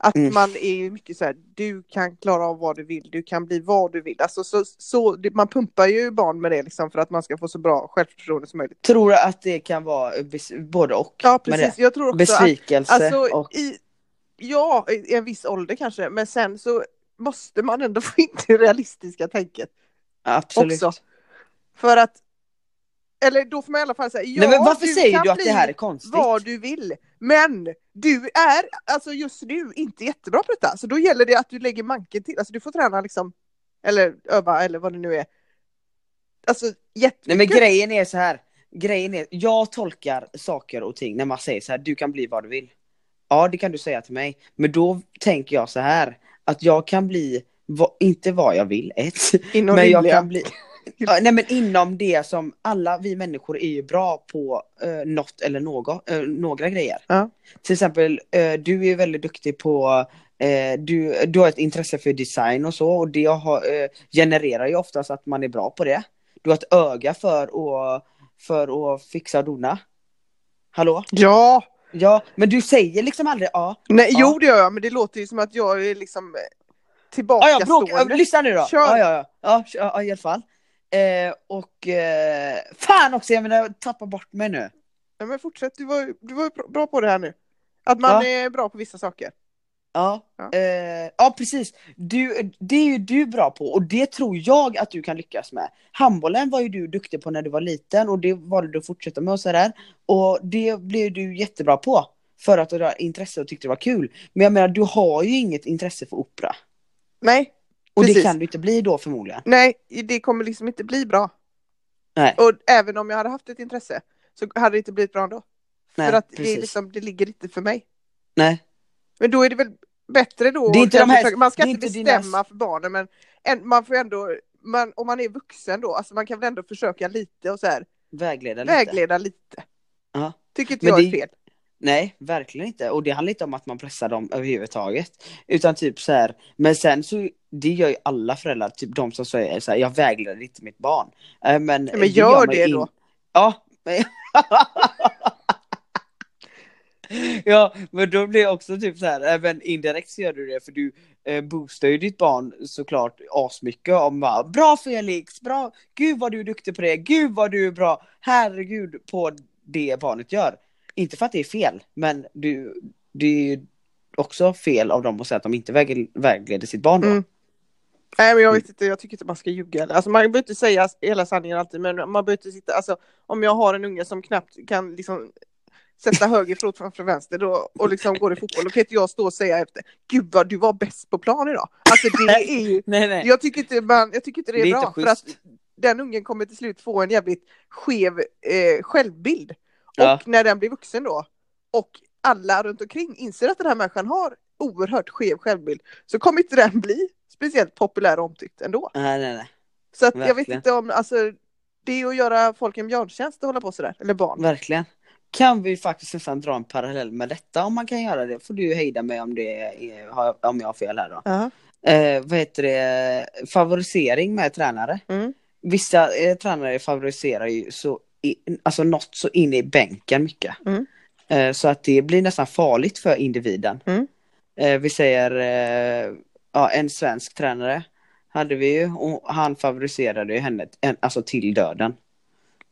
Speaker 1: Att
Speaker 2: Mm.
Speaker 1: man är ju mycket så här, du kan klara av vad du vill, du kan bli vad du vill. Alltså så, så det, man pumpar ju barn med det liksom för att man ska få så bra självförtroende som möjligt.
Speaker 2: Tror du att det kan vara bes- både och?
Speaker 1: Ja
Speaker 2: med
Speaker 1: precis, jag tror
Speaker 2: det?
Speaker 1: också att
Speaker 2: Besvikelse
Speaker 1: alltså,
Speaker 2: och...
Speaker 1: i, ja, i en viss ålder kanske, men sen så måste man ändå få in det realistiska tänket
Speaker 2: Absolut.
Speaker 1: också. För att, eller då får man i alla fall säga, ja,
Speaker 2: Nej, men varför säger
Speaker 1: kan
Speaker 2: du att det
Speaker 1: bli
Speaker 2: här är konstigt?
Speaker 1: vad du vill. Men du är alltså just nu inte jättebra på detta. Så då gäller det att du lägger manken till. Alltså du får träna liksom, eller öva eller vad det nu är. Alltså jättemycket.
Speaker 2: Nej men grejen är så här. Grejen är, jag tolkar saker och ting när man säger så här, du kan bli vad du vill. Ja det kan du säga till mig, men då tänker jag så här. Att jag kan bli, va, inte vad jag vill, ett.
Speaker 1: Inom
Speaker 2: Men jag
Speaker 1: rimliga-
Speaker 2: kan bli... Ja, nej men inom det som alla vi människor är ju bra på eh, något eller något, eh, några grejer.
Speaker 1: Ja.
Speaker 2: Till exempel, eh, du är väldigt duktig på, eh, du, du har ett intresse för design och så och det har, eh, genererar ju oftast att man är bra på det. Du har ett öga för att, för att fixa och dona. Hallå?
Speaker 1: Ja,
Speaker 2: Ja, men du säger liksom aldrig ja.
Speaker 1: nej
Speaker 2: Ja.
Speaker 1: jo det gör jag men det låter ju som att jag är liksom eh,
Speaker 2: Ja, ja, bråk, ja,
Speaker 1: tillbakastående.
Speaker 2: lyssna nu då.
Speaker 1: Kör.
Speaker 2: Ja, ja, ja. Ja, kör, ja, i alla fall. Eh, och eh, fan också, jag menar, jag tappar bort mig nu.
Speaker 1: Ja, men fortsätt, du var, du var bra- bra på det här nu. Att man
Speaker 2: Ja.
Speaker 1: är bra på vissa saker.
Speaker 2: Ja,
Speaker 1: Ja.
Speaker 2: eh, ja precis. Du, det är ju du bra på och det tror jag att du kan lyckas med. Handbollen var ju du duktig på när du var liten och det valde du att fortsätta med och sådär. Och det blev du jättebra på för att du hade intresse och tyckte det var kul. Men jag menar, du har ju inget intresse för opera.
Speaker 1: Nej,
Speaker 2: Och det
Speaker 1: Precis.
Speaker 2: kan du inte bli då förmodligen.
Speaker 1: nej, det kommer liksom inte bli bra.
Speaker 2: Nej.
Speaker 1: Och även om jag hade haft ett intresse så hade det inte blivit bra ändå.
Speaker 2: Nej,
Speaker 1: för att det,
Speaker 2: precis.
Speaker 1: är liksom, det ligger inte för mig.
Speaker 2: Nej.
Speaker 1: Men då är det väl bättre då.
Speaker 2: Det är inte
Speaker 1: att
Speaker 2: de här-
Speaker 1: försöka- man ska
Speaker 2: det är
Speaker 1: inte
Speaker 2: inte dina-
Speaker 1: bestämma för barnen men en, man får ändå, man, om man är vuxen då, alltså man kan väl ändå försöka lite och så här,
Speaker 2: Vägleda lite.
Speaker 1: vägleda lite.
Speaker 2: Ja.
Speaker 1: Tycker inte
Speaker 2: Men
Speaker 1: jag
Speaker 2: det-
Speaker 1: är fel.
Speaker 2: Nej, verkligen inte. Och det handlar inte om att man pressar dem överhuvudtaget. Utan typ så här, men sen så, det gör ju alla föräldrar, typ de som säger så här, jag vägleder inte mitt barn. Eh, Men,
Speaker 1: Men gör
Speaker 2: man
Speaker 1: det
Speaker 2: in-
Speaker 1: då.
Speaker 2: Ja. men- ja, men då blir det också typ så här, eh, men indirekt så gör du det för du eh, boostar ju ditt barn såklart asmycket om bara, bra Felix, bra, gud vad du är duktig på det, gud vad du är bra, herregud på det barnet gör. Inte för att det är fel, men du, det är ju också fel av dem att säga att de inte väg- vägleder sitt barn då.
Speaker 1: Mm. Nej men jag
Speaker 2: Mm.
Speaker 1: vet inte, jag tycker inte man ska ljuga. Alltså man behöver inte säga hela sanningen alltid men man behöver inte sitta, alltså om jag har en unge som knappt kan liksom sätta höger fot framför vänster då, och liksom går i fotboll, då kan inte jag stå och säga efter Gud vad du var bäst på plan idag. Alltså det är ju,
Speaker 2: Nej, nej.
Speaker 1: jag tycker inte, man, jag tycker inte det är,
Speaker 2: Det är
Speaker 1: bra
Speaker 2: inte
Speaker 1: för att
Speaker 2: schysst.
Speaker 1: den ungen kommer till slut få en jävligt skev eh, självbild.
Speaker 2: Ja.
Speaker 1: Och när den blir vuxen då och alla runt omkring inser att den här människan har oerhört skev självbild så kommer inte den bli speciellt populär och omtyckt ändå.
Speaker 2: Nej, nej, nej.
Speaker 1: Så att jag vet
Speaker 2: Verkligen.
Speaker 1: inte om, alltså det är att göra folk en björntjänst att hålla på sådär, eller barn.
Speaker 2: Verkligen. Kan vi faktiskt nästan dra en parallell med detta om man kan göra det? Får du hejda mig om, det är, har- om jag har fel här då.
Speaker 1: Ja.
Speaker 2: Eh, vad heter det? Favorisering med tränare.
Speaker 1: Mm.
Speaker 2: Vissa eh, tränare favoriserar ju så i, alltså något så in i bänken mycket.
Speaker 1: Mm.
Speaker 2: Eh, så att det blir nästan farligt för individen.
Speaker 1: Mm.
Speaker 2: Eh, vi säger eh, ja, en svensk tränare hade vi ju och han favoriserade ju henne en, alltså till döden.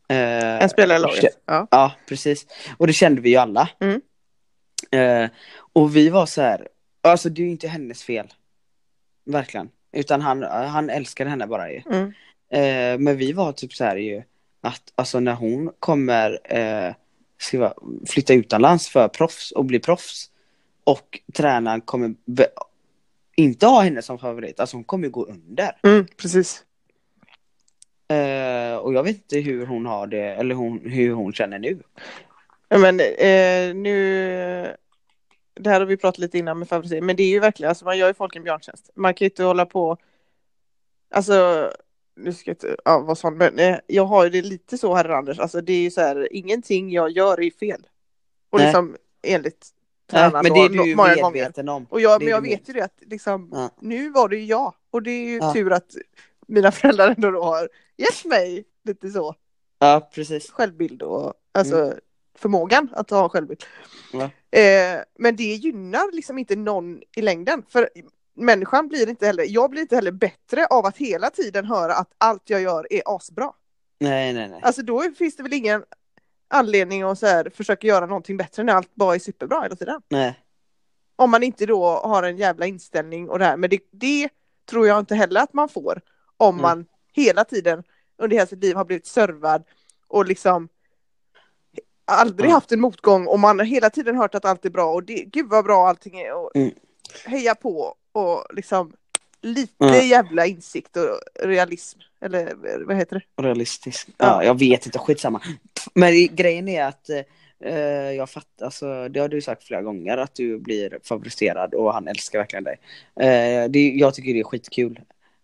Speaker 2: Eh,
Speaker 1: En spelare i laget. Ja.
Speaker 2: Ja, precis. Och det kände vi ju alla.
Speaker 1: Mm.
Speaker 2: Eh, och vi var så här, alltså det är ju inte hennes fel. Verkligen. Utan han, han älskade henne bara ju.
Speaker 1: Mm.
Speaker 2: Eh, men vi var typ så här ju, att alltså när hon kommer eh, skriva, flytta utomlands för proffs och bli proffs och tränaren kommer be- inte ha henne som favorit, alltså hon kommer ju gå under.
Speaker 1: Mm, precis.
Speaker 2: Eh, och jag vet inte hur hon har det, eller hon, hur hon känner nu.
Speaker 1: Ja, Men eh, nu, det här har vi pratat lite innan med favorisering, men det är ju verkligen, alltså man gör ju folk en björntjänst. Man kan ju inte hålla på, alltså, nu ska jag inte ja, vara sån, men eh, jag har ju det lite så här Anders, alltså det är ju så här, ingenting jag gör är fel. Och
Speaker 2: Nej.
Speaker 1: liksom enligt
Speaker 2: Nej,
Speaker 1: tränaren
Speaker 2: Eh, men det är
Speaker 1: då,
Speaker 2: du ju
Speaker 1: många gånger.
Speaker 2: medveten om.
Speaker 1: Och jag,
Speaker 2: det
Speaker 1: men
Speaker 2: är
Speaker 1: jag
Speaker 2: du
Speaker 1: vet ju det att liksom,
Speaker 2: Ja.
Speaker 1: nu var det ju jag, och det är ju
Speaker 2: Ja.
Speaker 1: tur att mina föräldrar ändå då har gett mig lite så
Speaker 2: Ja, precis.
Speaker 1: självbild och alltså förmågan att ha självbild.
Speaker 2: Ja.
Speaker 1: Eh, men det gynnar liksom inte någon i längden. För människan blir inte heller, jag blir inte heller bättre av att hela tiden höra att allt jag gör är asbra.
Speaker 2: Nej, nej, nej.
Speaker 1: Alltså då finns det väl ingen anledning att så här, försöka göra någonting bättre när allt bara är superbra hela tiden.
Speaker 2: nej.
Speaker 1: Om man inte då har en jävla inställning och det här. Men det, det tror jag inte heller att man får om
Speaker 2: Mm.
Speaker 1: man hela tiden under hela sitt liv har blivit servad och liksom aldrig
Speaker 2: Mm.
Speaker 1: haft en motgång och man har hela tiden hört att allt är bra och det, gud vad bra allting är och
Speaker 2: Mm.
Speaker 1: heja på och liksom lite
Speaker 2: Mm.
Speaker 1: jävla insikt och realism eller vad heter det?
Speaker 2: Realistisk.
Speaker 1: Ja.
Speaker 2: Ja. jag vet inte. Skitsamma. Men i- grejen är att eh, jag fattar, alltså, det har du sagt flera gånger, att du blir favoriserad och han älskar verkligen dig. Eh, det, jag tycker det är skitkul.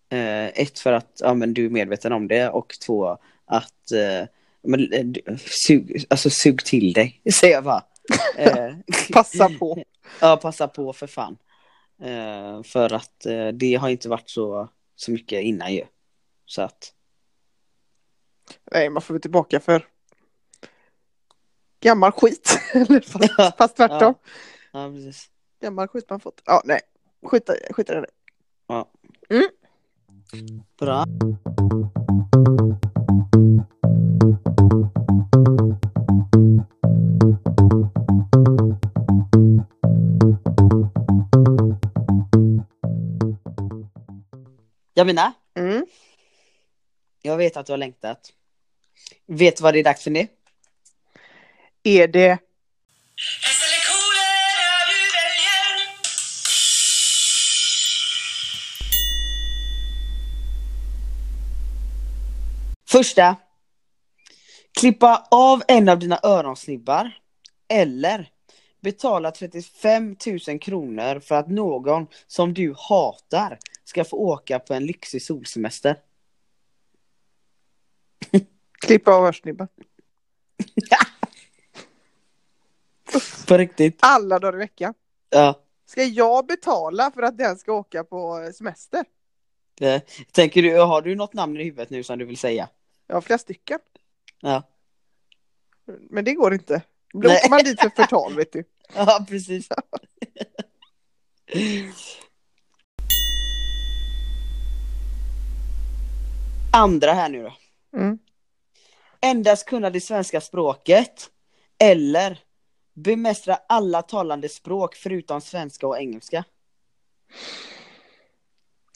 Speaker 2: Eh, ett, för att ja, men, du är medveten om det och två, att eh, men, eh, du- sug, alltså, sug till dig, säger jag bara. Eh,
Speaker 1: Passa på.
Speaker 2: Ja, passa på för fan. Eh, för att eh, det har inte varit så, så mycket innan ju. Så att,
Speaker 1: Nej, man får väl tillbaka för gammal skit. Eller fast, fast tvärtom.
Speaker 2: ja precis.
Speaker 1: Gammal skit man fått. Ja, nej. Skita, skita i det.
Speaker 2: Bra. Jamina,
Speaker 1: Mm.
Speaker 2: jag vet att du har längtat. Vet du vad det är dags för nu?
Speaker 1: Är det...
Speaker 3: Häst eller kolera du väljer
Speaker 2: Första. Klippa av en av dina öronsnibbar. Eller betala 35 000 kronor för att någon som du hatar ska få åka på en lyxig solsemester.
Speaker 1: Klippa av hörsnibben?
Speaker 2: På riktigt?
Speaker 1: Alla dagar i veckan.
Speaker 2: Ja.
Speaker 1: Ska jag betala för att den ska åka på eh, semester?
Speaker 2: det- Tänker du, har du något namn i huvudet nu som du vill säga?
Speaker 1: Jag har flera stycken.
Speaker 2: Ja.
Speaker 1: Men det går inte. Då
Speaker 2: Nej.
Speaker 1: åker man dit för förtal, vet du.
Speaker 2: Ja, precis. Andra här nu då.
Speaker 1: Mm.
Speaker 2: Endast kunna det svenska språket. Eller bemästra alla talande språk förutom svenska och engelska.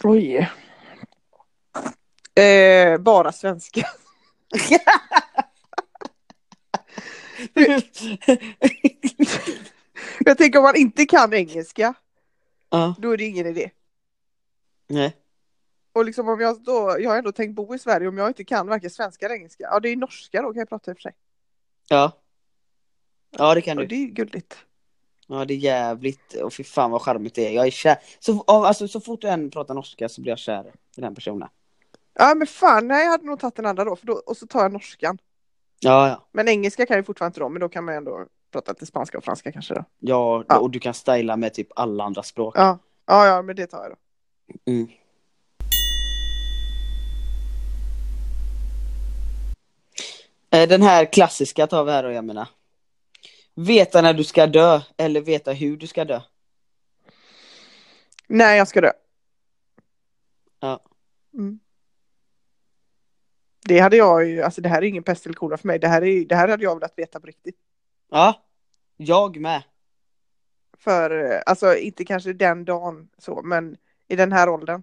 Speaker 1: Oj. Eh, bara svenska. Jag tänker om man inte kan engelska,
Speaker 2: ja,
Speaker 1: då är det ingen idé.
Speaker 2: nej.
Speaker 1: Och liksom om jag då, jag har ändå tänkt bo i Sverige om jag inte kan varken svenska eller engelska. Ja det är norska då kan jag prata i och för sig.
Speaker 2: Ja. Ja, det kan
Speaker 1: Och
Speaker 2: du.
Speaker 1: det är ju gulligt.
Speaker 2: Ja, det är jävligt. Och fy fan vad charmigt det är. Jag är kär. Så, ja, alltså, så fort en pratar norska så blir jag kär i den personen.
Speaker 1: Ja men fan, nej jag hade nog tagit den andra då, för då och så tar jag norskan.
Speaker 2: Ja, ja.
Speaker 1: Men engelska kan jag ju fortfarande inte då, men då kan man ju ändå prata lite spanska och franska kanske då.
Speaker 2: Ja,
Speaker 1: Ja.
Speaker 2: och du kan styla med typ alla andra språk.
Speaker 1: Ja, ja, ja men det tar jag då.
Speaker 2: Mm. Eh, Den här klassiska tar vi här och jag menar. Veta när du ska dö eller veta hur du ska dö.
Speaker 1: Nej jag ska dö.
Speaker 2: Ja.
Speaker 1: Mm. Det hade jag ju, alltså det här är ingen pest eller kolera för mig, det här, är, ju- det här hade jag velat veta på riktigt.
Speaker 2: Ja, jag med.
Speaker 1: För, eh, alltså inte kanske den dagen så, men i den här åldern.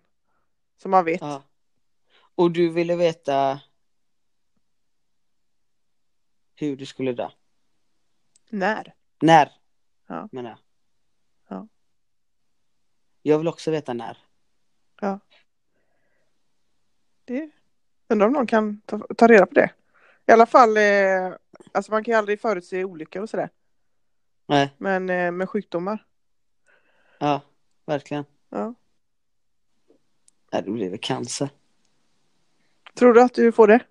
Speaker 1: Som man vet.
Speaker 2: Ja. Och du ville veta hur du skulle dö.
Speaker 1: När?
Speaker 2: När?
Speaker 1: Ja.
Speaker 2: Menar jag.
Speaker 1: Ja.
Speaker 2: Jag vill också veta när.
Speaker 1: Det... Undrar om någon kan ta, ta reda på det. I alla fall, eh, alltså man kan ju aldrig förutse olyckor och sådär.
Speaker 2: Nej.
Speaker 1: Men eh, med sjukdomar.
Speaker 2: Ja, verkligen.
Speaker 1: Ja.
Speaker 2: Nej, det blir väl cancer.
Speaker 1: Tror du att du får det?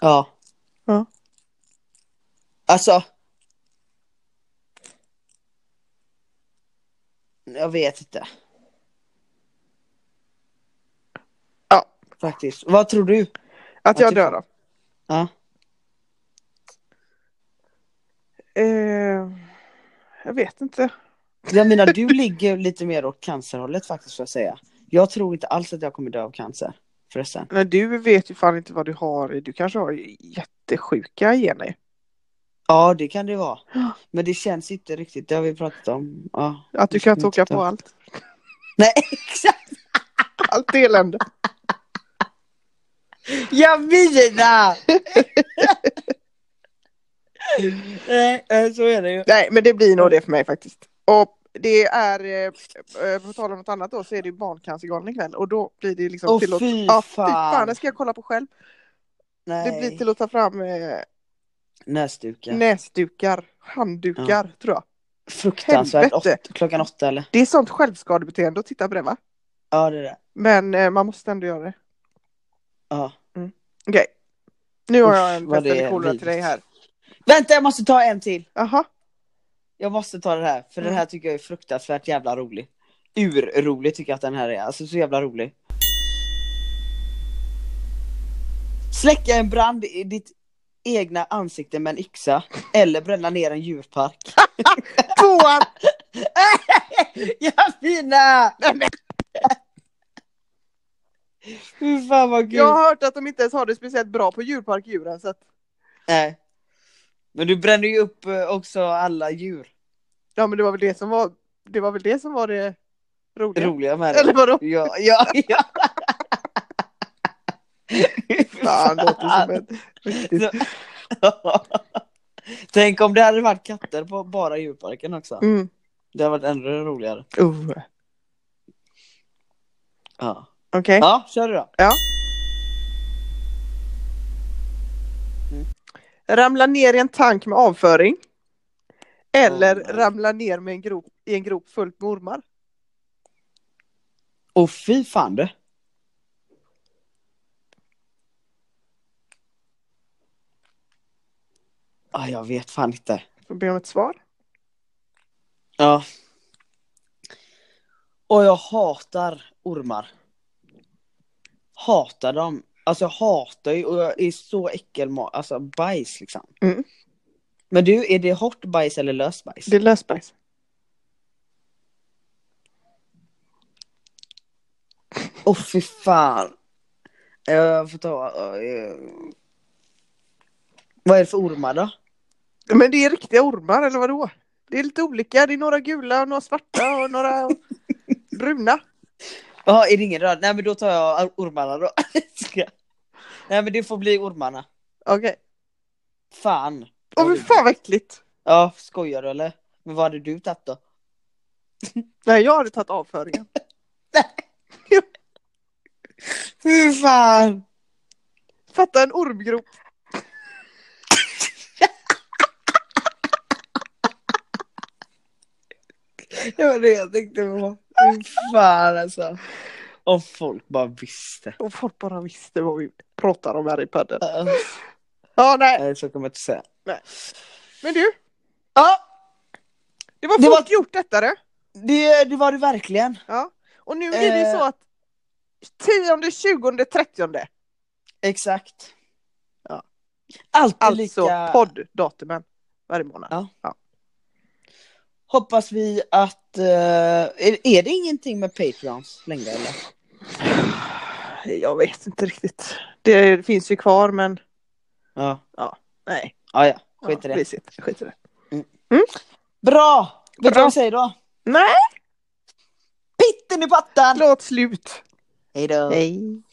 Speaker 2: Ja.
Speaker 1: Ja.
Speaker 2: Alltså. Jag vet inte.
Speaker 1: Ja.
Speaker 2: Faktiskt. Vad tror du?
Speaker 1: Att jag
Speaker 2: tycker-
Speaker 1: dör då?
Speaker 2: Ja.
Speaker 1: Eh, jag vet inte.
Speaker 2: Jag menar, du ligger lite mer åt cancerhållet faktiskt får jag säga. Jag tror inte alls att jag kommer dö av cancer. Förresten.
Speaker 1: Men du vet ju fan inte vad du har. i- Du kanske har jättesjuka gener.
Speaker 2: Ja, det kan det vara.
Speaker 1: Ja.
Speaker 2: Men det känns inte riktigt, det har vi pratat om. Ja.
Speaker 1: Att du
Speaker 2: Jag
Speaker 1: kan
Speaker 2: vet
Speaker 1: åka
Speaker 2: inte.
Speaker 1: på allt.
Speaker 2: Nej, exakt!
Speaker 1: Allt elände.
Speaker 2: Jag menar! Nej, eh, så är det ju.
Speaker 1: Nej, men det blir nog det för mig faktiskt. Och det är, eh, eh, på tal om något annat då, så är det ju Barncancergalan ikväll. Och då blir det liksom
Speaker 2: Åh
Speaker 1: tillåtet.
Speaker 2: fy
Speaker 1: Ja, fy fan, det
Speaker 2: fan!
Speaker 1: ska jag kolla på själv.
Speaker 2: Nej.
Speaker 1: Det blir till att ta fram eh,
Speaker 2: Näsdukar.
Speaker 1: näsdukar, handdukar tror jag.
Speaker 2: Fruktansvärt.
Speaker 1: Helvete.
Speaker 2: Åt, klockan åtta eller?
Speaker 1: Det är sånt självskadebeteende att titta på det va?
Speaker 2: Ja, det är det.
Speaker 1: Men eh, man måste ändå göra det.
Speaker 2: Ja.
Speaker 1: Okej. Nu har
Speaker 2: Usch,
Speaker 1: jag en
Speaker 2: vad
Speaker 1: pest
Speaker 2: det
Speaker 1: eller
Speaker 2: är
Speaker 1: kolera till
Speaker 2: vidrigt.
Speaker 1: dig här.
Speaker 2: Vänta, jag måste ta en till!
Speaker 1: Jaha,
Speaker 2: Jag måste ta den här, för den här tycker jag är fruktansvärt jävla rolig. Urrolig tycker jag att den här är, alltså så jävla rolig. Släcka en brand i ditt egna ansikte med en yxa, eller bränna ner en djurpark.
Speaker 1: tvåan!
Speaker 2: jag fina! Fy fan vad kul!
Speaker 1: Jag har hört att de inte ens har det speciellt bra på djurparkdjuren så att
Speaker 2: Nej. Men du bränner ju upp eh, också alla djur.
Speaker 1: Ja men det var väl det som var det, var väl det, som var det roliga.
Speaker 2: Roliga med det.
Speaker 1: Eller vadå?
Speaker 2: Ja, ja, ja.
Speaker 1: Fan, det låter som ett riktigt...
Speaker 2: Tänk om det hade varit katter på bara djurparken också.
Speaker 1: Mm.
Speaker 2: Det hade varit ännu roligare.
Speaker 1: Uh.
Speaker 2: Ja,
Speaker 1: Okej.
Speaker 2: ja kör du då.
Speaker 1: Ramla ner i en tank med avföring. Eller
Speaker 2: Oh, nej.
Speaker 1: ramla ner med en grop, i en grop fullt med ormar.
Speaker 2: Åh fy fan du. Ah, jag vet fan inte.
Speaker 1: Får be om ett svar.
Speaker 2: Ja. Och jag hatar ormar. Hatar dem. Alltså jag hatar ju och jag är så äckelma, alltså bajs liksom.
Speaker 1: Mm.
Speaker 2: Men du, är det hårt bajs eller löst bajs?
Speaker 1: är lösbajs.
Speaker 2: Åh fy fan. Jag får ta... eh, Vad är det för ormar då?
Speaker 1: Men det är riktiga ormar eller vadå? Det är lite olika. Det är några gula och några svarta och några bruna.
Speaker 2: Jaha, är det ingen röd? Nej men då tar jag ormarna då. Ska- Nej men det får bli ormarna.
Speaker 1: Okej.
Speaker 2: Fan.
Speaker 1: Åh fy fan vad äckligt.
Speaker 2: Ja, skojar du eller? Men vad hade du tagit då?
Speaker 1: Nej jag hade tagit avföringen.
Speaker 2: Fy fan!
Speaker 1: Fatta en ormgrop.
Speaker 2: Det var det jag tänkte på. Fy fan alltså. Om folk bara visste.
Speaker 1: Om folk bara visste vad vi pratar om här i podden.
Speaker 2: Ja,
Speaker 1: Ja nej.
Speaker 2: Nej, så kommer jag inte säga.
Speaker 1: Men du.
Speaker 2: Ja,
Speaker 1: Det var
Speaker 2: Det var-
Speaker 1: fort gjort detta du.
Speaker 2: det, det var det verkligen.
Speaker 1: Ja. Och nu är det
Speaker 2: Eh.
Speaker 1: så att 10, 20, 30
Speaker 2: Exakt.
Speaker 1: Ja.
Speaker 2: Alltid
Speaker 1: Alltså
Speaker 2: lika.
Speaker 1: podddatumen varje månad.
Speaker 2: Ja. Hoppas vi att... eh, är, är det ingenting med Patreons längre eller?
Speaker 1: Jag vet inte riktigt. Det finns ju kvar men
Speaker 2: Ja.
Speaker 1: nej.
Speaker 2: Ja, ja. Skit i
Speaker 1: ja,
Speaker 2: det.
Speaker 1: Skit, skit i det.
Speaker 2: Bra! Vet du
Speaker 1: Bra.
Speaker 2: vad jag säger då?
Speaker 1: Nej,
Speaker 2: Pitten i pattan!
Speaker 1: låt slut.
Speaker 2: Hej då!
Speaker 1: Hej.